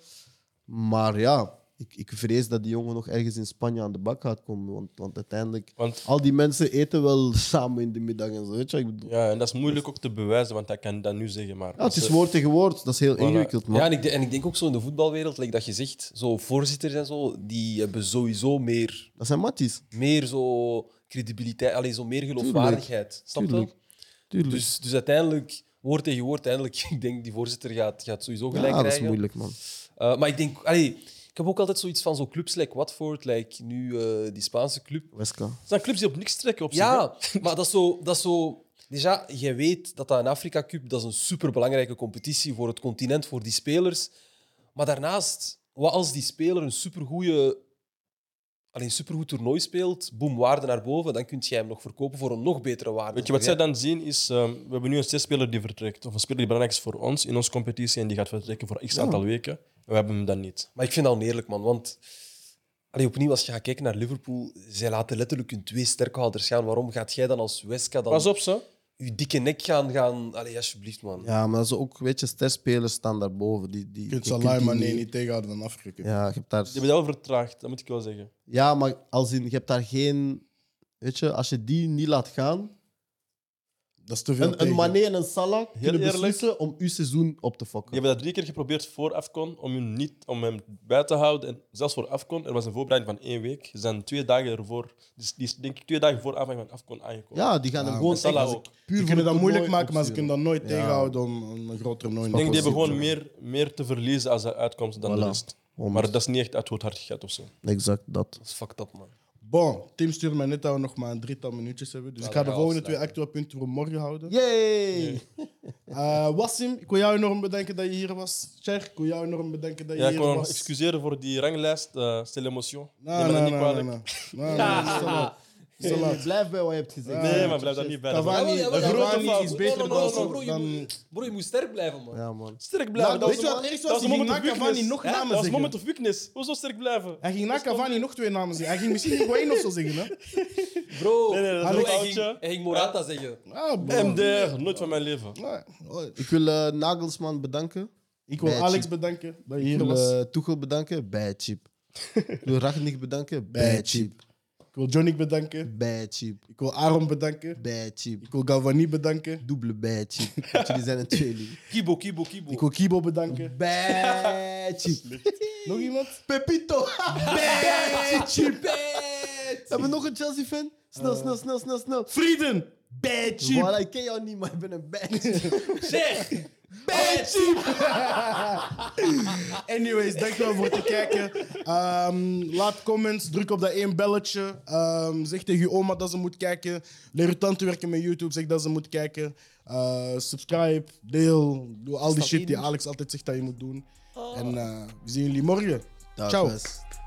Speaker 1: Maar ja, ik, ik vrees dat die jongen nog ergens in Spanje aan de bak gaat komen. Want, want uiteindelijk,
Speaker 4: van- Want,
Speaker 1: al die mensen eten wel samen in de middag en zo. Weet je? wat Ik bedoel,
Speaker 4: ja, en dat is moeilijk ook te bewijzen, want hij kan dat nu zeggen. Maar
Speaker 1: Dus-
Speaker 4: Dus,
Speaker 1: ja, het is woord tegen woord, dat is heel
Speaker 4: Voilà.
Speaker 1: ingewikkeld. Maar
Speaker 3: Ja, en ik, de- en ik denk ook zo in de voetbalwereld, like dat je zegt, zo voorzitters en zo, die hebben sowieso meer,
Speaker 1: dat zijn matties.
Speaker 3: meer zo credibiliteit, alleen zo meer geloofwaardigheid. Snap je? wel?
Speaker 1: Tuurlijk. Tuurlijk.
Speaker 3: Dus, dus uiteindelijk, woord tegen woord, uiteindelijk, ik denk die voorzitter gaat, gaat sowieso
Speaker 1: ja,
Speaker 3: gelijk
Speaker 1: dat is
Speaker 3: krijgen.
Speaker 1: moeilijk, man.
Speaker 3: Eh, maar ik denk, allee, ik heb ook altijd zoiets van zo'n clubs like Watford, like nu eh, die Spaanse club.
Speaker 1: Weska.
Speaker 4: Het zijn clubs die op niks trekken op zich. hè.
Speaker 3: Ja, maar dat is zo. Dat is zo déjà, jij weet dat dat een Afrika Cup dat is een superbelangrijke competitie voor het continent, voor die spelers. Maar daarnaast, wat als die speler een supergoeie, alleen supergoed toernooi speelt, boem, waarde naar boven, dan kun jij hem nog verkopen voor een nog betere waarde.
Speaker 4: Weet je, wat zij dan zien is, ehm, we hebben nu een zes-speler die vertrekt. Of een speler die belangrijk is voor ons in onze competitie en die gaat vertrekken voor x aantal weken. En we hebben hem dan niet.
Speaker 3: Maar ik vind dat oneerlijk, man. Want allee, opnieuw, als je gaat kijken naar Liverpool, zij laten letterlijk hun twee sterkhouders gaan. Waarom gaat jij dan als Wesca dan
Speaker 4: Pas op, ze.
Speaker 3: je dikke nek gaan... gaan... Allee, alsjeblieft, man.
Speaker 1: Ja, maar dat is ook, weet je, sterspelers staan daarboven. Die, die,
Speaker 2: Je kunt
Speaker 1: kunt
Speaker 2: Salah
Speaker 1: die
Speaker 2: maar nee niet tegenhouden van Afrika.
Speaker 1: Ja, je hebt daar...
Speaker 4: Die hebben dat wel vertraagd, dat moet ik wel zeggen.
Speaker 1: Ja, maar als in, je hebt daar geen... Weet je, als je die niet laat gaan,
Speaker 2: Dat is te veel
Speaker 1: een, een
Speaker 2: tegen.
Speaker 1: Mané en een Salah kunnen
Speaker 4: eerlijk.
Speaker 1: beslissen om uw seizoen op te
Speaker 4: Die
Speaker 1: fokken.
Speaker 4: hebben dat drie keer geprobeerd voor Afcon om hem, niet, om hem bij te houden. En zelfs voor Afcon, er was een voorbereiding van één week. Ze zijn twee dagen ervoor, dus die is denk ik twee dagen voor afhang van Afcon aangekomen.
Speaker 1: Ja, die gaan hem
Speaker 2: Ja,
Speaker 1: gewoon
Speaker 4: en Salah
Speaker 1: echt
Speaker 4: ook.
Speaker 1: puur
Speaker 2: Ze
Speaker 1: voor
Speaker 2: kunnen dat
Speaker 1: het
Speaker 2: moeilijk
Speaker 1: toernooi
Speaker 2: maken, maar ze
Speaker 1: opsturen.
Speaker 2: kunnen dat nooit
Speaker 1: Ja.
Speaker 2: tegenhouden om om een groot toernooi
Speaker 4: Ik denk, die hebben
Speaker 1: Opposite,
Speaker 4: gewoon meer, meer te verliezen als de uitkomst dan de
Speaker 1: Voilà.
Speaker 4: rest.
Speaker 1: Honderd.
Speaker 4: Maar dat is niet echt uit hoe het hard gaat of zo.
Speaker 1: Exact dat.
Speaker 3: Dat is fucked up, man.
Speaker 2: Bon, Tim stuurde mij net dat we nog maar een drietal minuutjes hebben. Dus
Speaker 3: Ja,
Speaker 2: ik ga de
Speaker 3: dan gaan we
Speaker 2: volgende twee
Speaker 3: afsluiten.
Speaker 2: actueel punten voor morgen houden.
Speaker 1: Yay!
Speaker 2: Eh, Wassim, ik wil jou enorm bedanken dat je hier was. Cher, ik wil jou enorm bedanken dat je
Speaker 4: Ja, ik
Speaker 2: hier
Speaker 4: wil me nog
Speaker 2: was.
Speaker 4: excuseren voor die ranglijst. eh c'est l'émotion.
Speaker 2: Nee,
Speaker 4: Neem me
Speaker 2: nee,
Speaker 4: dat
Speaker 2: nee,
Speaker 4: niet
Speaker 2: nee.
Speaker 4: kwalijk.
Speaker 2: nee, nee, nee, nee, nee.
Speaker 1: blijf bij wat je hebt gezegd.
Speaker 2: Nee,
Speaker 4: Nee, maar blijf daar niet bij. Dat
Speaker 2: Cavani,
Speaker 3: Jawel, jawel,
Speaker 2: de
Speaker 3: jawel,
Speaker 2: grote
Speaker 3: jawel.
Speaker 2: fout is beter
Speaker 3: No, no, no, no,
Speaker 2: dan...
Speaker 3: bro, je
Speaker 2: dan
Speaker 3: moet- Bro, je moet sterk blijven, man.
Speaker 1: Ja, man.
Speaker 4: Sterk
Speaker 2: Nou,
Speaker 4: blijven. dat
Speaker 2: weet je
Speaker 4: was-
Speaker 2: wat het eerste
Speaker 4: dat
Speaker 2: was?
Speaker 4: was
Speaker 2: Die
Speaker 4: een
Speaker 2: ging
Speaker 4: moment
Speaker 2: na
Speaker 4: of
Speaker 2: Cavani nog
Speaker 4: weakness. Ja,
Speaker 2: namen
Speaker 4: Dat was een
Speaker 2: zeggen.
Speaker 4: moment of weakness. Hoezo sterk blijven?
Speaker 2: Hij ging na Cavani nog twee namen zeggen. Hij ging misschien nog wel één of zo zeggen. Hè?
Speaker 3: Bro,
Speaker 4: Nee, nee, dat is
Speaker 3: bro,
Speaker 4: een
Speaker 3: hij, ging,
Speaker 4: foutje.
Speaker 3: hij ging Morata zeggen.
Speaker 2: Ah, bro.
Speaker 4: MDR, nooit van mijn leven.
Speaker 2: Ja, oh.
Speaker 1: Ik wil eh, Nagelsman bedanken.
Speaker 2: Ik wil
Speaker 1: Bij
Speaker 2: Alex
Speaker 1: Chip.
Speaker 2: bedanken dat je
Speaker 1: Ik
Speaker 2: hier
Speaker 1: wil
Speaker 2: was.
Speaker 1: eh, Tuchel bedanken. Bij Chip. Ik wil Ragnik bedanken. Bij
Speaker 2: Bij
Speaker 1: Chip.
Speaker 2: Ik wil Johnny bedanken.
Speaker 1: Bij Chip.
Speaker 2: Ik wil Aaron bedanken.
Speaker 1: Bij Chip.
Speaker 2: Ik wil Galvani bedanken.
Speaker 1: Dubbele bij Chip. Want Jullie zijn een tweeling.
Speaker 3: Kibo, Kibo, Kibo.
Speaker 2: Ik wil Kibo bedanken.
Speaker 1: Bij Chip.
Speaker 4: Hm.
Speaker 2: Nog iemand?
Speaker 1: Pepito. Bij Chip.
Speaker 3: Pet!
Speaker 1: Hebben we nog een Chelsea-fan? Snel, snel, snel, snel, snel.
Speaker 2: Vrienden!
Speaker 1: Bad Chip. Voilà, ik ken jou niet, maar ik ben een bad Chip.
Speaker 3: Zeg!
Speaker 2: Anyways, dankjewel voor het kijken. Ehm, laat comments, druk op dat één belletje. Ehm, zeg tegen je oma dat ze moet kijken. Leer je tante werken met YouTube, zeg dat ze moet kijken. Eh, subscribe, deel, doe al die shit die Alex altijd zegt dat je moet doen. En eh, we zien jullie morgen. Ciao.
Speaker 1: Dag, best.